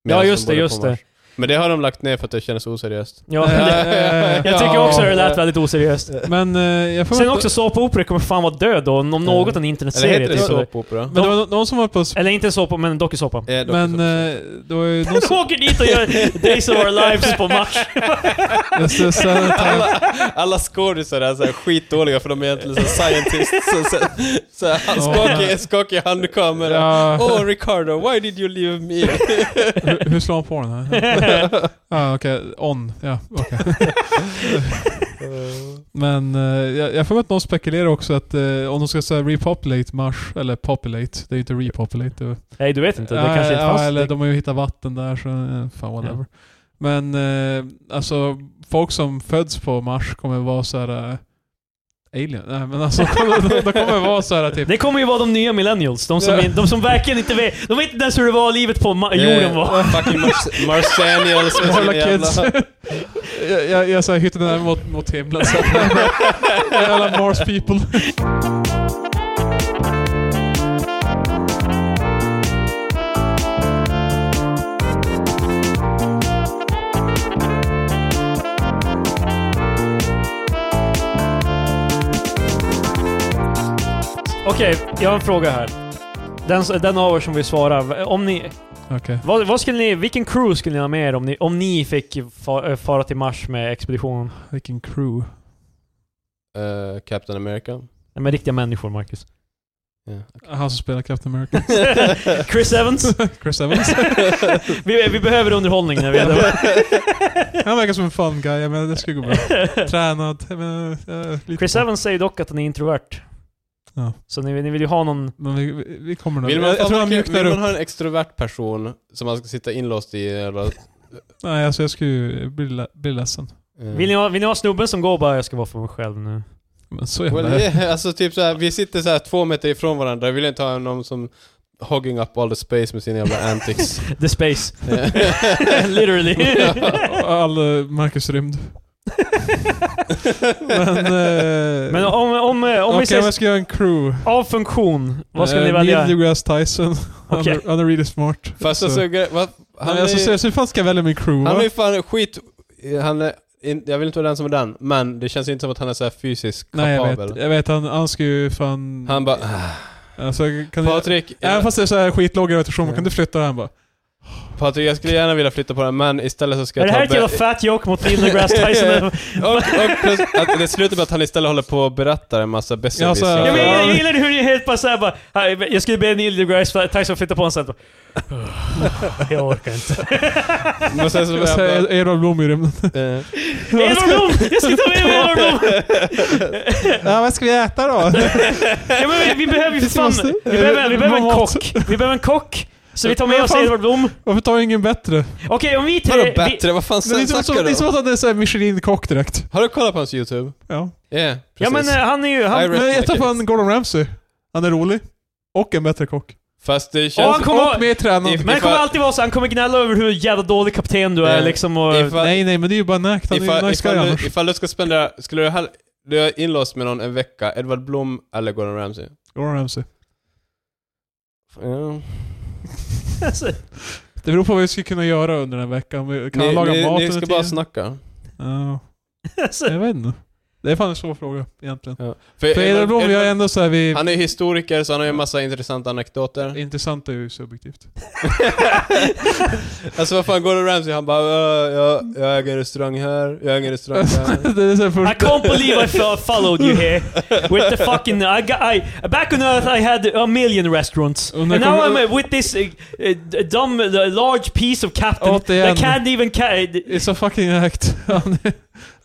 S3: Medan
S1: Ja, just
S3: de
S1: det,
S3: bodde
S1: just
S3: på Mars. Men det har de lagt ner för att det känns oseriöst.
S1: Ja,
S2: Nej,
S1: det, [LAUGHS] jag tycker också det lät väldigt oseriöst.
S2: Men eh, jag får
S1: Sen
S2: inte-
S1: också, såpoperor kommer fan vara död då, om något en
S3: Eller
S1: internetserie.
S3: heter det
S1: Typ. eller-
S3: såpopera?
S2: Men det var no- någon som var på... Sp-
S1: Eller inte en såpa, men en dokusåpa.
S3: Ja, dock
S2: men
S3: så.
S2: eh, det var ju
S1: [LAUGHS]
S2: någon
S1: De [LAUGHS]
S2: som...
S1: åker dit och gör Days of Our Lives på Mars.
S2: Jag ser
S3: [LAUGHS]
S2: så
S3: [LAUGHS]
S2: här-
S3: alla, alla skådisar är såhär skitdåliga för de är egentligen så här scientists. Så, så, så, här, skakig, skakig handkamera.
S2: Ja,
S3: Åh Ricardo, why did you leave me?
S2: hur, hur slår man på den här? Ja, okej. On. Ja, okej. Men eh, jag, jag får att någon spekulerar också att eh, om de ska säga repopulate Mars, eller populate, det är ju inte repopulate. Det,
S1: Nej, du vet inte. Det
S2: Ja,
S1: kanske inte
S2: ja,
S1: fanns.
S2: eller
S1: Det-
S2: de har ju hittat vatten där så eh, fan whatever. Men eh, alltså folk som föds på Mars kommer vara så här. eh, alien? Nej men alltså de, de kommer vara så här typ...
S1: Det kommer ju vara de nya millennials. De som,
S2: Ja.
S1: de som verkligen inte vet. De vet inte ens hur det var livet på ma- jorden var.
S3: Eh, [LAUGHS] Fucking mars Marsianials med
S2: [LAUGHS] Jävla
S3: sin jävla...
S2: kids. jag jag, jag så här hyttade den här mot, mot himlen. Så.
S1: [LAUGHS]
S2: Jävla Mars people.
S1: Okej, jag har en fråga här. Den, den av er som vill svara. Om ni,
S2: Okej.
S1: vad, vad skulle ni, vilken crew skulle ni ha med er om ni, om ni fick fa- eh, fara till Mars med expeditionen?
S2: Vilken crew.
S3: Eh, Captain America.
S1: Nej, men riktiga människor,
S2: [LAUGHS]
S1: Marcus.
S3: Ja.
S2: Han som spelar Captain America.
S1: Chris
S2: [LAUGHS]
S1: Evans?
S2: Chris Evans.
S1: Vi, vi behöver underhållning när vi är där.
S2: Han verkar som en fun guy. Jag menar det skulle gå bra. Tränad. Jag menar, eh, lite
S1: Chris
S2: på.
S1: Evans säger dock att han är introvert.
S2: Ja.
S1: Så ni, ni vill ju ha någon...
S2: Men vi, vi- vi kommer nog...
S3: Vill man,
S2: Jag, jag tror han mjuknar
S3: vill
S2: upp.
S3: man ha en extrovert person som man ska sitta inlåst i? Eller, eh.
S2: Nej, alltså jag skulle ju bli, le- bli ledsen.
S1: Vill ni, ha, vill ni ha snubben som går och bara 'Jag ska vara för mig själv nu'?
S2: Men så jävla...
S3: Well, yeah, alltså typ så här, vi sitter så här två meter ifrån varandra, jag vill inte ha någon som hogging up all the space med sina jävla
S2: [LAUGHS]
S3: antics. [LAUGHS]
S1: The space. Literally.
S2: [LAUGHS] All eh,
S3: [LAUGHS]
S2: Marcus rymd. men...
S1: [LAUGHS]
S2: Eh,
S1: Men om, om, eh, om
S2: Okej,
S1: vi säger
S2: jag ska göra en crew.
S1: av funktion, vad ska
S2: Eh,
S1: ni välja?
S2: Neil deGrasse Tyson. Han
S1: Okej.
S2: är- Han är really smart.
S3: Fast alltså, gre- va, han,
S2: Nej, alltså,
S3: är,
S2: seriöst, hur fan ska jag välja min crew?
S3: han är
S2: va?
S3: ju fan skit... Han är, in, jag vill inte vara den som är den, men det känns inte som att han är så här fysiskt
S2: Nej, jag
S3: kapabel.
S2: vet. Jag vet, han, han ska ju fan...
S3: Han bara "Ah,
S2: Alltså, kan jag,
S3: Patrik,
S2: Även
S3: jag,
S2: fast det är så här skitlåg rotation,
S3: Ja.
S2: kan du flytta den? Han bara...
S3: Patrik jag skulle gärna vilja flytta på den men istället så ska
S1: Är
S3: jag
S1: det
S3: ta...
S1: här ett
S3: be-
S1: jävla fat joke mot Neil
S2: [LAUGHS]
S1: deGrasse Tyson?
S3: och, och plus, att det slutar med att han istället håller på och berättar en massa
S1: Jag,
S2: så här-
S1: men,
S3: besserwisser.
S1: jag gillar hur ni helt bara såhär bara, "Hej, jag skulle be Neil deGrasse Tyson flytta på en sån här. [SIGHS] Jag orkar [LAUGHS] inte.
S3: Men sen så
S2: Jag
S3: börjar han
S2: säger Edvard Blom i rymden.
S3: bara, eh,
S1: Edvard Blom! Jag ska ta med mig Edvard Blom!
S2: ja, vad ska vi äta då?
S1: Ja, men vi, vi behöver ju för
S2: Precis,
S1: fan,
S2: måste-
S1: vi behöver, vi behöver en
S2: Mat.
S1: kock. Vi behöver en kock. Så vi tar med
S2: Men
S1: oss
S2: fan-
S1: Edvard Blom.
S2: [LAUGHS] Varför tar jag ingen bättre?
S1: Okej, om vi tre...
S3: Vadå
S1: vi,
S3: bättre? Vad fan
S2: Det är som, som,
S3: snackar
S2: det är
S3: du
S2: som
S3: om?
S2: att han är så här Michelin-kock direkt.
S3: Har du kollat på hans YouTube?
S2: Ja.
S3: Ja, precis.
S1: ja men eh, han är ju... Han,
S3: I rest
S2: Men
S3: my
S2: jag tar
S3: case.
S2: fan Gordon Ramsay. Han är rolig. Och en bättre kock.
S3: Fast det
S1: och
S3: känns...
S1: han kommer,
S2: och mer tränad.
S3: If-
S1: men han kommer alltid vara så, han kommer gnälla över hur jävla dålig kapten du är
S3: Eh,
S1: liksom och...
S3: ifall-
S2: Nej, nej, men det är ju bara näkt. Han är ju
S3: ifall,
S2: en nice guy
S3: ifall, du,
S2: annars.
S3: ifall du ska spendera... Skulle du hell- du är inlåst med någon en vecka, Edward Blom eller Gordon Ramsay?
S2: Gordon Ramsay. [LAUGHS]
S3: Ja.
S1: Alltså,
S2: Det beror på vad vi ska kunna göra under den här veckan. Vi- Kan han
S3: ni,
S2: laga
S3: ni,
S2: mat
S3: ni
S2: under
S3: ska bara
S2: tiden?
S3: snacka.
S2: Ja,
S1: alltså,
S2: jag vet inte. Det är fan en svår fråga egentligen.
S3: För
S2: För Edvard Blom, jag är ändå såhär vi...
S3: Han är historiker så han har ju en massa intressanta anekdoter.
S2: Intressant är ju subjektivt.
S3: Alltså vad fan, Gordon Ramsay han bara "Äh, jag, jag äger en restaurang här, jag äger en
S2: [LAUGHS]
S3: restaurang här.
S2: det är så
S1: [LAUGHS]
S2: här
S1: I
S2: först...
S1: can't believe I fo- followed you here. With the fucking... I got, I, back on earth I had a million restaurants.
S2: Och
S1: And
S2: när
S1: now
S2: kommer-
S1: I'm uh, with this uh, uh, dumb, uh, large piece of captain
S2: Återigen.
S1: that can't even... Ca- uh,
S2: It's a fucking act. [LAUGHS] Han är,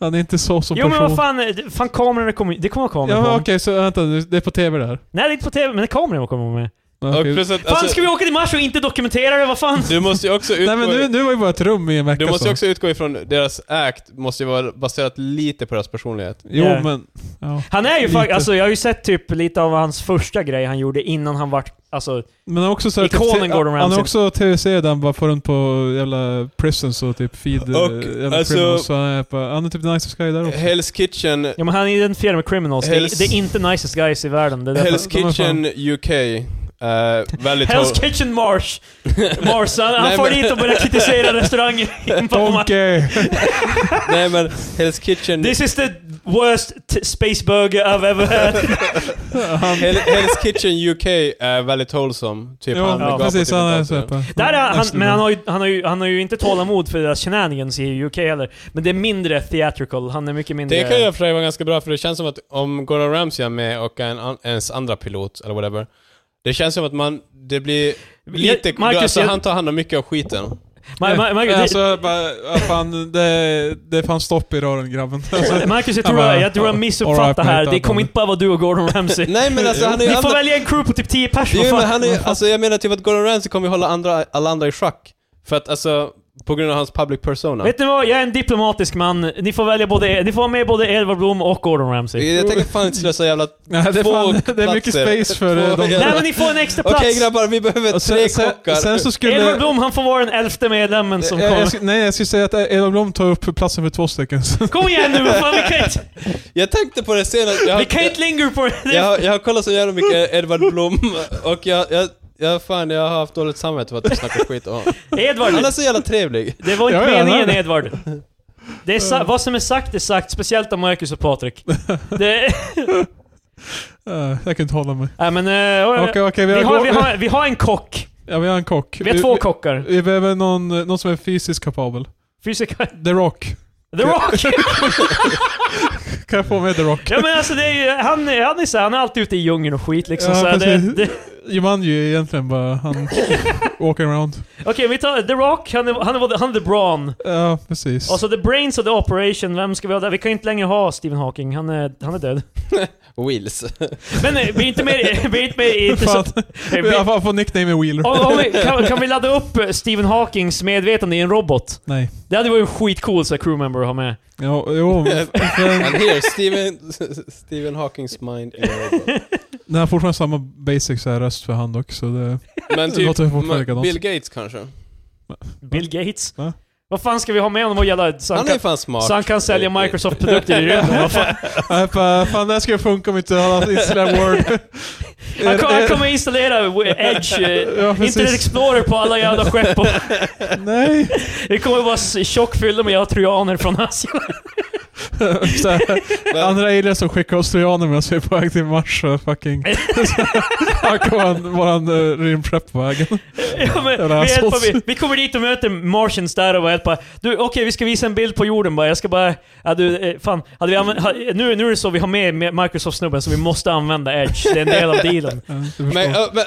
S2: han är inte så som
S1: jo men
S2: person.
S1: vad fan, eh, fan kamerorna kommer Det kommer kameror
S2: Ja, men
S1: på.
S2: okej, så vänta. Det är på TV det här.
S1: Nej det är inte på TV, men kamerorna kommer med.
S3: Och
S2: Okej.
S3: plus att,
S1: Fan
S3: alltså,
S1: ska vi åka till Mars och inte dokumentera det? Vad fan?
S3: du måste ju också utgå...
S2: Nej men nu, nu var ju bara ett rum i en vecka
S3: Du måste
S2: så.
S3: ju också utgå ifrån deras act, måste ju vara baserat lite på deras personlighet.
S2: Jo
S1: Ja.
S2: men... Ja.
S1: Han är ju
S2: Lite.
S1: faktiskt, alltså jag har ju sett typ lite av hans första grej han gjorde innan han vart, alltså
S2: Men också så här,
S1: Ikonen
S2: typ,
S1: Gordon
S2: Han
S1: Ramsay.
S2: har också tv-serier där han bara får runt på jävla prisons och typ feed
S3: Och,
S2: eh, jävla
S3: alltså-
S2: criminals. Så han är, på, han är typ den nice guy där också.
S3: Hell's Kitchen,
S1: ja men han identifierar med criminals. Det är,
S3: Hells-
S1: det är inte nicest guys i världen. Det är därför.
S3: Hell's
S2: de är
S3: Kitchen UK Eh, väldigt hård...
S1: Hell's
S3: [LAUGHS]
S1: Kitchen Marsh! Mars, han, han
S3: Nej,
S1: får
S3: men-
S1: dit och börjar
S3: [LAUGHS]
S1: kritisera restaurangen. på
S2: Donke!
S3: Nej men, Hell's Kitchen...
S1: This is the worst t- space burger I've
S3: [LAUGHS]
S1: ever had.
S3: Hell, Hell's Kitchen UK är väldigt wholesome. Typ
S2: Jo,
S3: han
S1: Ja,
S3: gapar
S2: precis.
S3: typ
S2: Han
S3: inte
S2: är
S3: alls.
S2: såhär.
S1: Där är han, men han har, ju, han, har ju, han har ju inte tålamod för deras shenanigans i UK heller. Men det är mindre theatrical, han är mycket mindre...
S3: Det kan ju för sig vara ganska bra för det känns som att om Gordon Ramsay är med och en, an- ens andra pilot eller whatever. Det känns som att man, det blir lite...
S1: Marcus,
S3: alltså,
S1: jag-
S3: han tar hand om mycket av skiten.
S1: Ma- ma- Marcus, det-
S2: Alltså, bara, ja, fan, det, det fanns stopp i
S1: [LAUGHS]
S2: rören grabben. Alltså,
S1: Marcus, jag tror,
S2: Han bara,
S1: jag tror jag
S2: "All right,
S1: missuppfattar
S2: mate,
S1: här. Det
S2: Adam."
S1: kommer inte bara vara du och Gordon Ramsay.
S3: [LAUGHS] Nej men alltså han är
S1: Ni
S3: ju
S1: får
S3: andra...
S1: välja en crew på typ 10 pers, vad
S3: Jo, men
S1: fan?
S3: han är, alltså, jag menar typ att Gordon Ramsay kommer ju hålla andra, alla andra i schack. För att alltså, på grund av hans public persona.
S1: Vet ni vad? Jag är en diplomatisk man. Ni får välja både, ni får ha med både Edward Blom och Gordon Ramsay.
S3: jag tänker fan inte slösa jävla...
S2: [LAUGHS] nej, det, är
S3: Två
S2: fan, det är mycket
S3: platser.
S2: space för eh,
S3: Två-
S2: de
S1: Nej men ni får en extra
S3: Okej
S1: plats!
S3: grabbar, vi behöver
S2: Och
S3: tre
S2: sen,
S3: kockar.
S2: sen så
S1: Edward
S2: skulle...
S1: Blom, han får vara den elfte medlemmen som
S2: jag, jag,
S1: kommer.
S2: sk- nej, jag skulle säga att Edvard Blom tar upp platsen för två stycken. [LAUGHS]
S1: Kom igen nu, vad fan, vi kan inte,
S3: Jag tänkte på det senast. Jag,
S1: vi kan inte linger på
S3: jag,
S1: det.
S3: har- jag har kollat så jävla
S1: [LAUGHS]
S3: mycket Edvard Blom och jag, jag, jag, fan, jag har haft dåligt samvete för att jag snackar skit om honom.
S1: Edward,
S3: Han är så jävla trevlig.
S1: det var inte
S2: Ja, ja, han
S1: meningen
S2: är-
S1: Edward. Det är sa- vad som är sagt är sagt, speciellt av Marcus och Patrik.
S3: [LAUGHS]
S1: Det,
S2: Eh, jag kan inte hålla mig.
S1: nej men... eh,
S2: Okej, okej. Vi
S1: vi, har, vi,
S2: har-
S1: har, vi har en kock.
S2: ja, vi har en kock.
S1: Vi har två kockar.
S2: Vi behöver någon, någon som är fysiskt kapabel.
S1: Fysiker.
S2: The Rock.
S1: [LAUGHS] The Rock!
S2: Kan jag få med The Rock?
S1: Ja men alltså det är ju, han, är- han är så här, han är alltid ute i djungen och skit liksom.
S2: Ja,
S1: så här, det,
S2: precis.
S1: det,
S2: Jumanji är egentligen bara han [LAUGHS] walking around.
S1: Okej, vi tar The Rock, han är, han är, han är The Brawn.
S2: Ja, precis.
S1: Och så The Brains of the Operation, vem ska vi ha där? Vi kan ju inte längre ha Stephen Hawking, han är, han är död.
S3: Wheels.
S1: Men eh, vi är inte mer... [LAUGHS] Vi är inte mer... Inte så,
S2: Fan,
S1: eh, vi,
S2: jag får- får nickname i Wheeler.
S1: om, om vi, kan, kan vi ladda upp eh, Stephen Hawkings medvetande i en robot?
S2: Nej.
S1: Det hade varit en skitcool så här, crew member att ha med.
S2: Jo, jo men
S3: [LAUGHS] And here, Stephen, Stephen Hawkings mind in a robot.
S2: den har fortfarande samma basics här röst för hand också. Det,
S3: Men
S2: Det
S3: typ,
S2: låter fortfarande
S3: ma-
S2: likadant.
S3: Bill Gates kanske?
S1: Bill Gates.
S2: Va?
S1: Vad fan ska vi ha med honom att gälla? Så han,
S3: Han är
S1: kan,
S3: ju fan smart.
S1: så han kan sälja Microsoft-produkter i [LAUGHS] rymden? Vad fan?
S2: Nej, fan, fan, det här skulle funka om inte alla installera
S1: [LAUGHS]
S2: word.
S1: Han, kom, han kommer installera w- Edge, eh,
S2: [LAUGHS] Ja, precis.
S1: Internet Explorer på alla jävla skepp. Och
S2: Nej!
S1: det kommer vara s- tjockfyllda med jävla trojaner från
S2: [LAUGHS]
S1: Asien.
S2: Så här, andra aliens som skickar oss trojaner medan vi är på väg till Mars.
S1: [LAUGHS]
S2: och Fucking. Här kommer våran eh, rymdskepp på vägen.
S1: Ja, men,
S2: Jävla
S1: vi, hjälper,
S2: assos.
S1: vi, vi kommer dit och möter Martians där och bara hjälper. Du, okej vi ska visa en bild på jorden bara. Jag ska bara... Ja, du, eh, fan. Hade vi använt, ha, nu, nu är det så vi har med, med Microsoft-snubben så vi måste använda Edge. Det är en del av
S2: [LAUGHS]
S1: dealen.
S2: Ja, du förstår.
S3: Men, ö, men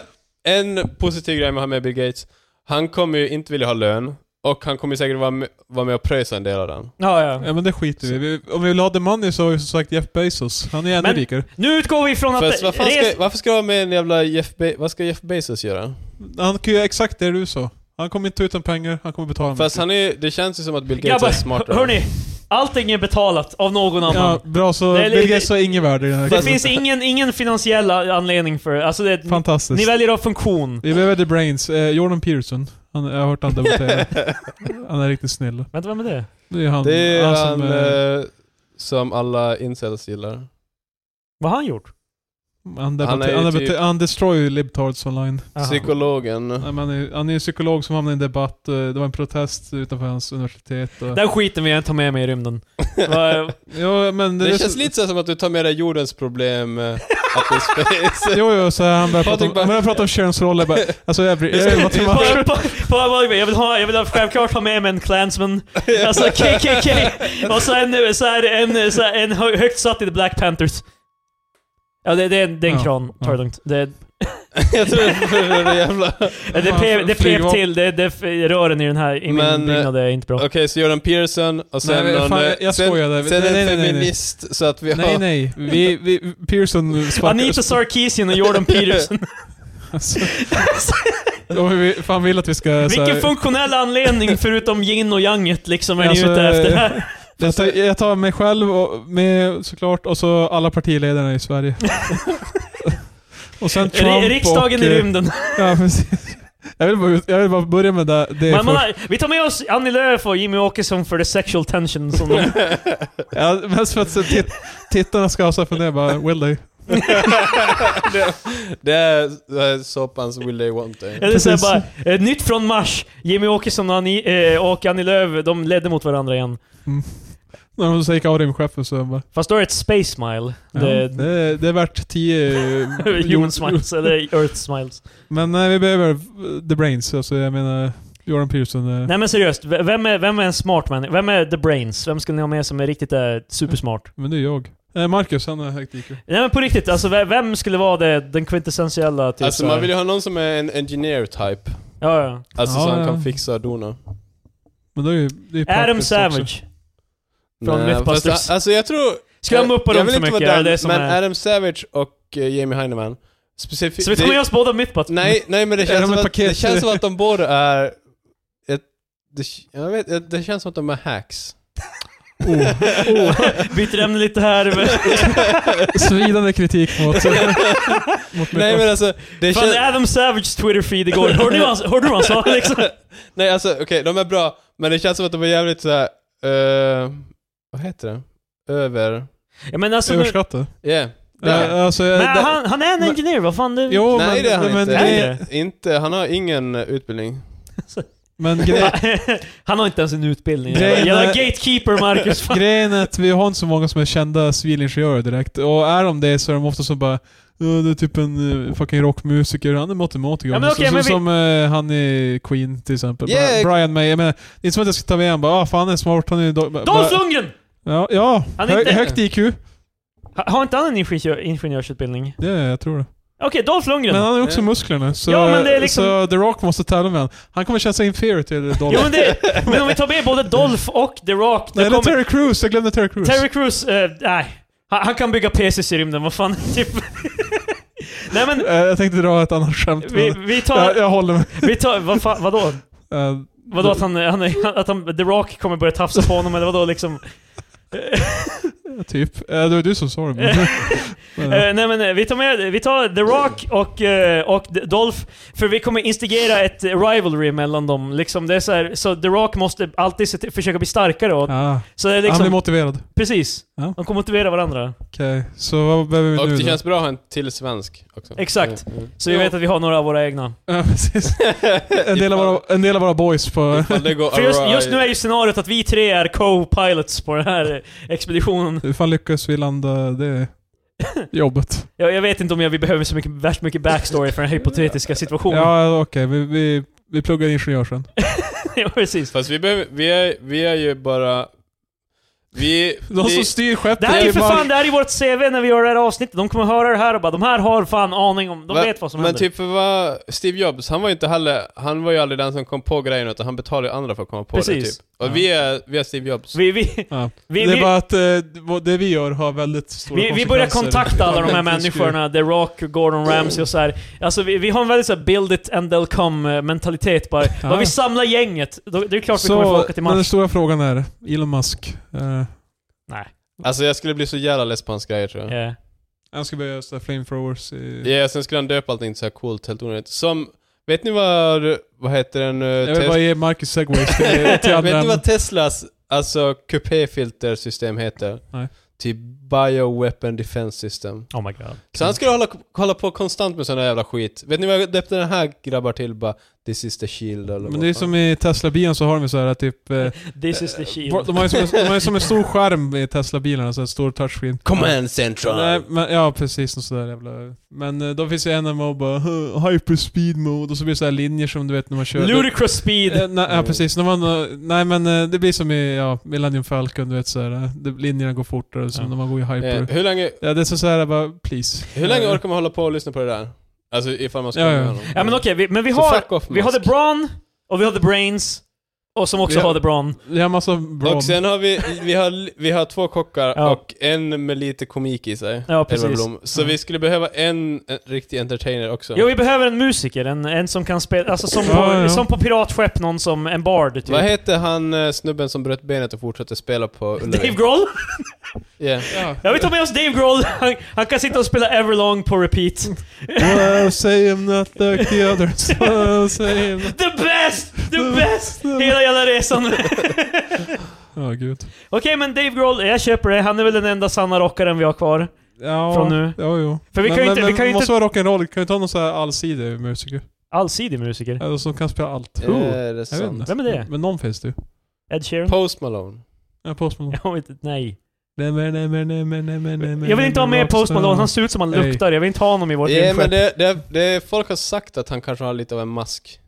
S3: en positiv grej med han med Bill Gates, han kommer ju inte vilja ha lön, och han kommer ju säkert vara med, vara med och pröjsa en del av den.
S1: Ja, ja.
S2: Ja men det skiter vi i. vi Om vi vill ha the money så har vi som sagt Jeff Bezos. Han är ännu
S1: Men-
S2: rikare.
S1: Nu utgår vi från att...
S3: Fast vad fan
S1: res-
S3: ska, varför ska jag ha med en jävla Jeff Be- vad ska Jeff Bezos göra?
S2: Han kan ju göra exakt det du sa. Han kommer inte ta ut en pengar, han kommer betala
S3: Fast
S2: mycket.
S3: han är det känns ju som att Bill Gates är
S1: Grabbar,
S3: smartare.
S1: hörni. Allting är betalat av någon annan.
S2: Ja, bra så
S1: Det är
S2: Bill
S1: lite-
S2: Gates har ingen värde i den här
S1: Det
S2: killen.
S1: finns ingen, ingen finansiell anledning för det. Alltså det.
S2: Fantastiskt.
S1: Ni väljer av funktion.
S2: Vi behöver the brains. Eh, Jordan Peterson. Han, jag har hört han debattera. han är riktigt snäll.
S1: Vänta, vem är det?
S2: Det är
S3: [LAUGHS]
S2: han,
S3: Det är
S2: han
S3: han,
S2: som... eh,
S3: eh, som alla incels gillar.
S1: Vad har han gjort?
S2: han,
S3: han är
S2: debatter,
S3: ju
S2: han, debatter,
S3: typ-
S2: han destroy libtards online.
S1: Aha.
S3: Psykologen. [LAUGHS]
S2: Nej, men Han är, han är en psykolog som hamnade i en debatt. eh, Det var en protest utanför hans universitet. Och,
S1: Den skiten vill jag inte ha med mig
S3: [LAUGHS]
S1: i rymden. Vad-
S2: ja, men det,
S3: Det
S2: är
S3: känns
S2: så-
S3: lite så som att du tar med dig jordens problem, eh, upper space.
S2: [LAUGHS] Jo, jo, så han började prata om,
S3: Patrik bara-
S2: han började prata om
S3: [LAUGHS]
S2: könsroller. Bara, alltså jag blir... Jag är matematik.
S1: Bara- bara- bara- bara- Jag vill ha, jag vill ha, självklart ha med mig
S3: [LAUGHS]
S1: en clansman. Alltså KKK. Och så en, så här, en, så här, en hö, högt satt i The Black Panthers. Ja, det, det, är en- det är en
S2: Ja,
S1: kran. Ta
S2: ja.
S1: det lugnt. Det,
S3: jag tror [LAUGHS] det är det jävla...
S1: det, det, pe- det pep
S2: Flygvapen.
S1: till. Det, det, rören i den här i min
S3: Men, eh,
S1: byggnad är inte bra.
S3: Okej, så Jordan Peterson och sen
S2: Nej,
S3: någon...
S2: fan,
S3: eh,
S2: jag
S3: sen,
S2: skojade.
S3: Sen
S2: Nej, nej,
S3: en
S2: nej, nej, nej.
S3: feminist, så att vi har...
S2: Nej, nej. Vi, vi, Pearson sparkar...
S1: Anita Sarkeesian
S3: [LAUGHS]
S1: och Jordan Peterson.
S2: [LAUGHS] Alltså. Om vi fan vill att vi ska... så här-
S1: Vilken funktionell anledning förutom yin och yanget liksom är
S2: Alltså,
S1: ni ute efter [LAUGHS] här?
S2: jag, tar, jag tar mig själv och, med, såklart och så alla partiledarna i Sverige. och sen Trump
S1: Ri- Riksdagen
S2: och,
S1: i
S2: eh,
S1: rymden.
S2: Ja, precis. Jag vill bara, ut- jag vill bara börja med det. det
S1: Man, man,
S2: först.
S1: har- vi tar med oss Annie Lööf och Jimmy Åkesson för the sexual
S2: [LAUGHS]
S1: tension som de...
S2: ja, mest för att se titt, tittarna ska ha sig fundera bara, will they?
S3: det, det är det är såpans Will They Want
S1: Ja,
S2: Typ
S3: It.
S1: det är såhär
S2: Precis.
S1: bara, eh, nytt från Mars. Jimmy Åkesson och Annie, eh, och Annie Lööf, de ledde mot varandra igen.
S2: När de säger Karim-chefen så är de bara...
S1: Fast då är det ett Space Smile.
S2: Ja,
S1: Det,
S2: det, det, är värt 10
S1: [LAUGHS] human Smiles, eller Earth Smiles.
S2: Men nej, vi behöver eh, the brains. Alltså jag menar, Jordan Peterson. eh,
S1: Nej men seriöst, v- vem är, vem är en smart människa? Vem är the brains? Vem skulle ni ha med som är riktigt eh, supersmart?
S2: Men det är jag. Eh, Marcus, han är högt IQ.
S1: Nej men på riktigt, alltså v- vem skulle vara det, den kvintessentiella typ
S3: Alltså
S1: så här-
S3: man vill ju ha någon som är en engineer type.
S1: Ja, ja.
S3: Alltså
S2: Ja,
S3: så han
S2: ja.
S3: kan fixa och dona.
S2: Men det är ju, det är ju
S1: Adam
S2: praktiskt också.
S1: Savage. Från Mythbusters.
S3: fast han- Alltså jag tror...
S1: Ska jag muppa
S3: jag
S1: dem
S3: vill
S1: för
S3: inte
S1: mycket?
S3: vara
S1: Är det
S3: den,
S1: det som
S3: men
S1: är...
S3: Adam Savage och eh, Jamie Heineman. Specifikt...
S1: Så vi tar med oss båda Mythbusters?
S3: Nej, nej men det
S2: Är
S3: känns,
S2: de
S3: som
S2: ett
S3: att,
S2: paket?
S3: det känns som att de båda är... Ett, det, jag vet, det- det känns som att de är hacks.
S2: Oh,
S3: [LAUGHS]
S1: Byter ämne lite här. Men...
S2: [LAUGHS] svidande kritik mot...
S3: [LAUGHS]
S2: mot
S3: Nej men alltså, det
S1: Fan,
S3: känns...
S1: det är Adam Savages Twitter-feed
S2: [LAUGHS]
S1: igår. Hörde ni vad han- hörde du vad han sa liksom?
S3: [LAUGHS] Nej alltså okej, de är bra, men det känns som att de är jävligt såhär... Uh, vad heter det? Över...
S1: Ja, men alltså, nu,
S2: Överskattad.
S3: Yeah. Det är-
S2: Eh, alltså, eh,
S1: men
S2: det-
S1: han, han är en
S2: Men-
S1: ingenjör, vad fan det...
S2: Jo,
S3: Nej
S2: men,
S3: det är han
S2: men,
S3: inte.
S1: det-
S3: Det är inte. Han har ingen eh, utbildning.
S2: men gre
S1: [LAUGHS] han har inte ens en utbildning.
S2: Grejen
S1: Jävla
S2: är-
S1: gatekeeper Marcus. Fan.
S2: [LAUGHS] grejen är att vi har inte så många som är kända civilingenjörer direkt. Och är de det så är de ofta som bara... "Ja, Det är typ en eh, fucking rockmusiker, han är matematiker.
S1: Ja, men okej,
S2: så,
S1: men
S2: så,
S1: vi-
S2: Som eh, han i Queen till exempel.
S3: Yeah.
S2: Bra- Brian May. Jag menar, det är inte som att jag ska ta med honom bara ah, fan han är smart, han är... do- bara-
S1: Dolph Lundgren!
S2: Ja, ja.
S1: Han är
S2: Hö-
S1: inte-
S2: högt IQ.
S1: Ha- Har inte han en ingenjör, ingenjörsutbildning?
S2: Det är jag tror det.
S1: Okej, Dolph Lundgren.
S2: Men han har ju också
S3: Ja.
S2: musklerna, så,
S1: Ja, men det är liksom-
S2: så The Rock måste tävla med honom. Han kommer känna sig inferior till Dolph.
S1: Jo, men, det, men om vi tar med både Dolph och The Rock, det
S2: Nej, det är
S1: kommer...
S2: Terry Crews! Jag glömde Terry Crews.
S1: Terry Crews, eh, nej. Han, han kan bygga PCs i rymden, vad fan. [LAUGHS] Typ. nej men,
S2: Eh, jag tänkte dra ett annat skämt.
S1: vi,
S2: men
S1: vi
S2: jag,
S1: tar...
S2: jag håller med.
S1: Vi tar vad fan, vadå?
S2: Eh,
S1: Vadå att han, han, att han, The Rock kommer börja tafsa på honom eller vadå liksom?
S2: typ. Eh, det var du som sa
S1: [LAUGHS]
S2: det. men- men, ja.
S1: Eh, nej men eh, vi tar med, vi tar The Rock och, eh, och D- Dolph, för vi kommer instigera ett eh, rivalry mellan dem. Liksom, det är så, här, så The Rock måste alltid se till, försöka bli starkare. Och,
S2: Ah,
S1: så det är
S2: Han blir
S1: liksom,
S2: motiverad.
S1: precis.
S2: Ja.
S1: De kommer motivera varandra.
S2: Okej, så vad behöver vi
S3: Och
S2: nu
S3: det
S2: då?
S3: känns bra att ha en till svensk också.
S1: Exakt.
S3: Mm, mm.
S1: Så vi
S3: Jo.
S1: vet att vi har några av våra egna.
S2: Ja,
S3: [LAUGHS]
S2: precis. En del, av
S3: Ifall-
S2: våra, en del av våra boys på...
S3: [LAUGHS] ifall det går
S1: För just,
S3: awry.
S1: just nu är ju scenariot att vi tre är co-pilots på den här eh, expeditionen.
S2: Hur fan lyckas vi landa det jobbet?
S1: Jag, jag vet inte om jag, vi behöver så mycket, värst mycket backstory för den här hypotetiska situationen.
S2: Ja, okej. vi, vi, vi pluggar ingenjör sen.
S1: [LAUGHS] ja precis.
S3: Fast vi, behöver, vi, är, vi är ju bara... Vi...
S2: De
S3: vi
S2: som styr skeppet
S1: Det här är ju
S2: till
S1: för
S2: Mars.
S1: fan, det här är ju vårt CV när vi gör det här avsnittet. De kommer höra det här och bara de här har fan aning om, de
S3: Va-
S1: vet vad som
S3: men
S1: händer.
S3: typ för vad Steve Jobs, han var ju inte heller, han var ju aldrig den som kom på grejen utan han betalade ju andra för att komma på det
S1: Precis.
S3: typ. Och
S2: Ja.
S3: vi, är, vi är Steve Jobs.
S1: vi, vi,
S2: Ja.
S1: vi,
S2: det är
S1: vi,
S2: bara att eh, vad- det vi gör har väldigt stora
S1: vi, vi börjar
S2: konsekvenser.
S1: kontakta alla de här
S2: [LAUGHS] Ja,
S1: människorna, The Rock, Gordon Ramsay och så här. Alltså vi, vi har en väldigt så här build it and they'll come eh, mentalitet bara.
S2: [LAUGHS] Ja.
S1: Bara vi samlar gänget, då, det är klart vi kommer få
S2: Så,
S1: åka till
S2: men den
S1: Mars.
S2: stora frågan är, Elon Musk. Eh,
S1: Nej.
S3: Alltså jag skulle bli så jävla less på hans grejer tror jag.
S1: eh.
S2: han ska börja göra så här flamethrowers i...
S3: Ja, sen skulle han döpa allting så här coolt, helt onödigt. Som, vet ni vad, vad heter den? eh,
S2: Jag vill
S3: Tes-
S2: bara ge Marcus segways till, till
S3: [LAUGHS]
S2: andra
S3: Vet ni
S2: ämnen.
S3: vad Teslas, alltså kupéfiltersystem heter?
S2: Nej.
S3: Typ Bioweapon Defense System.
S1: Oh my god.
S3: Så han skulle hålla, hålla på konstant med sån där jävla skit. Vet ni vad jag döpte den här grabbar till? Bara, This is the shield eller
S2: Men
S3: vad
S2: det är
S3: fan.
S2: som i Tesla-bilen så har de ju så här typ... Eh,
S1: This is the shield.
S2: de, har ju som, en- de har ju som en stor skärm i Tesla-bilarna, så en stor touchscreen.
S3: Command Central!
S2: Nej, men, ja precis, något sådär jävla... Men eh, då finns ju en MMO bara "Huh, hyperspeed mode och så blir det så här linjer som du vet när man kör...
S1: Ludicrous speed.
S2: Eh, nej, ja precis, när man, eh, nej men eh, det blir som i ja, Millennium Falcon, du vet såhär, eh, det- linjerna går fortare, som
S1: Ja.
S2: när man går i hyper.
S3: Eh, hur länge,
S2: Ja, det är så såhär bara, please.
S3: hur länge
S2: Eh,
S3: orkar man hålla på och lyssna på det där? Alltså ifall man ska
S2: Ja,
S3: med
S2: ja.
S3: honom.
S1: Ja men okej, vi, men vi
S3: Så
S1: har,
S3: fuck off,
S1: vi har The
S3: Musk.
S1: Brawn, och vi har The Brains, och som också
S2: Vi har-
S1: har The Brawn.
S2: Jag har massa bra...
S3: Och sen har
S2: [LAUGHS]
S3: vi, vi har, vi har två kockar
S1: Ja.
S3: och en med lite komik i sig.
S1: Ja
S3: Edvard
S1: precis.
S3: Blom. Så
S1: Ja.
S3: vi skulle behöva en, en riktig entertainer också.
S1: Jo, vi behöver en musiker, en, en som kan spela, alltså som, på,
S2: Ja, ja.
S1: som på piratskepp, någon som, en bard typ.
S3: Vad heter han eh, snubben som bröt benet och fortsatte spela
S1: [LAUGHS]
S3: på
S1: Dave
S3: Ullevi?
S1: Grohl?
S3: Yeah.
S2: Ja.
S1: Ja, vi tar med oss Dave Grohl. Han, han kan sitta och spela Everlong på repeat.
S2: Well, say I'm not like the others.
S1: [LAUGHS]
S2: Well, say I'm not...
S1: The best! The best! Hela jävla resan. [LAUGHS] Okej,
S2: Ja, gud.
S1: men Dave Grohl, jag köper det. Han är väl den enda sanna rockaren vi har kvar.
S2: Ja,
S1: Från nu?
S2: Ja, jo.
S1: För vi kan ju inte- Mm. vi kan ju
S2: måste vara rock'n'roll. Kan vi ta någon sån här allsidig musiker?
S1: Allsidig musiker.
S2: Eller som kan spela allt.
S1: Oh,
S3: är det
S2: Jag vet
S3: sant?
S2: inte.
S1: Vem är det?
S2: Men någon finns det ju.
S1: Ed Sheeran?
S3: Post Malone.
S2: Ja, Post Malone.
S1: [LAUGHS] Jag vet inte, nej.
S2: Nej, men, nej, men, nej, men, nej, men, nej, men,
S1: Jag vill inte ha med
S2: rockstar.
S1: Post Malone, han ser ut som han
S2: Nej.
S1: luktar. Jag vill inte ha honom i vårt
S3: Ja,
S1: yeah,
S3: men det, det, det, folk har sagt att han kanske har lite av en mask.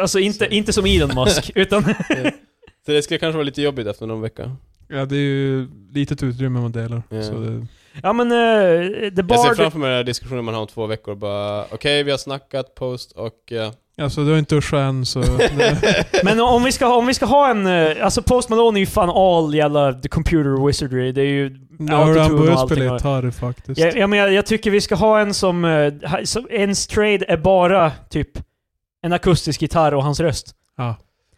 S1: Alltså inte, inte som Elon Musk, [LAUGHS] utan...
S3: Så det skulle kanske vara lite jobbigt efter någon vecka.
S2: Ja, det är ju litet utrymme man delar.
S3: Ja.
S2: Så det,
S1: Ja men, eh, The
S3: Jag ser
S1: Bard...
S3: framför mig den här diskussionen man har om två veckor bara Okej, vi har snackat post och... eh,
S2: alltså, du har inte duschat än så...
S1: [LAUGHS] Men om vi, ska, ha- om vi ska ha en... eh, Alltså Post Malone är ju fan all jävla the computer wizardry. Det är ju
S2: Nu har han
S1: autotune och
S2: börjat
S1: allting.
S2: spela
S1: och-
S2: gitarr faktiskt.
S1: Ja, ja, men jag, jag tycker vi ska ha en som... eh, ha- som- En trade är bara typ en akustisk gitarr och hans röst.
S2: Ja.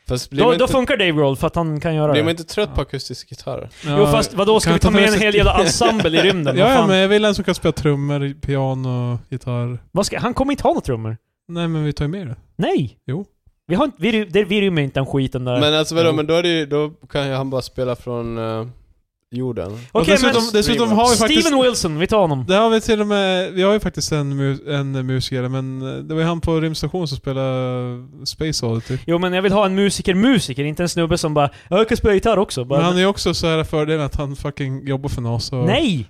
S3: Fast blir,
S1: Då,
S3: man
S1: då
S3: inte,
S1: funkar Dave Grohl för att han kan göra
S3: blir man
S1: det.
S3: inte trött på
S2: Ja.
S3: akustisk gitarr?
S1: Jo fast vadå, ska
S2: Kan
S1: vi
S2: jag
S1: ta
S2: ta
S1: med
S2: med
S1: en
S2: sig-
S1: hel
S2: [LAUGHS]
S1: jävla ensemble i rymden?
S2: Ja,
S1: Vad
S2: ja,
S1: fan?
S2: men jag vill en som kan spela trummor, piano, gitarr.
S1: Vad ska, han kommer inte ha några trummor.
S2: Nej men vi tar ju med det.
S1: Nej!
S2: Jo.
S1: Vi, har, inte- vi, ry- det- vi rymmer inte den skiten där.
S3: Men alltså vadå,
S1: Jo.
S3: men då, är det, ju- då kan ju han bara spela från eh, jorden.
S2: Och
S1: Okej
S2: dessutom,
S1: men...
S2: dessutom har vi faktiskt...
S1: Steven Wilson, vi tar honom.
S2: Där har vi till och med, vi har ju faktiskt en, mu- en musiker, men eh, det var ju han på rymdstation som spelade eh, Space Oddity.
S1: Jo men jag vill ha en musiker-musiker, inte en snubbe som bara "Ja, ”Jag kan spela gitarr också”. Bara,
S2: Men han är ju också så här fördelen att han fucking jobbar för NASA och
S1: Nej!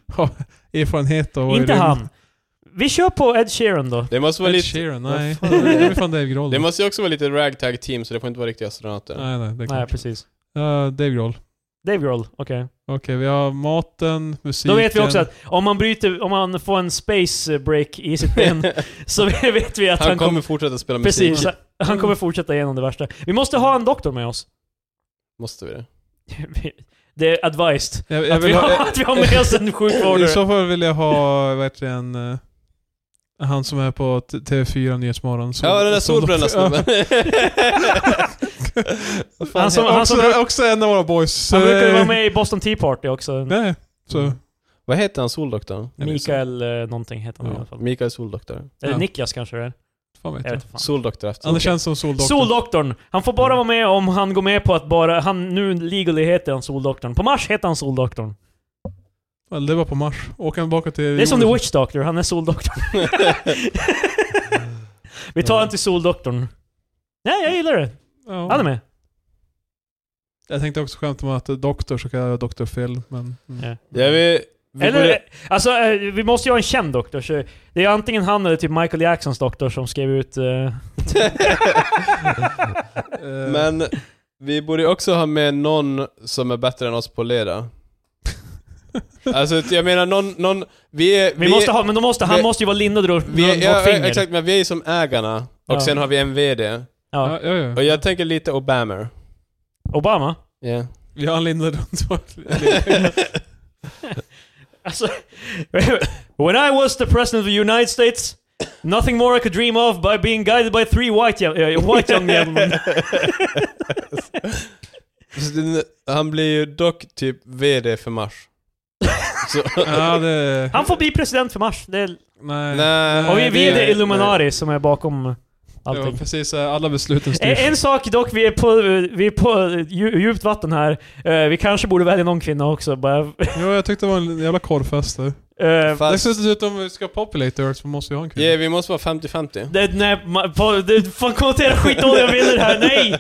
S2: erfarenhet och...
S1: Inte han. Vi kör på Ed Sheeran då.
S3: Det måste vara
S2: Ed
S3: lite...
S2: Sheeran,
S3: Vad
S2: nej. [LAUGHS]
S3: fan är det?
S2: Det är fan Dave Grohl.
S3: Det måste ju också vara lite ragtag team så det får inte vara riktiga astronauter.
S2: Nej, nej. Det
S1: Nej
S2: nej
S1: precis.
S2: Dave Grohl.
S1: Dave Grohl, okej.
S2: Okej, vi har maten, musiken.
S1: Då vet vi också att om man bryter, om man får en space break i sitt
S2: [LAUGHS]
S1: ben så [LAUGHS] vet vi att
S3: [LAUGHS] Han,
S1: han,
S3: kommer fortsätta spela musik.
S1: Precis, han kommer fortsätta igenom det värsta. Vi måste ha en doktor med oss. [LAUGHS]
S3: Måste vi det?
S1: Det är advised.
S2: Jag, jag
S1: Att
S2: vill
S1: vi,
S2: ha,
S1: har, att vi har
S2: [LAUGHS]
S1: med oss en
S2: I
S1: sjukvårdare.
S2: så fall vill jag ha verkligen eh, han som är på t- TV4 Nyhetsmorgon. som-
S3: Ja, den där
S2: som-
S3: solbrända
S1: [LAUGHS]
S2: [LAUGHS]
S3: snubben. Vad fan
S1: Han som-
S3: heter-
S2: Ja, också,
S1: han som-
S2: också en av våra boys. så
S1: Han brukade
S2: det-
S1: vara med i Mm. Boston Tea Party också.
S2: Nej, så.
S3: Vad heter han, soldoktorn?
S2: Jag minns
S1: Mikael eh, någonting heter han i alla fall.
S3: Mikael Soldoktor.
S1: Eller
S2: Ja.
S1: Niklas kanske det är.
S2: Fan vet
S1: Jag
S2: jag.
S1: vet inte fan.
S3: Soldoktor efter.
S2: Han känns som soldoktorn.
S1: Soldoktorn. Han får bara vara med om han går med på att bara... Han, nu legally heter han Soldoktorn. På Mars heter han Soldoktorn.
S2: Well, det var på Mars. Åker han tillbaka till
S1: Det är som The Witch Doctor, han är Soldoktorn. [LAUGHS] Vi tar han till Soldoktorn. Nej, jag gillar det. Han är
S2: Ja.
S1: med.
S2: Jag tänkte också skämta om att eh, doktor så kallar jag doktor Phil, men... Mm.
S1: Ja.
S3: [LAUGHS] Ja, vi, vi
S1: Eller,
S3: borde,
S1: alltså eh, vi måste ju ha en känd doktor. Så det är antingen han eller typ Michael Jacksons doktor som skrev ut... eh,
S2: Eh,
S3: men vi borde också ha med någon som är bättre än oss på att
S1: [LAUGHS]
S3: leda. alltså jag menar någon, någon vi är...
S1: vi, måste ha, men då måste, han
S3: vi-
S1: måste ju vara lindad runt,
S3: vi är,
S1: runt
S3: ja,
S1: vårt finger.
S3: Exakt, men vi är ju som ägarna. Och
S1: Ja.
S3: sen har vi en VD.
S1: Ja.
S2: Ja, ja, ja.
S3: Och jag tänker lite Obama.
S1: Obama?
S3: Yeah.
S2: Vi har en linda runt vårt-
S1: [LAUGHS] Alltså, when I was the president of the United States, nothing more I could dream of by being guided by three white young, eh, white young gentlemen.
S3: [LAUGHS] Så det- Han blir ju dock typ VD för
S2: [LAUGHS]
S3: Mars. Så,
S2: Ja, det...
S1: Han får bli president för Mars. Det är,
S2: Nej.
S3: nej,
S1: och vi, vi är
S3: nej,
S1: det Illuminari som är bakom
S2: Det var
S1: allting.
S2: precis eh, alla besluten styrs.
S1: En, en sak dock, vi är på, vi är på dju- djupt vatten här. Eh, vi kanske borde välja någon kvinna också. Bara,
S2: Jo, jag tyckte det var en jävla korvfest där.
S1: eh,
S3: Fast,
S2: Dessutom, vi ska populate Earth så måste vi ha en kille.
S3: ja, vi måste vara 50-50.
S1: det, nej, ma- på- det, fan kommentera skitdåliga bilder här, nej!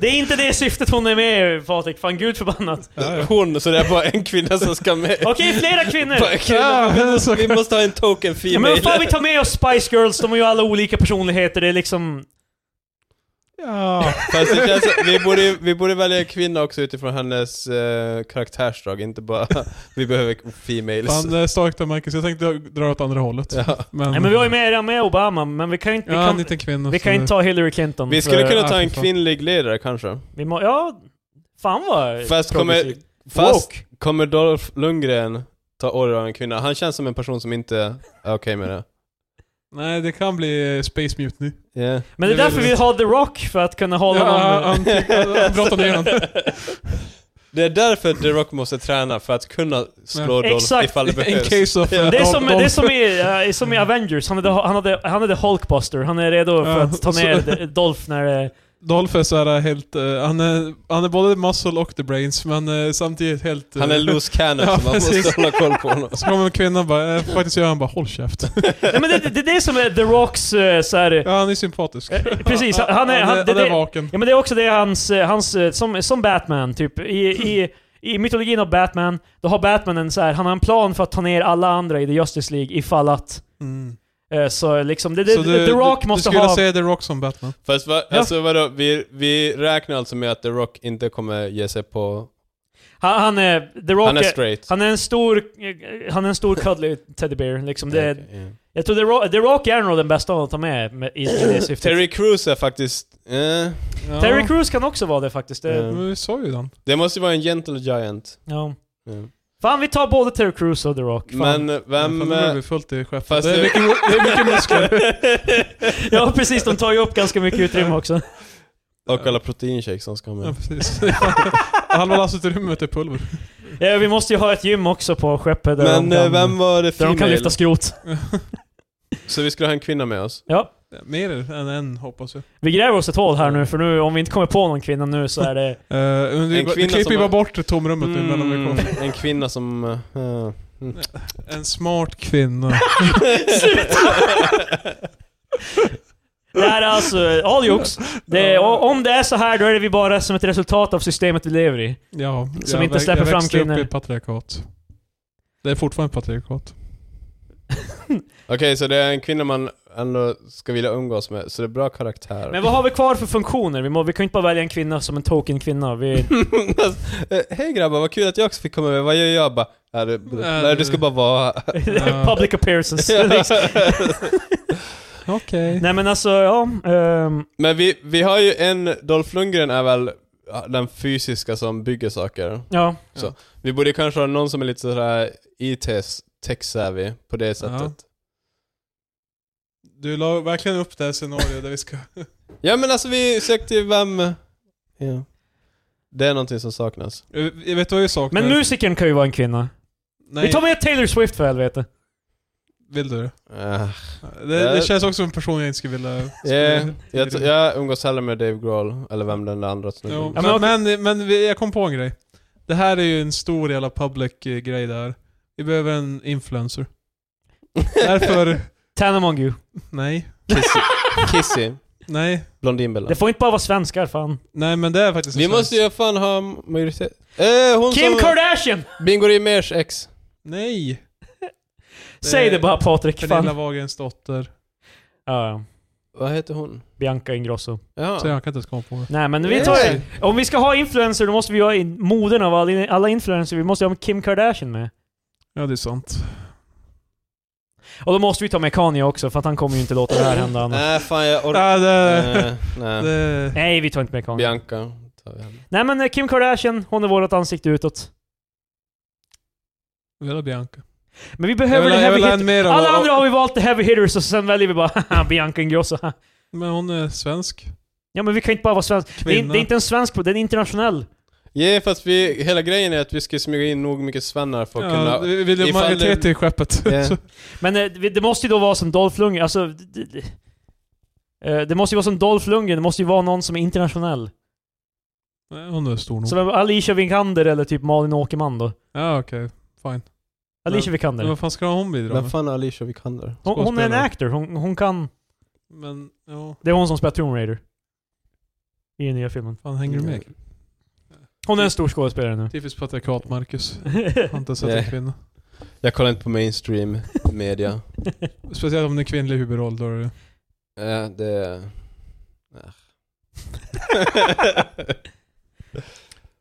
S1: Det är inte det syftet hon är med Patrik, fan gud förbannat.
S2: Ja, ja.
S3: Hon, så det är bara en kvinna som ska med.
S1: Okej, flera kvinnor!
S3: Bara kvinna.
S2: Ja, så-
S3: Vi måste ha en token female.
S1: Ja, men vad fan, vi tar med oss Spice Girls, de har ju alla olika personligheter, det är liksom...
S3: [LAUGHS]
S2: Ja.
S3: Fast det känns, vi, borde, vi borde välja en kvinna också utifrån hennes eh, karaktärsdrag, inte bara [LAUGHS] vi behöver females.
S2: Fan, det är starkt av Marcus. Jag tänkte dra åt andra hållet.
S3: Ja.
S2: Men,
S1: Nej men vi har ju med redan med Obama, men vi kan ju inte...
S2: ja,
S1: Vi
S2: en
S1: kan,
S2: liten kvinna.
S1: vi
S2: så
S1: kan inte
S2: det-
S1: ta Hillary Clinton
S3: Vi
S1: för-
S3: skulle kunna ta
S2: ah,
S3: en
S2: för fan.
S3: kvinnlig ledare kanske.
S1: Vi må, ja, fan vad
S3: Fast kommer,
S1: progressivt.
S3: fast
S1: Woke.
S3: kommer Dolph Lundgren ta order av en kvinna? Han känns som en person som inte är okej med det.
S2: Nej, det kan bli eh, Space Mutiny.
S3: Yeah.
S1: Men det är
S2: Det är
S1: därför
S2: väl-
S1: vi har The Rock, för att kunna hålla
S2: Ja,
S1: någon...
S2: han, han, han brottar ner honom.
S3: Det är därför The Rock måste träna, för att kunna slå
S1: Ja.
S3: Dolph
S1: Exakt.
S3: ifall det
S2: In
S3: behövs.
S2: case of... eh,
S1: Det är som,
S2: Dolph-
S1: det är som, i, eh, som i Avengers, han är, the, han, hade, han är the Hulkbuster, han är redo för
S2: Ja,
S1: att ta
S2: så-
S1: ner Dolph när eh, det...
S2: Dolph är såhär helt... eh, han, är, han är både muscle och the brains, men eh, samtidigt helt... eh,
S3: Han är loose cannon
S2: Ja,
S3: så man
S2: precis.
S3: måste hålla koll på
S2: [LAUGHS]
S3: honom.
S2: Så kommer en kvinna och bara, eh, faktiskt gör han bara
S1: [LAUGHS]
S2: håll käft.
S1: Nej, men det, det, det är det som är The Rocks eh, så här,
S2: Ja, han är sympatisk.
S1: Eh, precis, han- han är- han-
S2: han,
S1: det-
S2: är
S1: det-
S2: vaken.
S1: Ja men det är också det hans, eh, hans eh, som, som Batman typ. I, i, I mytologin av Batman, då har Batman en så här, han har en plan för att ta ner alla andra i The Justice League ifall att...
S2: Mm.
S1: eh, Så liksom, det, det,
S2: Så
S1: The Rock
S2: du,
S1: måste
S2: du skulle
S1: ha...
S2: säga The Rock som Batman.
S3: Fast va,
S1: Ja.
S3: alltså, vadå, vi, vi räknar alltså med att The Rock inte kommer ge sig på...
S1: Han, han är... The Rock
S3: han är
S1: är,
S3: straight.
S1: han är en stor... eh, Han är en stor cuddly teddybear liksom. Det,
S3: Okej, ja.
S1: Jag tror The Rock, The Rock är nog den bästa att ta med, med i,
S3: [COUGHS]
S1: i det syftet.
S3: Terry Crews är faktiskt... Eh,
S2: Ja.
S1: Terry Crews kan också vara det faktiskt. Det,
S3: Ja.
S2: Men vi sa ju den.
S3: det måste ju vara en gentle giant.
S1: ja.
S3: Ja.
S1: Fan vi tar både Terry Crews och The Rock.
S3: Men
S1: Fan.
S2: Vem...
S3: vem...
S2: Fan, det
S3: eh,
S2: blir fullt i skeppet.
S3: Fast
S2: Det är
S3: det-
S2: mycket, det är mycket muskler.
S1: [LAUGHS] Ja precis, de tar ju upp ganska mycket utrymme också.
S3: [LAUGHS] och alla proteinshakes som ska
S2: Ja,
S3: med.
S2: precis. [LAUGHS] Halva lastutrymmet är pulver.
S1: Ja, vi måste ju ha ett gym också på skeppet där,
S3: Men
S1: de,
S3: eh,
S1: kan,
S3: vem var det
S1: där de kan
S3: female?
S1: lyfta skrot.
S3: Så vi skulle ha en kvinna med oss.
S1: Ja.
S2: Mer än en, hoppas jag.
S1: Vi gräver oss ett hål här nu, för nu, om vi inte kommer på någon kvinna nu så är det...
S2: Eh, men
S3: En
S2: vi, vi
S3: kvinna
S2: klipper
S3: som
S2: ju bara
S3: har-
S2: bort tomrummet nu mellan vi
S3: Mm,
S2: kommer.
S3: en kvinna som... eh, eh,
S2: En smart kvinna.
S1: [LAUGHS] Det här är alltså all jokes. Det, är- och om det är så här då är det vi bara som ett resultat av systemet vi lever i.
S2: Ja,
S1: Som
S2: jag
S1: inte
S2: väx-
S1: släpper
S2: jag
S1: fram
S2: växte upp
S1: kvinnor.
S2: i ett patriarkat. Det är fortfarande ett patriarkat.
S3: Okej, så det är en kvinna man ändå ska vilja umgås med, så det är bra karaktär.
S1: Men vad har vi kvar för funktioner? Vi, må, vi kan ju inte bara välja en kvinna som en token
S3: [LAUGHS]
S1: kvinna. Vi,
S3: [LAUGHS]
S1: [LAUGHS]
S3: Eh, Hej grabbar, vad kul att jag också fick komma med. Vad gör jag? Bara, "Ja, det-
S2: Äh,
S3: nej, du ska bara vara
S1: [LAUGHS]
S3: här."
S1: public appearances. liksom.
S2: Okej.
S1: [LAUGHS] Nej men alltså, ja. ehm,
S3: [LAUGHS] Men vi, vi har ju en, Dolph Lundgren är väl ja, den fysiska som bygger saker.
S1: ja.
S3: Vi borde kanske ha någon som är lite sådär IT, tech-savvy på det sättet.
S2: Du la verkligen upp det här scenariot där vi ska... [LAUGHS]
S3: Ja, men alltså vi sökte ju vem... Ja. Det är någonting som saknas.
S2: Eh, Jag vet vad vi saknar?
S1: Men musikern kan ju vara en kvinna.
S2: Nej,
S1: Vi tar med Taylor Swift för helvete.
S2: vill du det?
S3: Eh,
S2: det? Det
S3: Eh.
S2: känns också som en person jag inte skulle vilja...
S3: eh, jag, t- jag umgås hellre med Dave Grohl, eller vem den där andra snubben
S2: Jo,
S1: Ja,
S2: men,
S1: men okej.
S2: men, men vi- jag kom på en grej. Det här är ju en stor jävla public eh, grej där. Vi behöver en
S3: [LAUGHS]
S2: influencer. Därför...
S1: Tan among you.
S2: Nej.
S3: Kissy. Kissy.
S2: Nej.
S3: Blondinbella.
S1: [LAUGHS] Det får inte bara vara svenskar fan.
S2: Nej men det är faktiskt en
S3: Vi
S2: svensk.
S3: måste ju fan ha majoritet. Eh, hon
S1: Kim
S3: som...
S1: Kardashian!
S3: Bingo Rimérs ex.
S2: Nej!
S1: Eh, Säg det bara Patrik. Fan.
S2: Pernilla Wahlgrens dotter.
S1: Ja, ja.
S3: Vad heter hon?
S1: Bianca Ingrosso.
S2: Så
S3: Ja.
S2: jag kan inte ens komma på det.
S1: Nej men vi
S3: Ja.
S1: tar det. Om vi ska ha influencer då måste vi ha in moden av alla, alla influencers. Vi måste ha Kim Kardashian med.
S2: Ja det är sant.
S1: Och då måste vi ta med Kanye också för att han kommer ju inte låta det här hända
S2: Eh.
S1: annars.
S3: Nej, fan jag orkar...
S2: Ja, det,
S3: Nej, nej.
S2: Äh, det,
S1: Nej vi tar inte med Kanye.
S3: Bianca. tar vi henne.
S1: Nej men eh, Kim Kardashian, hon är vårt ansikte utåt.
S2: vi vill ha Bianca.
S1: Men vi
S2: Jag
S1: behöver
S2: vill,
S1: det
S2: ha- jag
S1: heavy
S2: vill ha
S1: hit.
S2: en mer av-
S1: Alla andra har vi valt the heavy hitters och sen väljer vi bara [LAUGHS] haha, Bianca Ingrosso.
S2: Men hon är svensk.
S1: Ja men vi kan inte bara vara svensk. Det är, in-
S2: Kvinna.
S1: det är inte en svensk, det är en internationell.
S3: Ja, fast vi, hela grejen är att vi ska smyga in nog mycket svennar för att
S2: Ja,
S3: kunna...
S2: vi vill ha
S3: ifall
S2: majoritet
S3: det-
S2: i skeppet.
S3: Ja.
S2: [LAUGHS] Så-
S1: Men eh, det det måste ju då vara som Dolph Lundgren, alltså... d- d- d- eh, Det måste ju vara som Dolph Lundgren, det måste ju vara någon som är internationell.
S2: Nej, hon är stor nog.
S1: Som Alicia Vikander eller typ Malin Åkerman då.
S2: Ja okej, fine.
S1: Alicia
S2: Men
S1: Vikander.
S2: vad fan ska hon bidra
S3: Vem
S2: med?
S3: fan är Alicia Vikander?
S1: Hon, hon är en
S2: skådespelare?
S1: actor, hon, hon kan...
S2: Men ja,
S1: Det är hon som spelar Tomb Raider. I den nya filmen.
S2: fan hänger du med?
S1: Hon är en stor skådespelare
S2: [LAUGHS]
S1: nu.
S2: Typiskt patriarkat Marcus. Har inte sett
S3: Nej.
S2: en kvinna.
S3: Jag kollar inte på mainstream media.
S2: Speciellt om det är kvinnlig huvudroll. Då är det...
S3: [LAUGHS] Eh, det... Nej.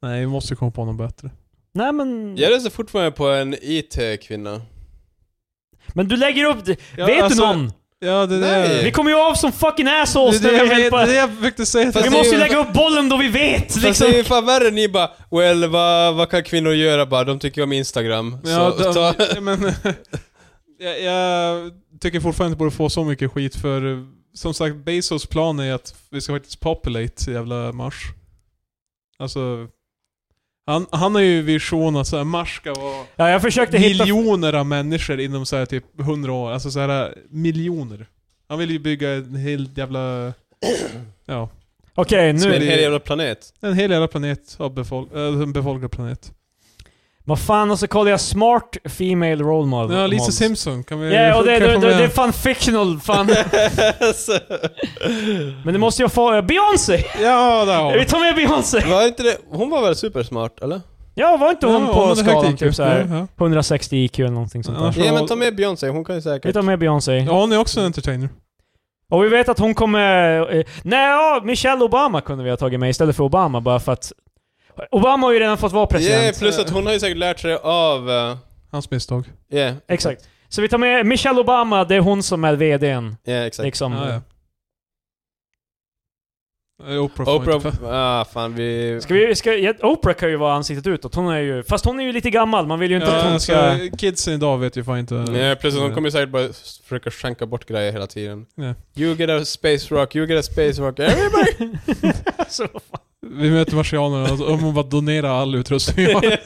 S2: Nej, vi måste komma på något bättre.
S1: Nej
S3: [LAUGHS]
S1: men...
S3: Jag röstar fortfarande på en IT-kvinna.
S1: Men du lägger upp... det.
S2: Ja,
S1: Vet
S2: alltså,
S1: du någon?
S2: Ja, det är det.
S3: Nej.
S1: Vi kommer ju av som fucking assholes
S2: Det
S1: när
S2: är det
S1: vi
S2: jag,
S1: helt
S2: vet-
S1: bara...
S2: det jag försökte säga.
S3: Fast
S1: Vi
S3: det är
S1: måste ju
S3: ju-
S1: lägga upp bollen då vi vet!
S3: Fast
S1: Liksom.
S3: det är ju fan värre ni bara 'Well, vad, vad kan kvinnor göra?' bara, de tycker om Instagram.
S2: Ja,
S3: så, ta,
S2: de,
S3: [LAUGHS]
S2: ja, men, jag, jag tycker fortfarande inte borde få så mycket skit för eh, som sagt Bezos plan är att vi ska faktiskt populate jävla Mars. Alltså, han, han har ju vision att så här, Mars ska vara
S1: Ja, jag försökte hitta...
S2: miljoner av människor inom så här, typ 100 år. Alltså så här miljoner. Han vill ju bygga en hel jävla... [CLEARS THROAT] Ja.
S3: Som
S1: Okej,
S3: en
S1: nu...
S2: Sverige.
S3: hel jävla planet.
S2: En hel jävla planet av befol- äh, en befolkad planet.
S1: Vad fan, och så kollar jag Smart Female Role Model.
S2: Ja, Lisa
S1: models.
S2: Simpson kan vi...
S1: Ja, och det,
S2: kan
S1: det,
S2: få
S1: det,
S2: med.
S1: det är fan fictional,
S2: [LAUGHS]
S1: fan.
S3: Så-
S1: Men det måste jag få... Beyoncé!
S2: Ja, där har
S1: Vi
S2: vi.
S1: tar med Beyoncé!
S3: Var inte det, hon var väl supersmart eller?
S1: Ja, var inte hon på
S2: Ja, hon hade högt
S1: skalan
S2: IQ.
S1: typ såhär
S2: Ja, ja.
S1: 160 IQ eller någonting sånt
S2: Annars-
S1: där?
S2: Ja.
S3: Ja men ta med Beyoncé, hon kan ju
S1: Vi
S3: säkert...
S1: tar med Beyoncé.
S2: Ja, hon är också en entertainer.
S1: Och vi vet att hon kommer... eh, Nej, ja, Michelle Obama kunde vi ha tagit med istället för Obama bara för att... Obama har ju redan fått vara president.
S3: Yeah, plus att hon har ju säkert lärt sig av... eh,
S2: Hans misstag.
S3: Yeah,
S1: Exakt. Så vi tar med Michelle Obama, det är hon som är VDn.
S3: yeah exakt.
S1: Liksom.
S2: Ja, ja. Eh, Oprah. får inte-
S3: Oprah, ah fan vi...
S1: Ska vi, ska, ja, Oprah kan ju vara ansiktet utåt, hon är ju... Fast hon är ju lite gammal, man vill ju inte att
S2: Ja,
S1: hon
S2: alltså,
S1: ska...
S2: Kidsen idag vet ju fan inte...
S3: Nej, plus att hon kommer säkert bara försöka skänka bort grejer hela tiden.
S2: Ja.
S3: You get a space rock, you get a space rock. Eh? Everybody!
S1: [LAUGHS] Så, vad fan.
S2: Vi möter marsianerna och om hon bara donerar all utrustning
S3: [LAUGHS]
S2: vi har.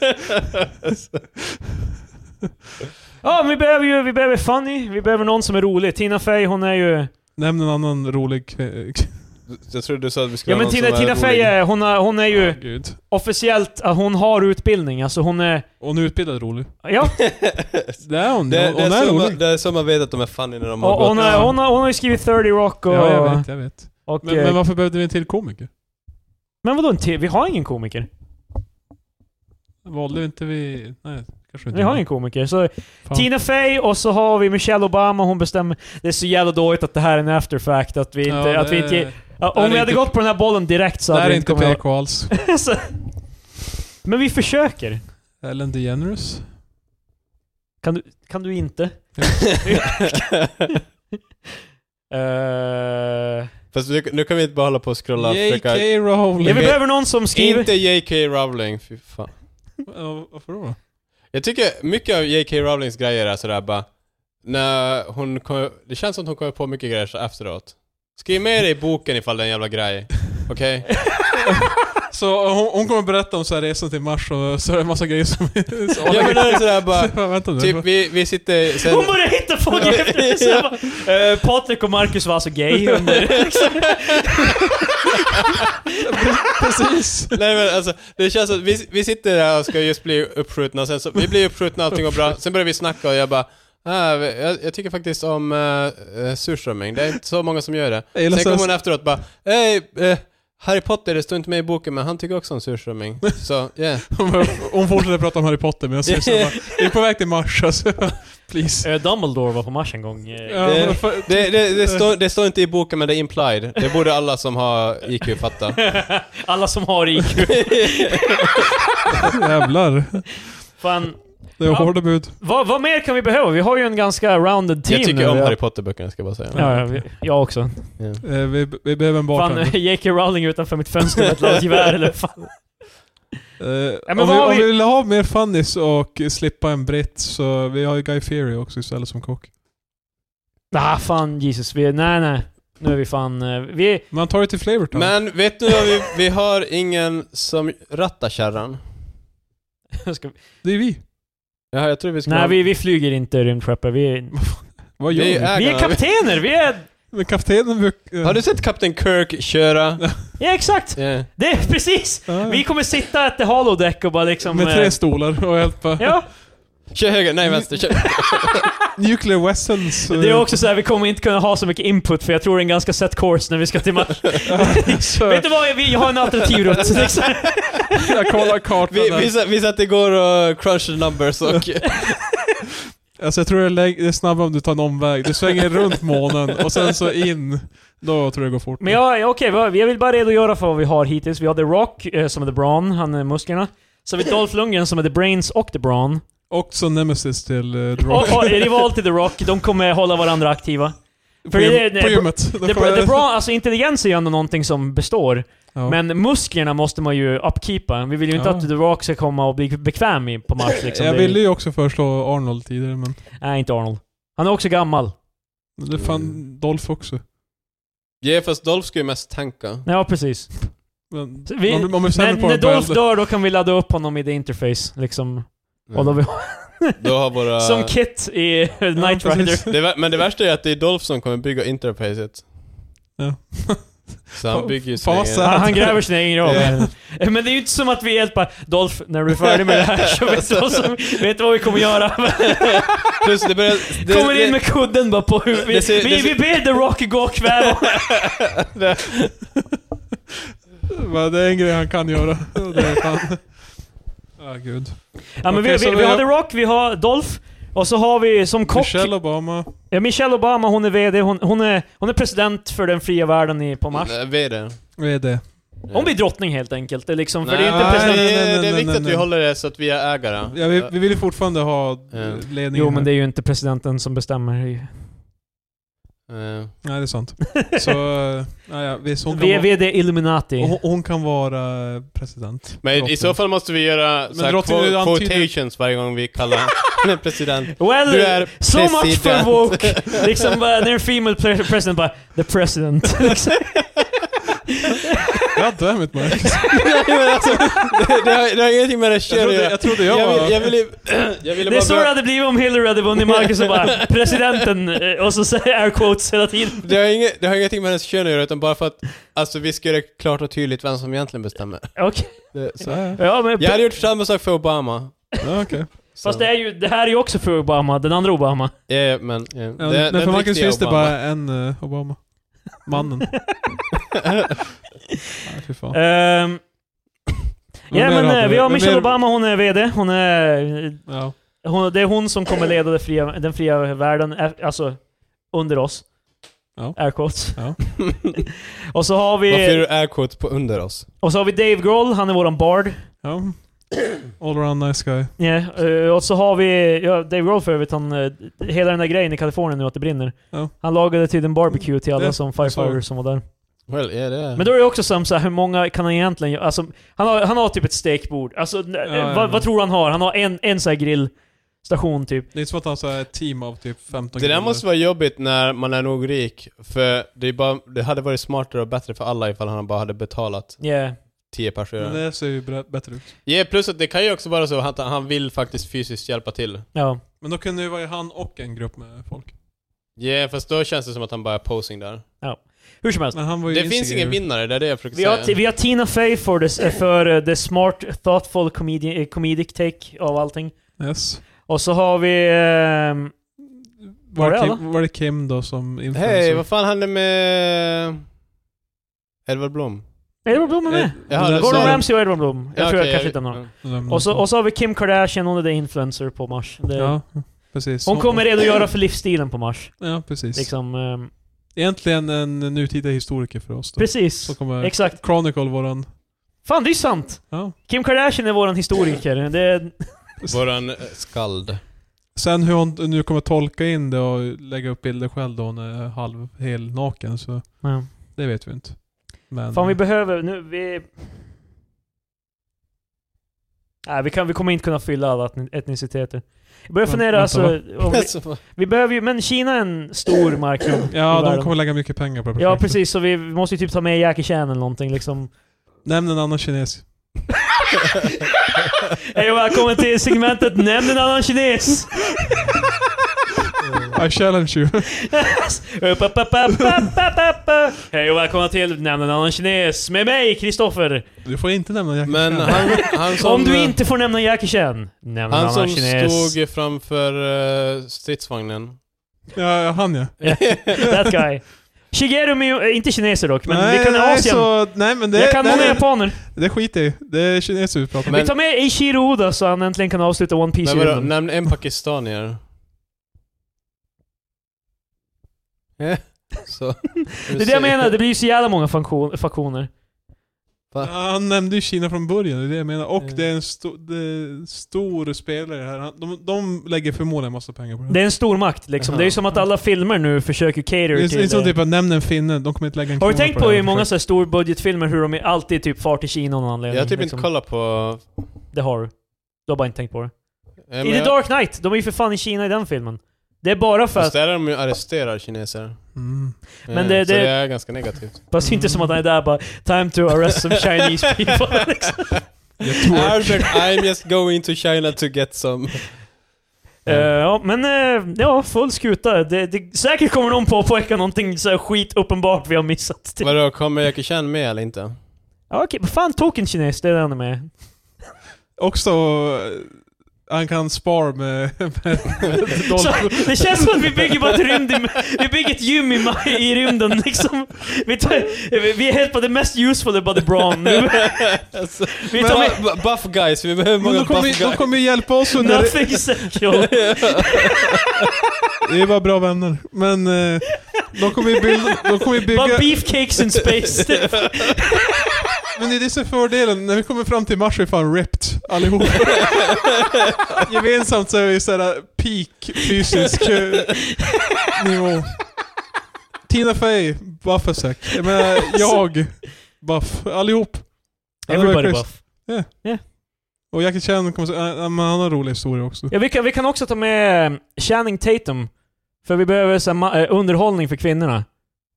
S1: Ja, men vi behöver ju... Vi behöver Funny, vi behöver någon som är rolig. Tina Fey, hon är ju...
S2: Nämn en annan rolig... kve- k-
S3: Jag trodde du sa att vi skulle
S1: Ja men
S3: någon
S1: Tina,
S3: som är
S1: Tina Fey,
S3: rolig.
S1: är- hon, har, hon är ju
S2: Ah, Gud.
S1: officiellt... att Hon har utbildning, alltså hon är...
S2: Hon är utbildad rolig.
S1: Ja,
S2: Det är
S3: [LAUGHS]
S2: hon.
S3: Det, det,
S2: hon hon
S3: är
S2: är
S3: så man,
S2: rolig.
S3: det är så man vet att de är funny när de har
S1: och hon,
S3: gått.
S1: är, hon, har, hon har ju skrivit 30 Rock och...
S2: Ja, jag vet, jag vet.
S1: och
S2: Men,
S1: men,
S2: men varför behövde vi en till komiker?
S1: men vadå en till? Vi har ingen komiker.
S2: Valde inte vi... Nej, kanske inte.
S1: Vi har ingen komiker. Så
S2: Fan.
S1: Tina Fey och så har vi Michelle Obama, hon bestämmer. Det är så jävla dåligt att det här är en after fact, att vi inte...
S2: Ja,
S1: att vi
S2: det-
S1: inte ja,
S2: det här
S1: om vi
S2: är
S1: hade
S2: inte-
S1: gått på den här bollen direkt så
S2: Det
S1: hade
S2: här är
S1: vi
S2: inte
S1: inte kommit...
S2: PK alls.
S1: [LAUGHS] Så- men vi försöker.
S2: Ellen DeGeneres.
S1: Kan du, kan du inte? Eh,
S3: [LAUGHS] Fast nu, nu kan vi inte bara hålla på och scrolla och
S2: J.K.
S3: försöka...
S2: Rowling.
S1: ja, vi
S3: Okej.
S1: behöver någon som skriver...
S3: Inte J.K. Rowling, fy fan.
S2: Ja, Varför då?
S3: Jag tycker mycket av J.K. Rowlings grejer är sådär bara... När hon kom, det känns som att hon kommer på mycket grejer så efteråt. Skriv med det i boken ifall det är en jävla grej. Okej?
S1: [LAUGHS]
S2: Så eh, hon, hon kommer berätta om så här resan till Mars och så är det en massa grejer [LAUGHS] som...
S3: Ja men det är sådär bara...
S2: Fan, [LAUGHS] Vänta nu.
S3: Typ vi, vi sitter... Sen,
S1: [LAUGHS] Hon började hitta på grejer! Så
S2: [LAUGHS]
S1: jag bara, eh, Patrik och Marcus var alltså gay under...
S2: Precis!
S3: Nej men alltså, det känns att vi, vi sitter där och ska just bli uppskjutna och sen så, vi blir uppskjutna och allting går bra, sen börjar vi snacka och jag bara Ah, jag, jag tycker faktiskt om eh, eh, surströmming, det är inte så många som gör det.
S2: Jag gillar
S3: Sen
S2: så här-
S3: kommer hon efteråt bara Hej, eh, Harry Potter, det står inte med i boken men han tycker också om surströmming. Så, yeah.
S2: Hon, bara- [LAUGHS] hon fortsätter prata om Harry Potter medan jag bara, vi är på väg till Mars [LAUGHS] alltså. Please.
S1: Eh, Dumbledore var på Mars en gång. eh.
S2: Ja,
S3: Det-
S2: men för-
S3: Det, det, det, står, det står inte i boken men det är implied. Det borde alla som har IQ fatta.
S1: Alla som har IQ.
S2: Jävlar.
S1: Fan.
S2: Det är
S1: Ja.
S2: hårda bud.
S1: Vad, vad mer kan vi behöva? Vi har ju en ganska rounded team
S3: Jag tycker
S1: nu.
S3: om Harry Potter-böckerna ska jag bara säga.
S1: Ja, ja, vi- jag också.
S3: Yeah.
S2: Eh, vi, vi behöver en
S1: Fan, [LAUGHS]
S2: bartender.
S1: eh, J.K. Rowling utanför mitt fönster med ett laddat gevär eller
S2: [LAUGHS]
S1: fan.
S2: Eh,
S1: men vad
S2: om, vi,
S1: har
S2: om
S1: vi-
S2: vi vill ha mer funnies och slippa en britt så vi har ju Guy Fieri också istället som kock.
S1: Ah, fan Jesus. Vi, nej, nej. Nu är vi fan... eh, Vi,
S2: Man tar det till Flavortown.
S3: Men vet du vad vi, vi har ingen som rattar kärran.
S1: ska, vi-
S2: Det är vi.
S3: Ja, jag tror vi ska
S1: nej,
S3: ha-
S1: vi, vi flyger inte i rymdskeppet. Vi,
S2: Vad gör
S3: Vi
S2: vi?
S3: är-
S1: vi är kaptener! Vi är...
S2: Men kaptenen brukar...
S3: Har du sett Kapten Kirk
S1: [LAUGHS]
S3: köra?
S1: Ja, exakt!
S3: yeah.
S1: Det är precis!
S2: Ja, ja.
S1: Vi kommer sitta efter halodeck och bara liksom...
S2: Med tre
S1: eh,
S2: stolar och hjälpa.
S1: Ja,
S3: Kör höger, nej vänster,
S1: [LAUGHS]
S3: kör.
S2: Nuclear weapons. eh,
S1: det är också så här, vi kommer inte kunna ha så mycket input för jag tror det är en ganska set course när vi ska till match. Vet du vad, vi har en alternativ rutt. liksom.
S2: Jag kollar kartan
S3: Vi,
S2: där.
S3: vi, satt, vi satt igår och crunchade numbers och...
S1: [LAUGHS]
S2: Alltså jag tror det är, lägg- det är snabbare om du tar en omväg. Du svänger runt månen och sen så in. Då tror jag det går fort.
S1: Men jag, okej, vad- jag vill bara redogöra för vad vi har hittills. Vi har The Rock eh, som är The Braun, han är musklerna. Så har vi Dolph Lundgren som är The Brains och The Braun.
S2: Och så Nemesis till uh, The
S1: [LAUGHS]
S2: Rock.
S1: Och, och är rival till The Rock, de kommer hålla varandra aktiva.
S2: på,
S1: för
S2: gym,
S1: det är- nej,
S2: på
S1: bro-
S2: gymmet. [LAUGHS] Då
S1: The,
S2: kommer jag-
S1: Bra- the Braun, alltså intelligens är ju ändå någonting som består.
S2: Ja.
S1: Men musklerna måste man ju upkeepa. Vi vill ju inte
S2: Ja.
S1: att The Rock ska komma och bli bekväm i- på match liksom.
S2: jag
S1: Det-
S2: ville ju också föreslå Arnold tidigare men
S1: Nej, inte Arnold. Han är också gammal.
S2: det är fan
S3: Mm.
S2: Dolph också.
S3: Ja, fast Dolph ska ju mest tanka.
S1: Ja, precis.
S2: Men,
S1: Så vi-
S2: man, blir- man blir sämre
S1: Men
S2: på
S1: när
S2: den på
S1: Dolph
S2: äldre.
S1: dör, då kan vi ladda upp honom i the interface, liksom. Och då vi,
S3: Då har våra...
S1: som Kit i [LAUGHS] Knight
S2: precis. [LAUGHS]
S1: Rider.
S3: det, vä- men det värsta är att det är Dolph som kommer bygga interfacet.
S2: Ja.
S3: Så han bygger ju
S2: Fan vad
S3: sin
S2: sad.
S3: egen.
S1: Han, han gräver sin egen grav. [LAUGHS]
S2: Ja.
S1: Men det är ju inte som att vi helt bara Dolph, när du är färdig med det här så vet du vad,
S2: [LAUGHS]
S1: som, vet du vad vi kommer göra?
S3: [LAUGHS] Plus det börjar... Det,
S1: kommer in med kudden bara på huvudet. Vi,
S3: Det ser-
S1: vi,
S3: det ser-
S1: vi ber The Rock gå och kväva
S2: Va, Det är en grej han kan göra. [LAUGHS] Det är
S1: [LAUGHS]
S2: fan. Ah, gud.
S1: Ja, men
S2: Okej,
S1: vi,
S2: så
S1: vi,
S2: vi
S1: vi har
S2: har-
S1: The Rock, vi har Dolph, och så har vi som kock
S2: Michelle Obama.
S1: Ja, Michelle Obama, hon är VD, hon, hon, är, hon är president för den fria världen i, på Mars.
S3: Nej, vi är det.
S2: Vad är det?
S1: Hon blir drottning helt enkelt, det är liksom, för
S3: Nej,
S1: det är inte
S2: nej,
S1: president...
S2: nej,
S3: det
S2: nej,
S3: är- det
S2: nej,
S3: är viktigt
S2: nej,
S3: att vi
S2: nej.
S3: håller det så att vi är ägare.
S2: Ja, vi, vi vill ju fortfarande ha
S3: Ja.
S2: ledningen.
S1: Eh, Jo, men
S2: här.
S1: det är ju inte presidenten som bestämmer. i-
S3: Eh,
S2: Nej, det är sant. Så, eh, ja, ja, visst, hon, kan
S1: Vi är
S2: vara,
S1: VD Illuminati.
S2: hon, hon kan vara eh, president.
S3: Men i
S2: Drottning.
S3: så fall måste vi göra
S2: Men
S3: så här
S2: drottningen
S3: quo-
S2: antyder-
S3: quotations varje gång vi
S1: [LAUGHS]
S3: kallar president.
S1: Well,
S3: Du är
S1: so much for
S3: president.
S1: woke! liksom bara, när en female pre- president bara, the
S2: [LAUGHS]
S1: president. liksom.
S2: God damn it Marcus.
S3: Nej men alltså, det, det, har, det har ingenting med det
S2: Jag
S3: kör att
S2: trodde jag,
S3: göra.
S2: trodde
S3: [LAUGHS]
S2: jag,
S3: Jag
S2: var...
S3: vill- jag ville [CLEARS THROAT] jag ville
S1: det är så det
S3: bara...
S1: hade blivit om Hillary hade vunnit Marcus och
S2: [LAUGHS]
S1: bara, presidenten, eh, och så säger air quotes hela tiden.
S3: Det har, inget, det har ingenting med hennes kön att göra utan bara för att alltså, vi ska göra klart och tydligt vem som egentligen bestämmer.
S1: Okej.
S3: Det, så.
S2: Ja, ja.
S1: Ja, men,
S3: Jag hade gjort samma sak för Obama.
S2: Ja, okej.
S3: Så.
S1: fast det, är ju, det här är ju också för Obama, den andra Obama.
S3: Ja, men... Ja.
S2: Ja,
S3: Det-
S2: nej,
S3: den
S2: för Marcus
S3: riktiga
S2: finns det
S3: Obama.
S2: bara en eh, Obama.
S3: [LAUGHS]
S2: Mannen. Nej, fy fan.
S1: Ehm,
S2: Vem
S1: Ja
S2: mer
S1: men eh, vi har
S2: vem
S1: Michelle
S2: mer-
S1: Obama, hon är VD. Hon är,
S2: Ja.
S1: hon, det är hon som kommer leda det fria, den fria världen, eh, alltså under oss.
S2: Ja.
S1: Air quotes.
S2: Ja.
S1: [LAUGHS] och, så har
S3: Varför är
S1: vi,
S3: du air quotes på under oss?
S1: och så har vi Dave Grohl, han är våran bard.
S2: ja. All around nice guy.
S1: Ja, eh, och så har vi, ja, Dave Grohl för övrigt, han, eh, hela den där grejen i Kalifornien nu att det brinner.
S2: Ja.
S1: Han lagade till en barbecue till alla
S2: Det-
S1: som
S2: jag såg.
S1: firefighters som var där.
S3: Well, yeah, det är...
S1: Men då är det också som så här, hur många kan han egentligen göra? Alltså, han, har, han har typ ett stekbord. Alltså, n- eh,
S2: ja,
S1: vad,
S2: ja.
S1: vad tror du han har? Han har en, en så här grillstation typ.
S2: Det är som att han så här, ett team av typ 15
S3: Det där
S2: killar.
S3: måste vara jobbigt när man är nog rik, för det, är bara, det hade varit smartare och bättre för alla ifall han bara hade betalat
S1: Yeah.
S3: 10 personer.
S2: Men det ser ju bre- bättre ut.
S3: Ja, plus att det kan ju också vara så att han vill faktiskt fysiskt hjälpa till.
S1: Ja.
S2: Men då kunde det ju vara han och en grupp med folk.
S3: Ja, fast då känns det som att han bara är posing där.
S1: Hur som helst.
S2: Men han var ju
S3: Det finns ingen
S2: instigator.
S3: vinnare, det är det jag försöker
S1: Vi har,
S3: säga.
S1: vi har Tina Fey för, det, för eh, the smart, thoughtful comedi eh, comedic take av allting.
S2: Yes.
S1: Och så har vi... ehm,
S2: Var,
S1: det
S2: det
S1: alla?
S2: Kim, var det Kim då som influencer?
S3: Hej, vad fan hände med... Edward Blom?
S1: Edward Blom är med.
S3: Jaha,
S2: det-
S3: du
S1: Gordon
S3: sa-
S1: Ramsay och Edward Blom. Jag
S3: Mm. Ja,
S1: tror
S3: okej,
S1: jag kanske inte nämner honom.
S2: Vem
S1: Och så,
S2: då?
S1: och så har vi Kim Kardashian, hon är the influencer på Mars. Det,
S2: Ja, precis.
S1: Hon kommer redogöra för livsstilen på Mars.
S2: Ja, precis.
S1: Liksom, ehm,
S2: Egentligen en nutida historiker för oss då.
S1: precis.
S2: Så kommer
S1: Exakt.
S2: Chronicle våran...
S1: Fan, det är ju sant!
S2: Ja.
S1: Kim Kardashian är våran historiker. Det är,
S3: Våran eh, skald.
S2: Sen hur hon nu kommer tolka in det och lägga upp bilder själv då hon är halv, hel naken så
S1: ja.
S2: det vet vi inte. Men...
S1: Fan, vi behöver... Nu, vi... Nej, vi, kan, vi kommer inte kunna fylla alla etni- etniciteter. Jag börjar
S2: Men-
S1: fundera
S2: vänta,
S1: alltså... Om vi,
S3: [LAUGHS]
S1: vi behöver ju... Men Kina är en stor marknad. i
S2: Ja, de
S1: världen.
S2: kommer lägga mycket pengar på det
S1: Ja,
S2: projektet.
S1: precis. Så vi, vi måste ju typ ta med Jackie Chan eller någonting liksom.
S2: Nämn en annan kines.
S1: Hej och välkommen till segmentet Nämn en annan kines!
S2: I challenge
S1: [LAUGHS]
S2: you.
S1: Upp, upp, upp, upp, upp, upp, upp. Hej och välkomna till Nämn en annan kines med mig, Kristoffer.
S2: Du får inte nämna Jackie
S3: Men
S2: Chan.
S3: han, han som...
S1: Om du inte får nämna Jackie Chan, nämn en
S3: Han
S1: annan
S3: som
S1: kines.
S3: stod framför eh,
S1: [LAUGHS]
S3: stridsvagnen.
S2: Ja, han ja.
S1: That guy. Shigeru Miyu, eh, inte kineser dock, men vi kan
S2: nej,
S1: Asien.
S2: så, nej men det...
S1: jag kan
S2: nej,
S1: många
S2: nej,
S1: japaner.
S2: Det skiter jag i. Det är kineser vi pratar om.
S1: vi tar med Eiichiro Oda så han äntligen kan avsluta One
S3: Men
S1: piece
S3: vadå,
S1: rymden.
S3: nämn en
S1: [LAUGHS]
S3: pakistanier. Eh, Så.
S1: Det är det jag menar, det blir ju så jävla många funktion- faktioner.
S3: Va?
S2: Han nämnde ju Kina från början, det är det jag menar. Och
S3: Mm.
S2: det är en sto, det är en stor spelare här. Han- De, de lägger förmodligen massa pengar på det.
S1: Det är en stor makt liksom. Det är ju som att alla filmer nu försöker
S2: Det
S1: cater
S2: är inte som
S1: till...
S2: typ
S1: det.
S2: att nämna en finne, de kommer inte lägga en
S1: Har du
S2: krona
S1: tänkt
S2: det
S1: på
S2: här
S1: hur många
S2: [LAUGHS] projektet.
S1: så här storbudgetfilmer, hur de är alltid typ far till Kina av någon anledning?
S3: Jag har typ
S1: liksom.
S3: inte kollat på...
S1: Det har du. Du har bara inte tänkt på det.
S3: Eh,
S1: I
S3: men jag-
S1: The Dark Knight, de är ju för fan i Kina i den filmen. Det är bara för
S3: Fast
S1: att...
S3: där är de ju arresterar kineser.
S2: Mm.
S3: Eh,
S1: Men det-
S3: så
S1: det-
S3: det... är ganska negativt. [LAUGHS]
S1: Fast inte som att han är där bara 'Time to arrest some Chinese people' liksom. [LAUGHS]
S2: Jag tror...
S3: Albert, I'm just going to China to get some.
S1: Eh, ja, men eh, ja, full skuta. Det, det, säkert kommer någon påpeka någonting så här skit uppenbart vi har missat. Typ.
S3: Vadå, kommer Jackie Chan med eller inte?
S1: Ja, okej, men fan token kines, det är det han är
S3: [LAUGHS]
S1: med.
S2: Också... eh, Han kan spar med... med, med
S1: Så, det känns som att vi bygger bara ett rymd i, Vi bygger ett gym i, ma- i rymden liksom. Vi, tar, vi är helt på det mest useful är bara the brawn nu.
S3: [LAUGHS] Alltså,
S1: Vi
S3: men
S1: tar med
S3: bu- bu- buff guys, vi behöver
S2: Men
S3: många
S2: de
S3: buff
S2: kommer, ju-
S3: guys.
S2: de kommer ju hjälpa oss under...
S3: [LAUGHS]
S1: nothing sexual.
S2: Vi är bara bra vänner. Men eh, de kommer ju bilda... De kommer ju
S1: Bara
S2: bygga...
S1: beefcakes in space. typ.
S2: Men det är det som är fördelen, när vi kommer fram till mars är vi fan ripped allihop. Gemensamt så är vi såhär peak fysisk eh, nivå. Tina Fey, Buffesek. Jag menar, jag, Buff, allihop.
S1: Everybody
S2: Chris.
S1: buff.
S2: Och Jackie Chan kommer säga, äh, äh, men han har en rolig historia också.
S1: Ja, vi, kan, vi kan också ta med eh, Channing Tatum. För vi behöver så här, ma- eh, underhållning för kvinnorna.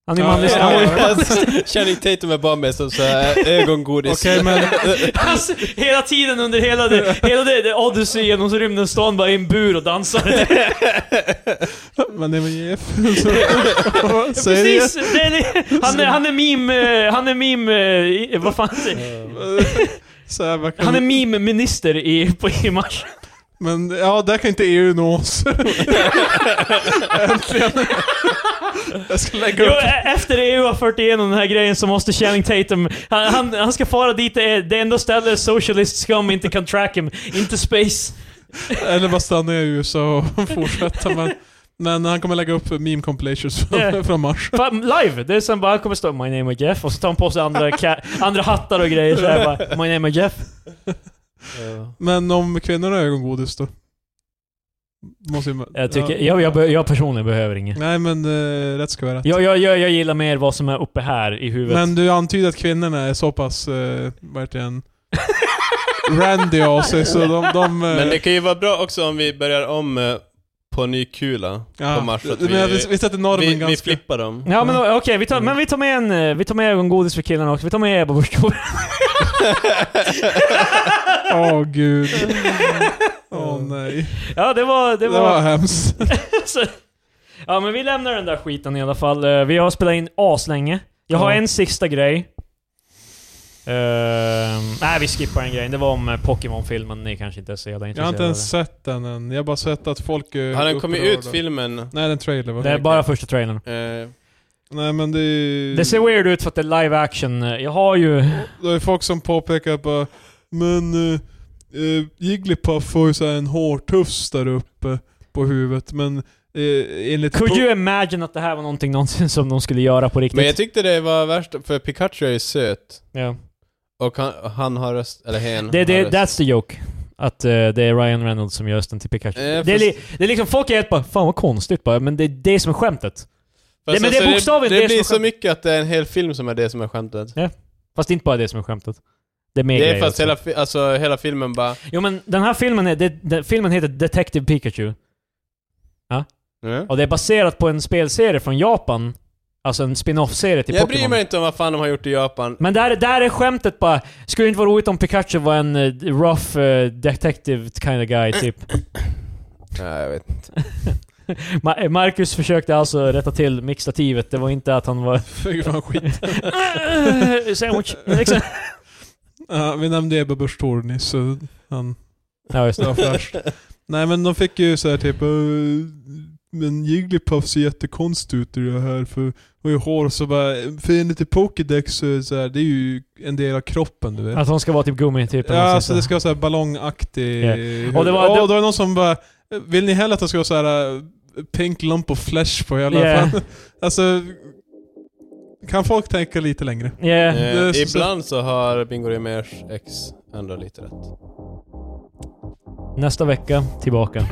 S1: Han är
S2: Ja,
S1: manlig
S2: ja,
S1: ja,
S2: ja.
S3: Channing Tatum är bara med som såhär ögongodis.
S2: Okej men,
S1: [LAUGHS] Alltså, hela tiden under hela det, hela det, det Odyssey genom rymden står han bara i en bur och dansar.
S2: men det
S1: [LAUGHS]
S2: var JF. Så- Säger det.
S1: Precis! Det är, det- han, är, han är meme... eh, Han är meme... eh, i- Vad fan säger
S2: Så här, vad kan
S1: Han är meme-minister i, på, i Mars.
S2: [LAUGHS] Men ja, där kan inte EU nå oss. [LAUGHS] Äntligen. Jag ska lägga
S1: Jo,
S2: upp.
S1: e- efter EU har fört igenom den här grejen så måste Channing Tatum... Han, han, han ska fara dit det är det enda stället socialist scum inte kan track him. Inte space.
S2: Eller bara stanna i USA och [LAUGHS] fortsätta. Men, men han kommer lägga upp meme compilations från,
S1: Ja.
S2: från Mars.
S1: Fan, Live! Det är sen bara, han kommer stå 'My name is Jeff' och så tar han på sig andra, ka- andra hattar och grejer såhär bara 'My name is Jeff'
S3: Ja.
S2: Men om kvinnorna är ögongodis då? Måste ju...
S1: Jag tycker, jag, jag, be- jag personligen behöver inget.
S2: Nej men eh, rätt ska vara rätt.
S1: Jag, jag, jag, jag gillar mer vad som är uppe här i huvudet.
S2: Men du antyder att kvinnorna är så pass, eh, vad heter den? Randy av sig så de... de
S3: [LAUGHS]
S2: eh,
S3: Men det kan ju vara bra också om vi börjar om eh, på en ny kula
S2: ja,
S3: på Mars. så Att
S2: men vi, vi,
S3: vi,
S2: sätter
S3: vi,
S2: normen
S3: vi,
S2: ganska... Mm,
S3: flippar dem.
S1: Ja men okej, vi tar, men vi tar med en, eh, vi tar med ögongodis för killarna också. Vi tar med Ebba Busch Thor.
S2: Åh
S1: [LAUGHS]
S2: gud. Åh nej.
S1: [LAUGHS] Ja det var, det
S2: Det var
S1: var...
S2: hemskt.
S1: så- ja men vi lämnar den där skiten i alla fall. Eh, Vi har spelat in aslänge. Jag har
S2: Ja.
S1: en sista grej. Ehm, nej vi skippar en grej. Det var om eh, Pokémon-filmen. Ni kanske inte är så jävla
S2: Jag
S1: intresserade.
S2: har inte ens sett den än. Jag har bara sett att folk är
S3: Har den kommit ut
S2: upprörda.
S3: filmen?
S2: Nej, den trailer va?
S1: Det är bara första trailern.
S3: Eh,
S2: Nej men det är ju...
S1: Det ser weird ut för att det är live action. Jag har ju...
S3: [LAUGHS]
S2: Det är folk som påpekar bara Men uh, Jigglypuff har ju så här en hårtufs där uppe på huvudet men uh, enligt...
S1: Could you imagine att det här var någonting någonsin som de skulle göra på riktigt?
S3: men jag tyckte det var värst, för Pikachu är ju söt.
S1: ja.
S3: Och han, han har röst, eller hen
S1: det,
S3: har
S1: det,
S3: röst.
S1: that's the joke. Att eh, det är Ryan Reynolds som gör rösten till Pikachu.
S3: Eh,
S1: det, är
S3: fast-
S1: li, det är liksom, folk är helt bara 'Fan vad konstigt' bara, men det är det som är skämtet.
S3: Fast
S1: men det är bokstavligt
S3: det,
S1: det
S3: det
S1: som är
S3: blir så
S1: skämt.
S3: mycket att det är en hel film som är det som är skämtet.
S1: Fast det är inte bara det som är skämtet. Det är mer
S3: Det är
S1: grejer
S3: för att
S1: också.
S3: hela, fi- alltså, hela filmen bara...
S1: Jo men den här filmen, är, det, den, filmen heter Detective Pikachu.
S3: Mm.
S1: Och det är baserat på en spelserie från Japan. Alltså en spin-off-serie till
S3: Jag
S1: Pokémon.
S3: bryr mig inte om vad fan de har gjort i Japan.
S1: Men där, där är skämtet bara, skulle det inte vara roligt om Pikachu var en eh, rough eh, detective kind of guy typ? [LAUGHS]
S3: Nej, jag vet inte.
S1: Ma- eh, Marcus försökte alltså rätta till mixtativet, det var inte att han var...
S2: Fy fan skit.
S1: Sandwich! Liksom.
S2: [LAUGHS] Ja, vi nämnde Ebba Busch Thor nyss, så han...
S1: [LAUGHS] Ja, just
S2: Det
S1: det.
S2: var fräscht. Nej men de fick ju så här typ eh, Men Jigglypuff ser jättekonstig ut i det här för och ju hår så bara, för enligt i Pokédex så är det, så här, det är ju en del av kroppen du vet.
S1: Att hon ska vara typ gummi typ.
S2: ja
S1: eller något
S2: alltså
S1: sånt
S2: det
S1: där.
S2: ska vara såhär ballongaktig...
S1: Ja.
S2: Yeah.
S1: Och det var-
S2: då är det någon som bara, vill ni hellre att det ska vara såhär eh, pink lump of flesh på hela
S1: Ja.
S2: fan? [LAUGHS] Alltså, kan folk tänka lite längre?
S1: Yeah.
S2: det är
S3: Eh,
S2: så-
S3: ibland så har Bingo Rimérs ex ändå lite rätt.
S1: Nästa vecka, tillbaka.